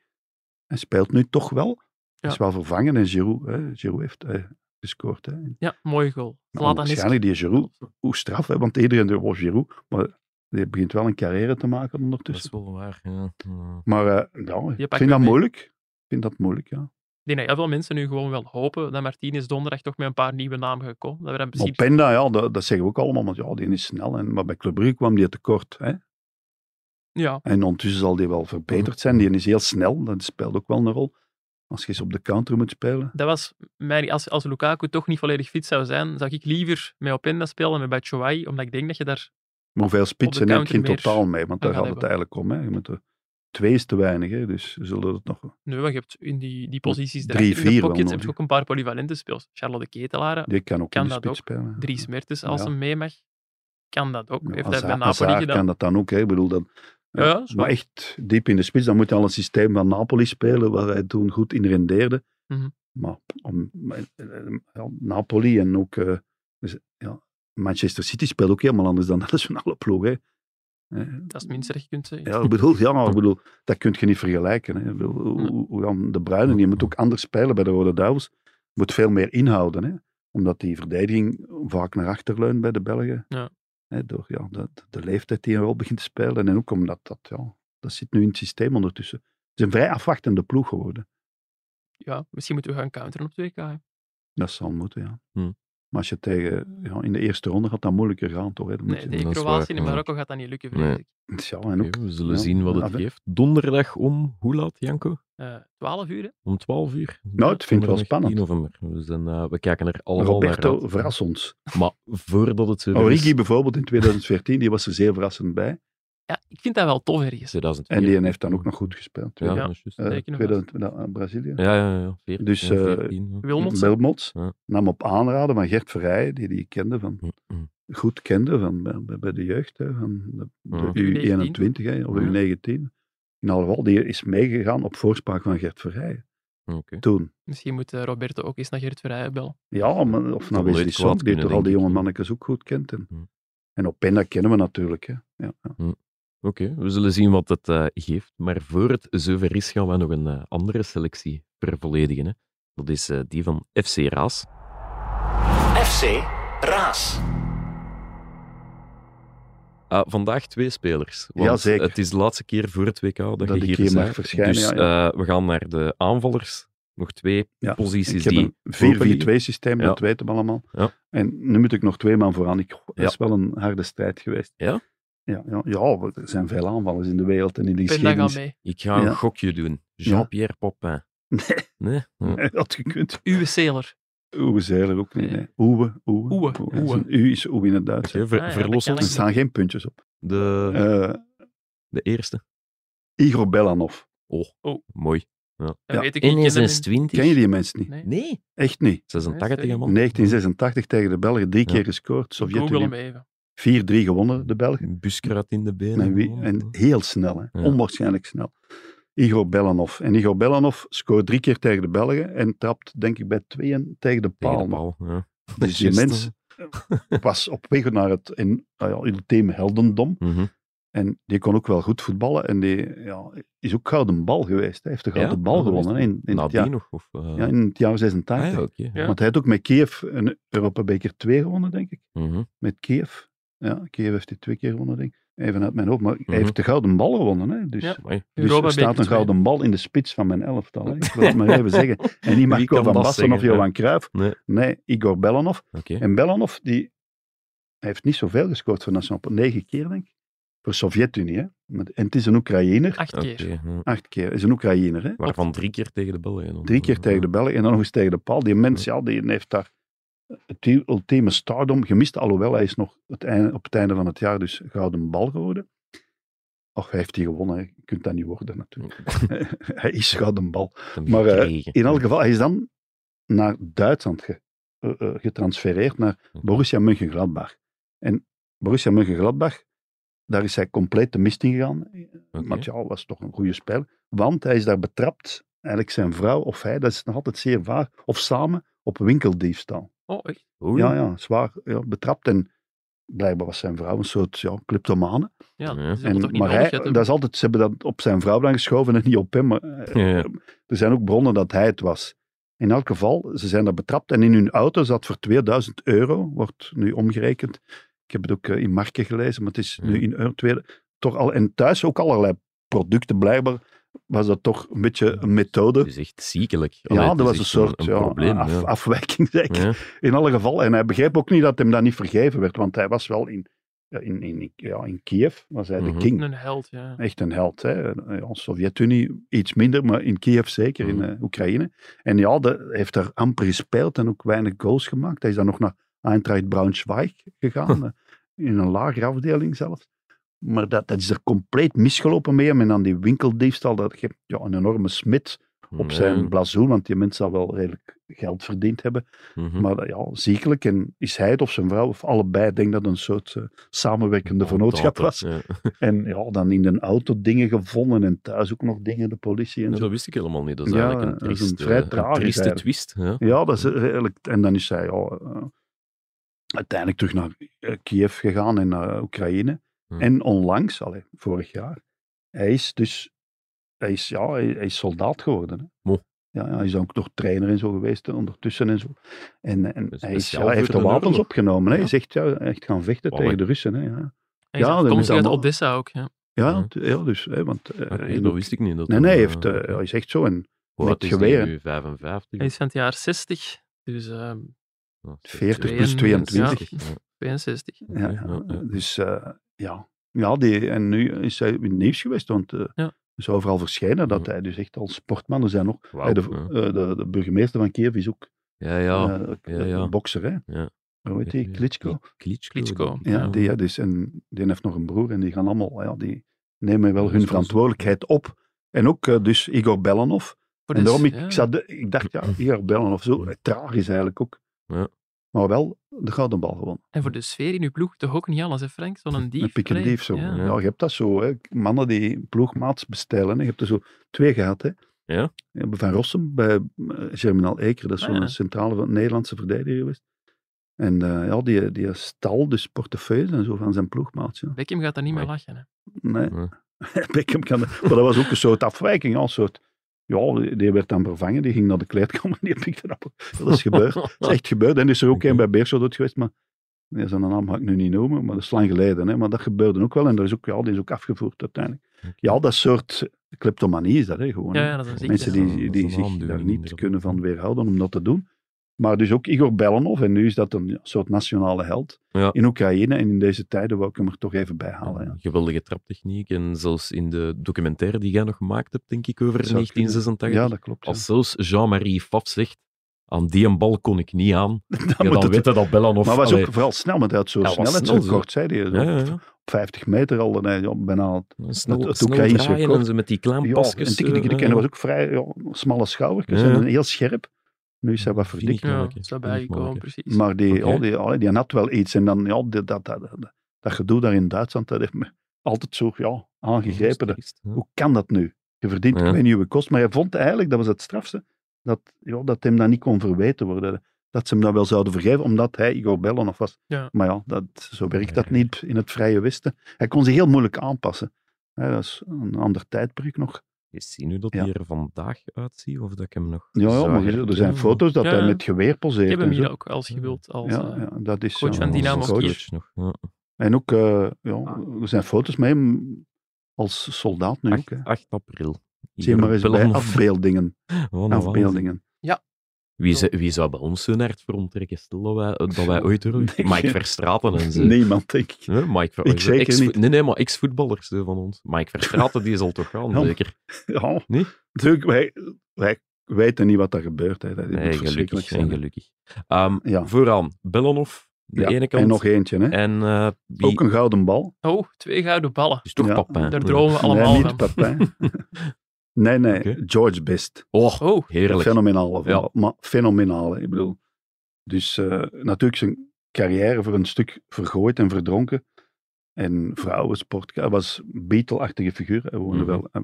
C: Hij speelt nu toch wel.
B: Ja.
C: is wel vervangen en Giroud, hè, Giroud heeft eh, gescoord. Hè.
B: Ja, mooie goal.
C: Maar
B: Zlatan is...
C: waarschijnlijk die Giroud, hoe straf, hè, want iedereen denkt, oh Giroud, maar die begint wel een carrière te maken
A: Dat is
C: ondertussen.
A: wel waar. Ja. Ja.
C: Maar eh, ja, ik
B: pakt
C: vind
B: het
C: dat
B: mee.
C: moeilijk. Ik vind dat moeilijk, ja.
B: Ik denk dat heel veel mensen nu gewoon wel hopen dat Martinez donderdag toch met een paar nieuwe namen gekomen. Dat we dan
C: Maar
B: misschien...
C: Penda, ja, dat, dat zeggen we ook allemaal, want ja, die is snel. En, maar bij Club Brugge kwam die tekort. Hè.
B: Ja,
C: En ondertussen zal die wel verbeterd
B: Mhm.
C: zijn. Die is heel snel, dat speelt ook wel een rol. Als je eens op de counter moet spelen.
B: dat was mijn... Als, als Lukaku toch niet volledig fit zou zijn, zou ik liever met Openda spelen dan met Batshuayi, omdat ik denk dat je daar...
C: Maar hoeveel spitsen heb je
B: counter
C: in
B: meer
C: totaal mee? Want daar
B: gaan
C: gaat het
B: hebben.
C: eigenlijk om. Hè. Je moet er, twee is te weinig, hè. dus we zullen het nog...
B: Nee, maar je hebt in die, die posities...
C: Drie,
B: daarachter, in
C: vier
B: de
C: wel
B: pockets heb je
C: nodig.
B: ook een paar polyvalente speels. Charlotte de Ketelaren,
C: Die kan ook
B: Kan
C: in de
B: dat
C: spits
B: ook.
C: spelen.
B: drie smertes als
C: Ja.
B: hem mee mag. Kan dat ook.
C: Ja,
B: Heeft hij
C: Hazard-
B: bij Napoli
C: Hazard
B: gedaan.
C: kan dat dan ook. Hè. Ik bedoel, dan,
B: Ja, ja, is
C: maar
B: waar.
C: echt diep in de spits, dan moet je al een systeem van Napoli spelen, waar hij toen goed in rendeerde.
B: Mhm.
C: Maar om, maar, eh, eh, ja, Napoli en ook eh, dus, ja, Manchester City speelt ook helemaal anders dan <laughs> de nationale ploeg. Hè. Eh,
B: Dat is het minste dat je kunt zeggen.
C: Ja, ik bedoel, ja, maar ik bedoel, dat kun je niet vergelijken. Hè. Ik bedoel, hoe- hoe- hoe dan de Bruyne, die moet ook anders spelen bij de Rode Duivels. Moet veel meer inhouden, hè. Omdat die verdediging vaak naar achter leunt bij de Belgen.
B: Ja.
C: Hè, door ja, de, de- de leeftijd die een rol begint te spelen. En ook omdat dat, ja, dat zit nu in het systeem ondertussen. Het is een vrij afwachtende ploeg geworden.
B: Ja, misschien moeten we gaan counteren op 2K. hè.
C: Dat zal moeten, ja.
A: Hmm.
C: Maar als je tegen, ja, in de eerste ronde gaat dat moeilijker gaan, toch? Hè? Dan moet
B: Nee,
C: je-
A: dat
B: tegen
A: is
B: Kroatië
A: waar,
B: in
A: ja.
B: Marokko gaat dat niet lukken,
A: Nee.
B: vrees ik.
C: <laughs> Ja, en ook,
A: Oké, we zullen
C: Ja, Ah,
A: zien wat
C: ja,
A: het
C: we-
A: geeft. Donderdag om, hoe laat, Janko?
B: Eh, 12 uur, hè?
A: Om 12 uur.
C: Nou, ik vind het wel
A: Donderdag
C: spannend.
A: 10 november. Dus dan, eh, we kijken er allemaal naar
C: Roberto,
A: uit.
C: verras ons.
A: Maar voordat het zover
C: Oh, Origi
A: Dus is,
C: bijvoorbeeld in 2014, die was er zeer verrassend bij.
B: Ja, ik vind dat wel tof ergens.
A: 2004.
C: En die heeft dan ook nog goed gespeeld.
A: Ja,
B: Ja.
A: dat is juist.
C: Eh,
B: Zeker nog
C: 2020 eh, Brazilië.
A: Ja, ja, ja. 14,
C: Dus,
A: ja,
C: eh,
A: 14, ja.
B: Wilmots, hè?
C: Belmots
A: Ja.
C: nam op aanraden van Gert Verrijen, die die kende van,
A: Mhm.
C: goed kende van, bij- bij, bij de jeugd, hè, van de,
A: Ja.
C: de U21 hè, of
A: Ja.
C: U19. In alle geval, die is meegegaan op voorspraak van Gert Verrijen.
A: Oké.
C: Toen.
B: Misschien moet eh, Roberto ook eens naar Gert Verheijen bellen.
C: Ja, maar, of naar
A: nooit
C: Wesley Son,
A: kwaad
C: die
A: kunnen,
C: toch al die
A: denk ik,
C: jonge
A: ja.
C: mannetjes ook goed kent. En,
A: Ja.
C: en op Penda kennen we natuurlijk. Hè. Ja, ja.
A: Oké, we zullen zien wat het eh, geeft. Maar voor het zover is, gaan we nog een eh, andere selectie vervolledigen. Hè. Dat is eh, die van FC Raas.
E: FC Raas.
A: Ah, vandaag twee spelers. Want
C: Ja, zeker.
A: Het is de laatste keer voor het WK dat,
C: Dat
A: je
C: ik
A: hier
C: hier mag
A: bent.
C: verschijnen,
A: Dus
C: ja,
A: eh, we gaan naar de aanvallers. Nog twee
C: Ja,
A: posities
C: Ik heb
A: die
C: een 4-4-2 systeem,
A: Ja.
C: dat weten we allemaal.
A: Ja.
C: En nu moet ik nog twee man vooraan. Ik, dat
A: Ja.
C: is wel een harde strijd geweest.
A: Ja?
C: Ja, ja, ja, want er zijn veel aanvallers in de wereld en in de
B: Penda gaat
C: geschiedenis.
B: mee.
A: Ik ga een
C: Ja.
A: gokje doen. Jean-Pierre Papin.
C: Nee,
A: Nee? Ja.
C: <laughs> dat had gekund.
B: Uwe Seler.
C: Oewe is eigenlijk ook niet. Nee. Oewe, oewe.
B: Oewe,
C: Dat is
B: oewe.
C: een U is oewe in het Duits.
A: Oké, ver-
B: Ah, ja,
A: verlos
B: dat
C: Er
B: kan
A: ons
B: ik.
C: staan geen puntjes op.
A: de,
C: Eh,
A: de eerste.
C: Igor Belanov.
A: Oh,
B: Oh.
A: mooi.
B: Dat
C: Ja,
B: weet ik
A: En
B: niet. kennen hem-
A: 20.
C: Ken je die mensen niet?
B: Nee.
A: Nee,
C: Echt niet.
A: 86 man.
C: 1986 tegen de Belgen, drie
A: Ja.
C: keer gescoord.
B: Google hem
C: Sovjet-Unie. 4-3
B: even.
C: gewonnen, de Belgen.
A: Buskruid in de benen.
C: En, wie, en heel snel, hè.
A: Ja.
C: onwaarschijnlijk snel. Igor Belanov. En Igor Belanov scoort drie keer tegen de Belgen en trapt, denk ik, bij tweeën tegen de paal.
A: Tegen de paal. Ja.
C: Dus die
A: Juist.
C: mens eh,
A: <laughs>
C: was op weg naar het, in, ah ja, in het team heldendom.
A: Mhm.
C: En die kon ook wel goed voetballen. En die ja, is ook gouden bal geweest. Hij heeft de gouden
A: Ja?
C: bal
A: Oh, dat
C: gewonnen hè, in, in, het
A: Nadien
C: jaar,
A: nog? Of, eh,
C: ja, in het jaar 86.
A: ah, ja, oké.
B: Ja.
C: Want hij heeft ook met Kiev een Europa Beker 2 gewonnen, denk ik.
A: Mhm.
C: Met Kiev. Ja, Kiev heeft die twee keer gewonnen, denk ik. Even uit mijn hoofd. Maar
A: Mhm.
C: hij heeft de gouden bal gewonnen. Hè? Dus
B: Ja.
A: Amai.
C: Dus
B: Europa
C: er staat
B: Beker
C: een
B: twee.
C: gouden bal in de spits van mijn elftal. Hè.
B: <laughs>
C: Ik wil het maar even zeggen. En niet
A: Wie
C: Marco
A: kan
C: van
A: dat
C: Basten of
A: zeggen,
C: Johan Cruijff.
A: Nee.
C: Nee, Igor Belanov.
A: Oké.
C: En Belanov, die hij heeft niet zoveel gescoord voor Nationaal Ploeg. Negen keer, denk ik. Voor Sovjet-Unie, hè. Met- En het is een Oekraïner.
B: Acht
A: Oké,
B: keer.
A: ja.
C: Acht keer. is een Oekraïner, hè.
A: Waarvan drie keer tegen de Belgen. dan.
C: Drie keer tegen de Belgen en dan nog eens tegen de paal. Die mens, ja, die heeft daar het ultieme stardom gemist. Alhoewel, hij is nog het einde, op het einde van het jaar dus gouden bal geworden. Och, hij heeft die gewonnen. hè. Je kunt dat niet worden, natuurlijk. hij is gouden bal.
A: Hem
C: Maar, eh,
A: gekregen.
C: In elk geval, hij is dan naar Duitsland ge- eh, eh, getransfereerd, naar
A: Oké.
C: Borussia Mönchengladbach. En Borussia Mönchengladbach, daar is hij compleet de mist in gegaan.
A: Oké.
C: Want ja, was toch een goede speler. Want hij is daar betrapt, eigenlijk zijn vrouw of hij, dat is nog altijd zeer waar, of samen op winkeldiefstal.
B: Oh, echt?
A: Oei.
C: Ja, ja, zwaar ja, betrapt. En blijkbaar was zijn vrouw een soort ja, kleptomane.
B: Ja,
A: Ja.
B: dat is helemaal
C: En,
B: toch niet
C: maar
B: nodig,
C: hij,
B: hè, Tim?
C: dat is altijd, ze hebben dat op zijn vrouw dan geschoven en niet op hem. Maar, eh,
A: Ja, ja.
C: Er zijn ook bronnen dat hij het was. In elk geval, ze zijn daar betrapt en in hun auto zat voor 2000 euro, wordt nu omgerekend. Ik heb het ook eh, in marken gelezen, maar het is
A: Ja.
C: nu in euro. twee- toch al, en thuis ook allerlei producten, blijkbaar was dat toch een beetje een methode.
A: Het is echt ziekelijk. Allee,
C: ja,
A: het
C: dat
A: is
C: was een
A: echt
C: soort ja,
A: probleem,
C: af-
A: ja.
C: afwijking, zeg ik.
A: Ja.
C: In alle geval, en hij begreep ook niet dat hem dat niet vergeven werd, want hij was wel in, ja, in, in, ja, in Kiev, was hij
A: Mhm.
C: de king.
B: Een held, ja.
C: Echt een held. Hè? Ja, Sovjet-Unie iets minder, maar in Kiev zeker, in
A: Mhm.
C: eh, Oekraïne. En ja, dat heeft daar amper gespeeld en ook weinig goals gemaakt. Hij is dan nog naar Eintracht Braunschweig gegaan, eh, in een lagere afdeling zelfs. Maar dat, dat is er compleet misgelopen mee hem. En dan die winkeldiefstal, dat geeft ja, een enorme smit op zijn blazoen, want die mens zal wel redelijk geld verdiend hebben.
A: Mhm.
C: Maar eh, ja, ziekelijk. En is hij het of zijn vrouw, of allebei, ik denk dat het een soort eh, samenwerkende vernootschap
A: Ontdaten,
C: was.
A: ja.
C: En ja, dan in de auto dingen gevonden en thuis ook nog dingen, de politie en
A: Ja,
C: zo.
A: dat wist ik helemaal niet. Dat is
C: Ja,
A: eigenlijk een
C: dat is
A: trieste,
C: een vrij tragisch
A: trieste
C: eigenlijk.
A: twist. Ja.
C: Ja, dat is redelijk. En dan is hij ja, eh, uiteindelijk terug naar eh, Kiev gegaan en naar Oekraïne.
A: Hmm.
C: En onlangs, allee, vorig jaar, hij is dus, hij is, ja, hij, hij is soldaat geworden. Hè.
A: Mo.
C: Ja, ja, hij is ook nog trainer en zo geweest hè, ondertussen en zo. En, en
A: Dus
C: hij, is, ja,
A: speciaal
C: hij
A: voor
C: heeft de
A: de
C: wapens
A: oorlog.
C: opgenomen. Hè. Hij
A: Ja.
C: is echt, ja, echt gaan vechten
A: Wauw,
C: tegen de Russen. Hè, ja,
B: Hij is
C: Ja, dat
B: afkomstig
C: is allemaal-
B: uit Odessa ook, ja.
C: ja,
A: Ja.
C: t- ja dus, hè, want... eh,
A: Hmm. Oké,
C: in-
A: dat wist ik niet. Dat
C: nee,
A: dat,
C: nee, hij,
A: eh,
C: heeft, eh,
A: oké.
C: hij is echt zo. En
A: Hoe
C: met
A: oud is die
C: geweer.
A: nu? 55?
B: Hij is van het jaar 60, dus eh,
A: Ja,
C: 40
B: plus
C: 22.
A: Ja.
B: 62.
A: Oké,
C: Ja,
A: ja, ja.
C: dus eh, ja. Ja, die, en nu is hij in het nieuws geweest, want eh
B: Ja.
C: is overal verschenen dat
A: Ja.
C: hij dus echt als sportman, er zijn nog,
A: Wauw,
C: hij, de,
A: ja.
C: eh, de, de burgemeester van Kiev is ook
A: Ja, ja.
C: eh,
A: ja, ja.
C: een bokser, hè.
A: Ja.
C: Hoe heet die? Klitschko?
A: Klitschko.
B: Klitschko,
A: denk ik.
C: Ja, Die, ja, dus, en die heeft nog een broer en die gaan allemaal, ja, die nemen wel
A: Ja,
C: hun
A: dus-
C: verantwoordelijkheid op. En ook eh, dus Igor Belanov.
B: Voor
C: En
B: de-
C: daarom, ik,
B: ja.
C: ik, zat, de- ik dacht, ja, Igor Belanov, zo, eh, tragisch eigenlijk ook.
A: Ja.
C: Maar wel de gouden bal gewonnen.
B: En voor de sfeer in uw ploeg, toch ook niet alles, hè Frank? Zo'n dief.
C: Een piek en
B: allee.
C: dief zo. Ja.
B: Ja.
A: Ja.
C: je hebt dat zo. Hè. Mannen die ploegmaats bestellen. Hè. Je hebt er zo twee gehad. Hè.
A: Ja.
C: Je hebt Van Rossum bij eh, Germinal Eker. Dat is
B: Ah,
C: zo'n
B: ja.
C: centrale van- Nederlandse verdediger geweest. En eh, ja, die, die stal dus portefeuilles en zo van zijn ploegmaats. Ja.
B: Beckham gaat daar niet meer
A: Amai.
B: lachen. Hè.
C: Nee. <laughs>
A: Ja.
C: Beckham kan dat. Maar dat was ook een soort afwijking. Als soort, ja, die- die werd dan vervangen. Die ging naar de kleedkamer <laughs> en die pikte dat op. Dat is gebeurd. Dat is echt gebeurd. En is er ook
A: Oké.
C: één bij Beerschot dood geweest, maar ja, zijn naam ga ik nu niet noemen, maar dat is lang geleden. Hè? Maar dat gebeurde ook wel en er is ook, ja, die is ook afgevoerd uiteindelijk. Ja, dat soort kleptomanie is dat hè, gewoon. hè.
B: Ja, ja, dat is een ziekte.
C: Mensen
A: Ja, dat is
C: die, die
A: een
C: zich
A: aandoening,
C: daar niet
A: inderdaad.
C: kunnen van weerhouden om dat te doen. Maar dus ook Igor Belanov, en nu is dat een soort nationale held
A: Ja.
C: in Oekraïne. En in deze tijden wou ik hem er toch even bij halen. Ja.
A: Geweldige traptechniek. En zelfs in de documentaire die jij nog gemaakt hebt, denk ik, over
C: Zou kunnen.
A: 1986.
C: Ja, dat klopt. ja.
A: Als zelfs Jean-Marie Faf zegt, aan die een bal kon ik niet
C: <laughs>
A: aan.
C: Dat
A: Ja,
C: moet
A: dan
C: het-
A: weet hij dat Bellanov.
C: maar was
A: allee,
C: ook vooral snel, want hij had zo'n
A: Ja, was snel,
C: snelheidsrecord, zei hij.
A: ja, ja,
C: Op
A: ja.
C: 50 meter al, en hij, ja, bijna
A: Snel,
C: Het- het
A: snel
C: Oekraïense
A: draaien
C: record.
A: en ze met die klein
C: Ja,
A: pasjes. eh,
C: en tikkie, tikkie, tikkie. En dat was ook vrij ja, smalle schoudertjes
A: Ja,
C: en
A: ja.
C: een heel scherp. Nu is hij wat verdikt.
B: Ja,
A: Manneke.
B: dat is daarbij
A: Manneke.
B: gekomen, precies.
C: Maar die,
A: Oké.
C: ja, die, ja, die had wel iets. En dan, ja, die- dat, dat, dat, dat gedoe daar in Duitsland, dat heeft me altijd zo ja, aangegrepen. Dat- Hoe kan dat nu? Je verdient
A: Hm. Ja.
C: geen nieuwe kost. Maar hij vond eigenlijk, dat was het strafste, dat, ja, dat hem dat niet kon verweten worden. Dat ze hem dat wel zouden vergeven, omdat hij Igor Bellanov was.
B: Ja.
C: Maar ja, dat, zo werkt dat niet in het vrije Westen. Hij kon zich heel moeilijk aanpassen. Ja, dat is een ander tijdperk nog.
A: Je ziet nu dat
C: Ja.
A: hij er vandaag uitziet, of dat ik hem nog
C: Ja, ja
A: zou
C: maar je- er
A: herkennen,
C: zijn
A: maar-
C: foto's dat
B: Ja,
C: hij
B: ja.
C: met geweer
B: Ik
C: poseert.
B: heb hem
C: en eh, zo.
B: hier ook, als je wilt. Als,
C: ja,
B: eh,
C: ja, dat is
B: coach
C: ja,
B: van
A: Ja,
B: Dynamo
A: als
C: coach.
B: Kiev. Ah.
A: coach nog. Ja.
C: En ook, eh, ja, er zijn foto's met hem als soldaat nu. ook, hè.
A: 8, 8 april.
C: Zie je maar eens bij
A: Bellanov. <laughs>
C: afbeeldingen.
A: Oh, Wat een waanzin.
C: afbeeldingen.
A: Wie, zou- wie zou bij ons hun hart voor omtrekken? Stel dat wij, dat wij ooit
C: <laughs>
A: doen.
C: Nee.
A: Mike Verstraten en zo.
C: Niemand, denk ik.
A: Hè, Mike Ver-
C: Ik zeker
A: ex-
C: niet.
A: Nee, nee, maar ex-voetballers hè, van ons. Mike Verstraten, die zal toch gaan,
C: Ja, maar-
A: zeker?
C: <laughs> Ja.
A: Nee?
C: Natuurlijk, wij, wij weten niet wat er gebeurt. Hè. Dat moet
A: Nee,
C: verschrikkelijk
A: gelukkig.
C: zijn.
A: En gelukkig. Ehm,
C: Ja.
A: Vooraan, Bellanov, de
C: Ja,
A: ene kant.
C: En nog eentje, hè.
A: En eh, wie...
C: Ook een gouden bal.
B: Oh, twee gouden ballen.
A: is toch
C: Ja.
A: Papin.
B: Daar dromen we allemaal
C: Nee, niet
B: van.
A: <laughs>
C: Papin. nee, nee,
A: Oké.
C: George Best.
A: Oh,
B: Oh,
A: heerlijk.
C: Fenomenale.
A: Ja.
C: vrouw. Maar fenomenale, ik bedoel. Dus eh, natuurlijk zijn carrière voor een stuk vergooid en verdronken. En vrouwensport. Hij was Beatle-achtige figuur. Hij, woonde
A: Mhm.
C: wel, eh,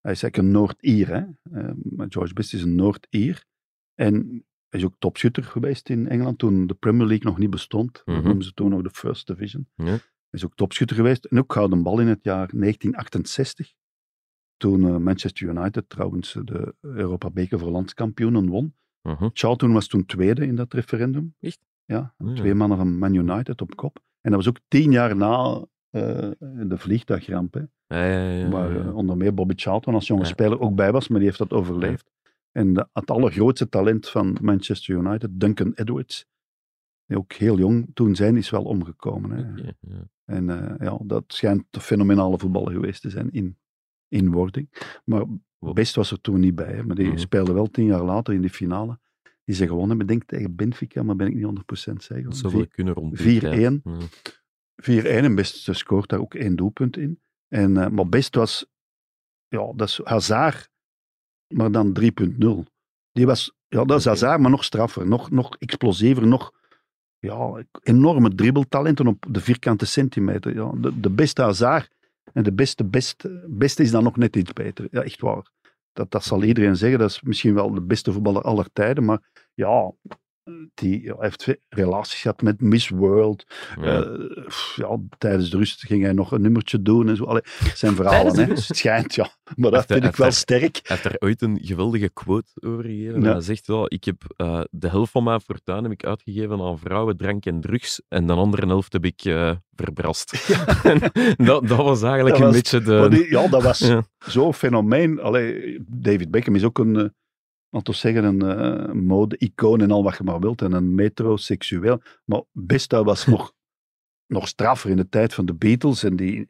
C: hij is eigenlijk een Noord-Ier. hè. Eh, maar George Best is een Noord-Ier. En Hij is ook topschutter geweest in Engeland toen de Premier League nog niet bestond. Dat
A: Mhm.
C: noemden ze toen nog de First Division.
A: Ja.
C: Hij is ook topschutter geweest en ook gouden bal in het jaar 1968. Toen eh, Manchester United trouwens eh, de Europa Beker voor landskampioenen won.
A: Mhm.
C: Charlton was toen tweede in dat referendum.
A: Echt? Oh
C: Ja,
A: Ja.
C: twee mannen van Man United op kop. En dat was ook tien jaar na eh, de vliegtuigramp. Hè,
A: Ja, ja, ja, ja,
C: Waar
A: ja.
C: eh, onder meer Bobby Charlton als jonge
A: Ja.
C: speler ook bij was, maar die heeft dat overleefd. En de- het allergrootste talent van Manchester United, Duncan Edwards, die ook heel jong toen zijn, is wel omgekomen. Hè.
A: Oké, ja.
C: En eh, ja, dat schijnt een fenomenale voetballer geweest te zijn in, in wording. Maar Best was er toen niet bij, hè, maar die
A: Mhm.
C: speelde wel tien jaar later in de finale. Die ze gewonnen hebben, denk ik, tegen Benfica, maar ben ik niet 100%
A: Dat
C: zeker.
A: zou wel kunnen rond die
C: 4-1.
A: tijd. Mm. Ja.
C: 4-1 en Best scoort daar ook één doelpunt in. En, eh, maar Best was, ja, dat is Hazard, maar dan 3.0. Die was, ja, dat is
A: Oké.
C: Hazard, maar nog straffer, nog, nog explosiever, nog ja, enorme dribbeltalenten op de vierkante centimeter. Ja, de, de beste Hazard en de beste, beste, beste is dan nog net iets beter. Ja, echt waar. Dat, dat zal iedereen zeggen, dat is misschien wel de beste voetballer aller tijden, maar ja, die ja, heeft relaties gehad met Miss World,
A: Ja.
C: eh, pff, ja, tijdens de rust ging hij nog een nummertje doen en zo. Allee, het zijn verhalen,
B: Tijdens
C: hè.
B: de rust?
C: Het schijnt, ja. Maar dat
A: Echter,
C: vind ik wel
A: echter.
C: sterk.
A: Hij heeft daar ooit een geweldige quote over gegeven.
C: Ja.
A: Hij zegt wel, ik heb eh, de helft van mijn fortuin heb ik uitgegeven aan vrouwen, drank en drugs. En de andere helft heb ik eh,
C: <laughs>
A: verbrast. En dat, dat was eigenlijk
C: Dat
A: een
C: was-
A: beetje de...
C: Maar die- ja, dat
A: <laughs>
C: was
A: Ja.
C: zo'n fenomeen. Allee, David Beckham is ook een, eh, laten we zeggen, een eh, mode-icoon en al wat je maar wilt. En een metroseksueel. Maar Besta was nog, nog straffer in de tijd van de Beatles. En die
A: Ja,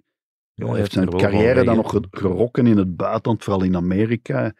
C: ja,
A: hij
C: heeft
A: er
C: zijn
A: wel van
C: carrière dan
A: wegge-
C: nog ge- gerokken in het buitenland, vooral in Amerika.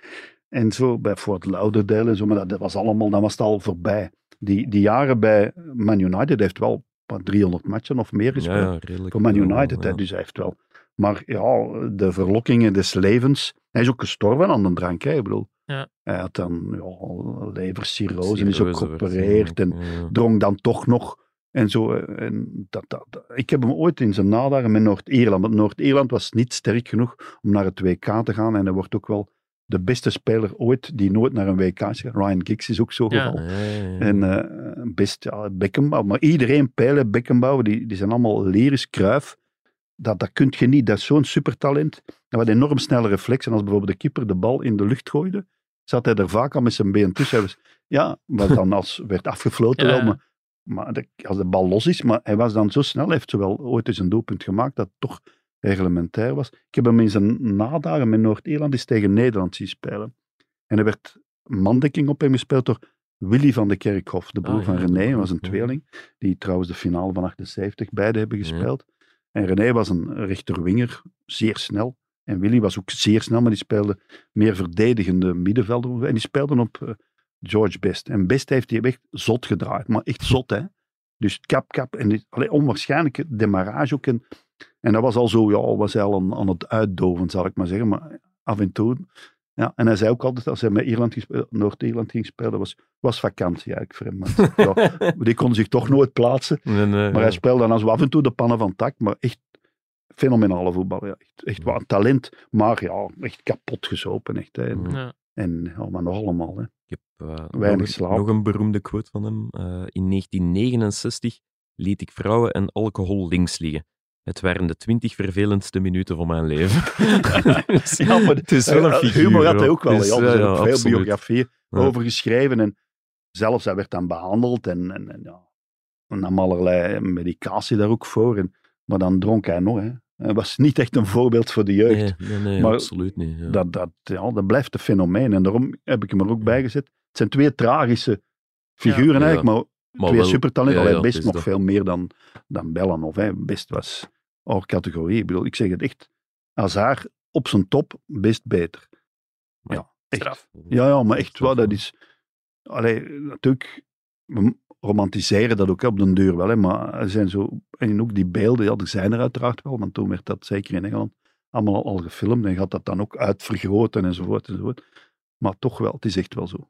C: En zo, bij Fort Lauderdale en zo. Maar dat, dat was allemaal, dan was het al voorbij. Die, die jaren bij Man United heeft wel wat 300 matchen of meer
A: Ja,
C: gespeeld
A: ja, redelijk.
C: voor Man
A: veel,
C: dus United. hè,
A: ja.
C: Dus hij heeft wel. Maar ja, de verlokkingen des levens. Hij is ook gestorven aan de drank, hè, ik bedoel.
B: Ja.
C: Hij had dan ja, levercirrose en is ook
A: Cirrhose werd,
C: geopereerd en
A: ja.
C: drong dan toch nog. En zo, eh, en dat, dat, dat. Ik heb hem ooit in zijn nadagen met Noord-Ierland. Want Noord-Ierland was niet sterk genoeg om naar het WK te gaan. En hij wordt ook wel de beste speler ooit die nooit naar een WK is gegaan. Ryan Giggs is ook zo'n
B: Ja.
C: geval.
A: Ja, ja, ja.
C: En eh, best, ja, Beckenbauer. Maar iedereen, Pijlen, Beckenbauer, die, die zijn allemaal leris, kruif. Dat, dat kun je niet. Dat is zo'n supertalent. Hij had enorm snelle reflexen. Als bijvoorbeeld de keeper de bal in de lucht gooide, zat hij er vaak al met zijn been tussen. Hij was- ja, wat dan als werd afgefloten
B: Ja,
C: wel,
B: ja.
C: maar, maar de- als de bal los is. Maar hij was dan zo snel, hij heeft zowel ooit eens een doelpunt gemaakt, dat het toch reglementair was. Ik heb hem in zijn nadagen met Noord-Ierland eens tegen Nederland zien spelen. En er werd mandekking op hem gespeeld door Willy van de Kerkhof, de broer
A: Ah, ja,
C: van
A: dat
C: René,
A: weet
C: hij
A: ik,
C: was een
A: ja.
C: tweeling, die trouwens de finale van 78 beide hebben
A: Ja.
C: gespeeld. En René was een rechterwinger, zeer snel. En Willy was ook zeer snel, maar die speelde meer verdedigende middenvelder. En die speelden op eh, George Best. En Best heeft die echt zot gedraaid, maar echt zot, hè. Dus kap, kap. En dit, allee, onwaarschijnlijke demarrage ook. En, en dat was al zo, ja, was hij al aan, aan het uitdoven, zal ik maar zeggen. Maar af en toe. Ja, en hij zei ook altijd, als hij met Ierland gespe- Noord-Ierland ging spelen, dat was, was vakantie eigenlijk voor hem. Want, ja, die kon zich toch nooit plaatsen.
A: Nee, nee,
C: Maar
A: ja.
C: hij speelde dan zo af en toe de pannen van tak. Maar echt fenomenale voetballer. Ja. Echt, echt wat een talent. Maar ja, echt kapot gezopen. Echt, hè. En,
A: Ja.
B: Ja.
C: en ja, maar nog allemaal.
A: <laughs>
C: Hè.
A: Ik heb eh,
C: Weinig
A: nog,
C: slaap.
A: nog een beroemde quote van hem. Eh, in 1969 liet ik vrouwen en alcohol links liggen. Het waren de twintig vervelendste minuten van mijn
C: <laughs>
A: leven. Dus
C: Ja, maar
A: het is
C: Eh,
A: wel een
C: eh,
A: figuur.
C: Humor had hij
A: hoor.
C: ook wel.
A: Dus,
C: ja, er
A: ja,
C: zijn
A: ja,
C: ook veel
A: absoluut.
C: biografieën
A: Ja.
C: over geschreven. En zelfs hij werd dan behandeld en, en, en ja, en nam allerlei medicatie daar ook voor. En, maar dan dronk hij nog. Hè. Hij was niet echt een voorbeeld voor de jeugd.
A: Nee, nee, nee,
C: Maar
A: absoluut niet. Ja.
C: Dat, dat, ja, dat blijft een fenomeen. En daarom heb ik hem er ook bij gezet. Het zijn twee tragische figuren
A: Ja.
C: eigenlijk, maar,
A: Maar
C: twee
A: wel- ja,
C: supertalenten. Allee,
A: ja,
C: best
A: het is
C: nog
A: dat.
C: veel meer dan, dan Bellanov. Hè. Best was hors categorie. Ik bedoel, ik zeg het echt. Hazard op zijn top, best beter.
A: Maar
C: ja, echt.
B: straf.
C: Ja, ja, maar echt
A: wel
C: wel, dat is... Allee, natuurlijk, we romantiseren dat ook hè, op den duur wel, hè, maar er zijn zo... En ook die beelden, ja, die zijn er uiteraard wel, want toen werd dat, zeker in Engeland, allemaal al, al gefilmd en gaat dat dan ook uitvergroten enzovoort enzovoort. Maar toch wel, het is echt wel zo.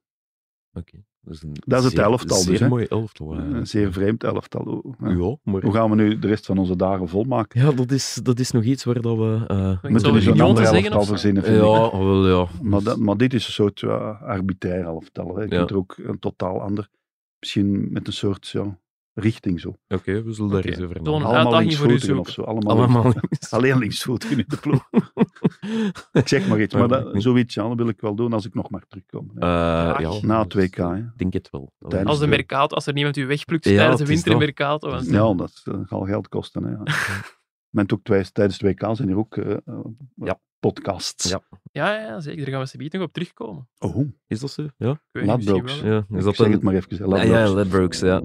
A: Oké, is, een
C: Dat is het
A: zeer-
C: elftal dus,
A: zeer
C: hè?
A: mooi elftal. eh.
C: Een zeer vreemd elftal. Ja.
A: Ja, maar...
C: Hoe gaan we nu de rest van onze dagen volmaken?
A: Ja, dat is, dat is nog iets waar dat we... eh,
C: We moeten
B: zou
C: dus
B: er
C: een
B: niet
C: ander
B: te zeggen
C: elftal
B: of zo?
C: verzinnen, vind ik.
A: Ja, wel ja.
C: Maar, dat, maar dit is een soort ja, arbitrair elftal. Hè. Je
A: Ja.
C: kunt er ook een totaal ander... Misschien met een soort ja, richting zo.
A: Oké, we zullen daar
C: Oké.
A: eens over
B: Een
A: nadenken.
C: Allemaal
B: uitdaging voor u
C: linksvoetigen of
B: zoeken.
C: zo. Allemaal,
A: Allemaal
C: Alleen linksvoetigen in de
A: <laughs>
C: ploeg. Ik zeg maar iets. Maar dat, zoiets ja, dat wil ik wel doen als ik nog mag terugkomen. hè.
A: Eh, ja,
C: Na
A: dus
C: 2K. Hè.
A: Ik denk het wel.
C: Tijdens
B: Als de
C: Ja.
B: Mercato, als er niemand u wegplukt
A: Dus, eh, Ja,
B: tijdens de
A: het is
B: winter in
A: dat.
B: Mercato. want-
C: Ja, dat eh, gaat geld kosten. Hè.
A: <laughs>
C: Men ook twijf- tijdens de WK zijn hier ook eh, eh,
A: Ja.
C: podcasts.
A: Ja.
B: Ja, ja, ja, zeker. Daar gaan we ze nog op terugkomen.
C: Oh, ik
A: Is dat zo? Ja.
B: Ik weet niet, misschien
C: Ladbrokes.
B: wel.
A: ja. Is dat
C: zeg
A: een...
C: het maar even. hè. Laat
A: Ah, ja,
C: maar.
A: Ledbrokes, ja.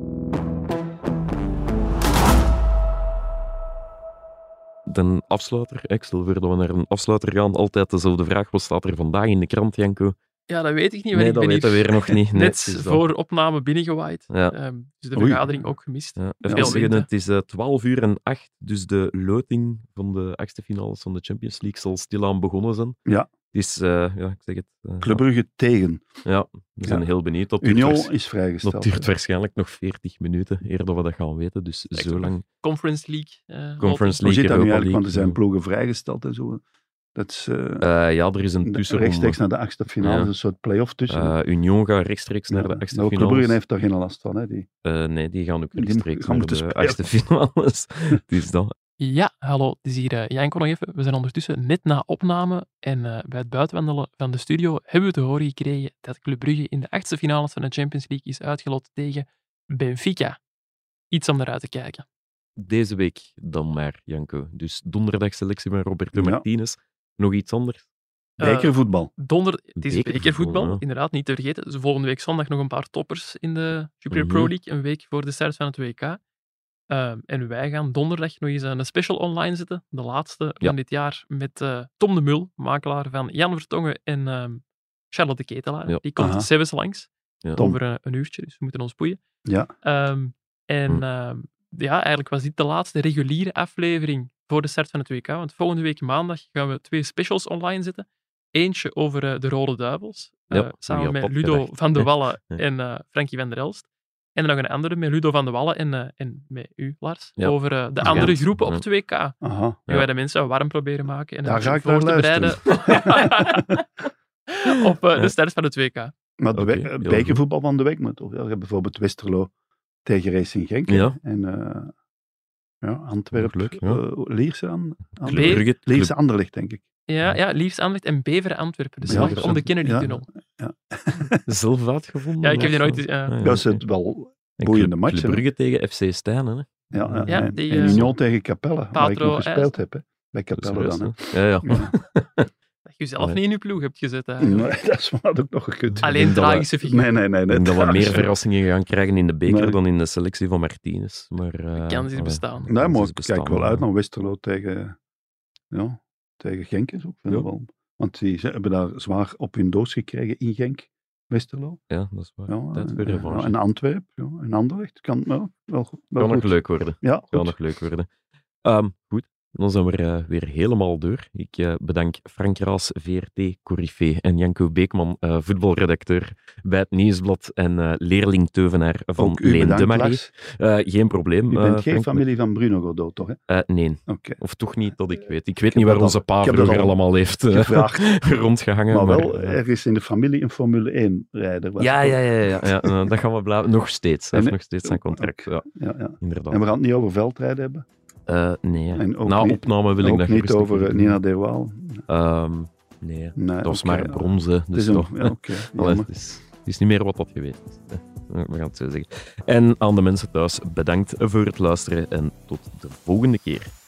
A: De afsluiter, hè, ik stel voor dat we naar een afsluiter gaan. Altijd dezelfde vraag. Wat staat er vandaag in de krant, Janko?
B: Ja, dat weet ik niet. want
A: Nee,
B: ik
A: dat
B: ben
A: weten we
B: hier
A: weer nog
B: <laughs>
A: niet. Nee,
B: net
A: het is dat.
B: voor opname binnengewaaid.
A: Ja.
B: Ehm, dus de
C: Oei.
B: vergadering ook gemist.
A: Ja,
C: Ja,
A: even
B: veel
A: zeggen,
B: wind, hè.
A: het is eh, 12 uur en 8, dus de loting van de achtste finales van de Champions League zal stilaan begonnen zijn.
C: Ja.
A: Het is, eh, ja, ik zeg het. eh,
C: Club Brugge tegen.
A: Ja, we zijn
C: Ja.
A: heel benieuwd. Dat duurt, waars-
C: Union is
A: dat
C: vrijgesteld.
A: duurt waarschijnlijk nog 40 minuten eer dat we dat gaan weten, dus
B: Echt
A: zo
B: ook
A: lang.
B: Conference League. eh,
A: Conference League,
C: Hoe zit dat nu
A: Europa
C: eigenlijk? Want er zijn
A: League.
C: ploegen vrijgesteld en zo. Dat is eh,
A: Eh, ja, er is een tussenronde.
C: rechtstreeks naar de achtste finale.
A: Ja.
C: dus Een soort play-off tussen.
A: Eh, Union gaat rechtstreeks
C: Ja,
A: naar de
C: maar
A: achtste
C: Club
A: finales.
C: Brugge heeft daar geen last van. Hè, die.
A: Eh, nee, die gaan ook
C: Die
A: rechtstreeks
C: gaan
A: naar
C: moeten
A: de Dus
C: spelen.
A: achtste <laughs> finales. het is dat.
B: Ja, hallo, het is hier eh, Janko nog even. We zijn ondertussen net na opname en eh, bij het buitenwandelen van de studio hebben we te horen gekregen dat Club Brugge in de achtste finales van de Champions League is uitgelot tegen Benfica. Iets om naar uit te kijken.
A: Deze week dan maar, Janko. Dus donderdag selectie van Roberto
C: Ja.
A: Martinez. Nog iets anders?
B: Eh,
C: Bekervoetbal.
B: Donder, het is
A: Bekervoetbal,
B: bekervoetbal,
A: ja.
B: inderdaad, niet te vergeten. Dus volgende week zondag nog een paar toppers in de Jupiler Pro
A: Mhm.
B: League, een week voor de start van het WK. Ehm, en wij gaan donderdag nog eens een special online zetten, de laatste
A: Ja.
B: van dit jaar, met eh, Tom de Mul, makelaar van Jan Vertongen en ehm, Charlotte Ketelaar.
A: Ja.
B: Die komt
C: Aha.
B: zelfs langs,
A: Ja.
C: Tom.
B: over een, een uurtje, dus we moeten ons boeien.
C: Ja.
B: Ehm, en
A: Hm.
B: ehm, ja, eigenlijk was dit de laatste reguliere aflevering voor de start van het WK. Want volgende week maandag gaan we twee specials online zetten. Eentje over eh, de Rode Duivels, eh,
A: Ja,
B: samen
A: wie had
B: met
A: dat
B: Ludo
A: gedacht,
B: van de
A: hè?
B: Wallen
A: Ja.
B: en eh, Frankie van der Elst. En dan nog een andere met Ludo van de Wallen en, eh, en met u, Lars,
A: Ja.
B: over eh, de
A: Ja.
B: andere groepen op
A: Ja.
B: het WK. En
C: Aha.
A: Ja.
B: wij de mensen warm proberen maken en
C: Daar
B: een
C: ga ik
B: beetje
C: naar
B: voor te
C: <laughs>
B: bereiden <laughs> op eh,
A: Ja.
B: de start van het WK.
C: Maar
A: Oké,
C: het be-
A: heel
C: het
A: goed.
C: bekervoetbal van de week moet toch? Ja, je hebt bijvoorbeeld Westerlo tegen Racing Genk. hè.
A: Ja.
C: En eh, ja, Antwerpen.
A: Leuk,
C: Leuk,
A: ja.
C: Lierse, aan, aan,
A: Club Brugge- Club-
C: Lierse Anderlecht, denk ik.
B: Ja, ja, liefst Anderlecht en Beveren Antwerpen. Dus
A: Ja,
B: slag
A: dat
B: om de
C: is-
B: Kennedy-tunnel.
A: zelf uitgevonden.
B: Ja, ik heb die
A: of
B: nooit...
A: zo?
B: eh, ja.
A: Ah,
C: Dat is
A: oké.
C: het wel.
A: En
C: boeiende
A: Club-
C: match,
A: Club
C: hè.
A: Brugge tegen FC Stijn, hè?
C: Ja,
A: Ja,
C: en, en
B: die, eh,
C: Union tegen Capelle, waar ik
B: Patro
C: nog gespeeld heb. Hè. Bij
A: Dat is
C: Capelle dan. Hè.
A: juist, hè. Ja,
C: <laughs>
A: ja.
C: Ja.
B: Dat je zelf
A: Nee.
B: niet in je ploeg hebt gezet. eigenlijk.
C: Nee, <laughs> dat is wat ook nog gekund.
A: Ah,
B: Alleen
A: Ik denk dat we-
B: tragische figuur.
C: Nee, nee, nee.
A: Ik
C: nee
A: denk dat we
C: dat is-
A: meer verrassingen gaan krijgen in de beker
C: Nee.
A: dan in de selectie van Martinez. Maar, eh,
B: De kans is
A: allee,
B: bestaan.
A: de
C: Nee,
A: kans
C: maar
A: is
C: ik
A: bestaan,
C: kijk wel uit
A: ja.
C: naar Westerlo tegen, ja, tegen Genk. Is ook
A: Ja.
C: wel. Want die ze hebben daar zwaar op hun doos gekregen in Genk, Westerlo.
A: Ja, dat is waar.
C: Ja,
A: Tijd
C: en,
A: voor revanche.
C: ja, en Antwerp, ja, en Anderlecht. Kan ja, wel, goed- wel
A: Kan nog
C: goed.
A: leuk worden.
C: Ja, goed.
A: Kan nog leuk worden. Ehm, goed, dan zijn we er eh, weer helemaal door. Ik eh, bedank Frank Raas, VRT, Corifee en Janko Beekman, eh, voetbalredacteur bij het Nieuwsblad en eh, leerling Teuvenaar van
C: Ook u
A: Leen
C: bedankt,
A: de Marie.
C: Lars.
A: Eh, geen probleem.
C: U
A: eh,
C: bent geen
A: Frank.
C: familie van Bruno
A: <laughs>
C: Godot, toch? Hè?
A: Eh, nee.
C: Oké.
A: Of toch niet dat ik weet. Ik weet
C: heb
A: niet waar
C: dat al-
A: onze pa
C: Eh, ik heb dat
A: vroeger
C: al
A: allemaal heeft eh,
C: Gevraagd.
A: <laughs> rondgehangen.
C: maar wel,
A: eh,
C: er is in de familie een Formule 1-rijder.
A: ja, ja, ja,
C: <laughs>
A: ja. ja eh, dat gaan we blijven. Nog steeds. Hij
C: En-
A: heeft nog steeds zijn contract. Ja,
C: ja, ja.
A: inderdaad.
C: En we gaan het niet over veldrijden hebben.
A: Eh, nee. ja.
C: En ook
A: Na
C: niet-
A: opname wil ik
C: Ook
A: dat
C: niet
A: gerust
C: over eh,
A: doen.
C: Nina Derwaal.
A: Ehm, nee.
C: Nee,
A: Dat was
C: oké,
A: maar
C: ja.
A: bronzen.
C: Het is
A: Dus
C: een-
A: toch.
C: ja,
A: <laughs>
C: oké,
A: Allee,
C: jammer.
A: het, is, het is niet meer wat dat geweest is. hè. <laughs> We gaan het zo zeggen. En aan de mensen thuis, bedankt voor het luisteren en tot de volgende keer.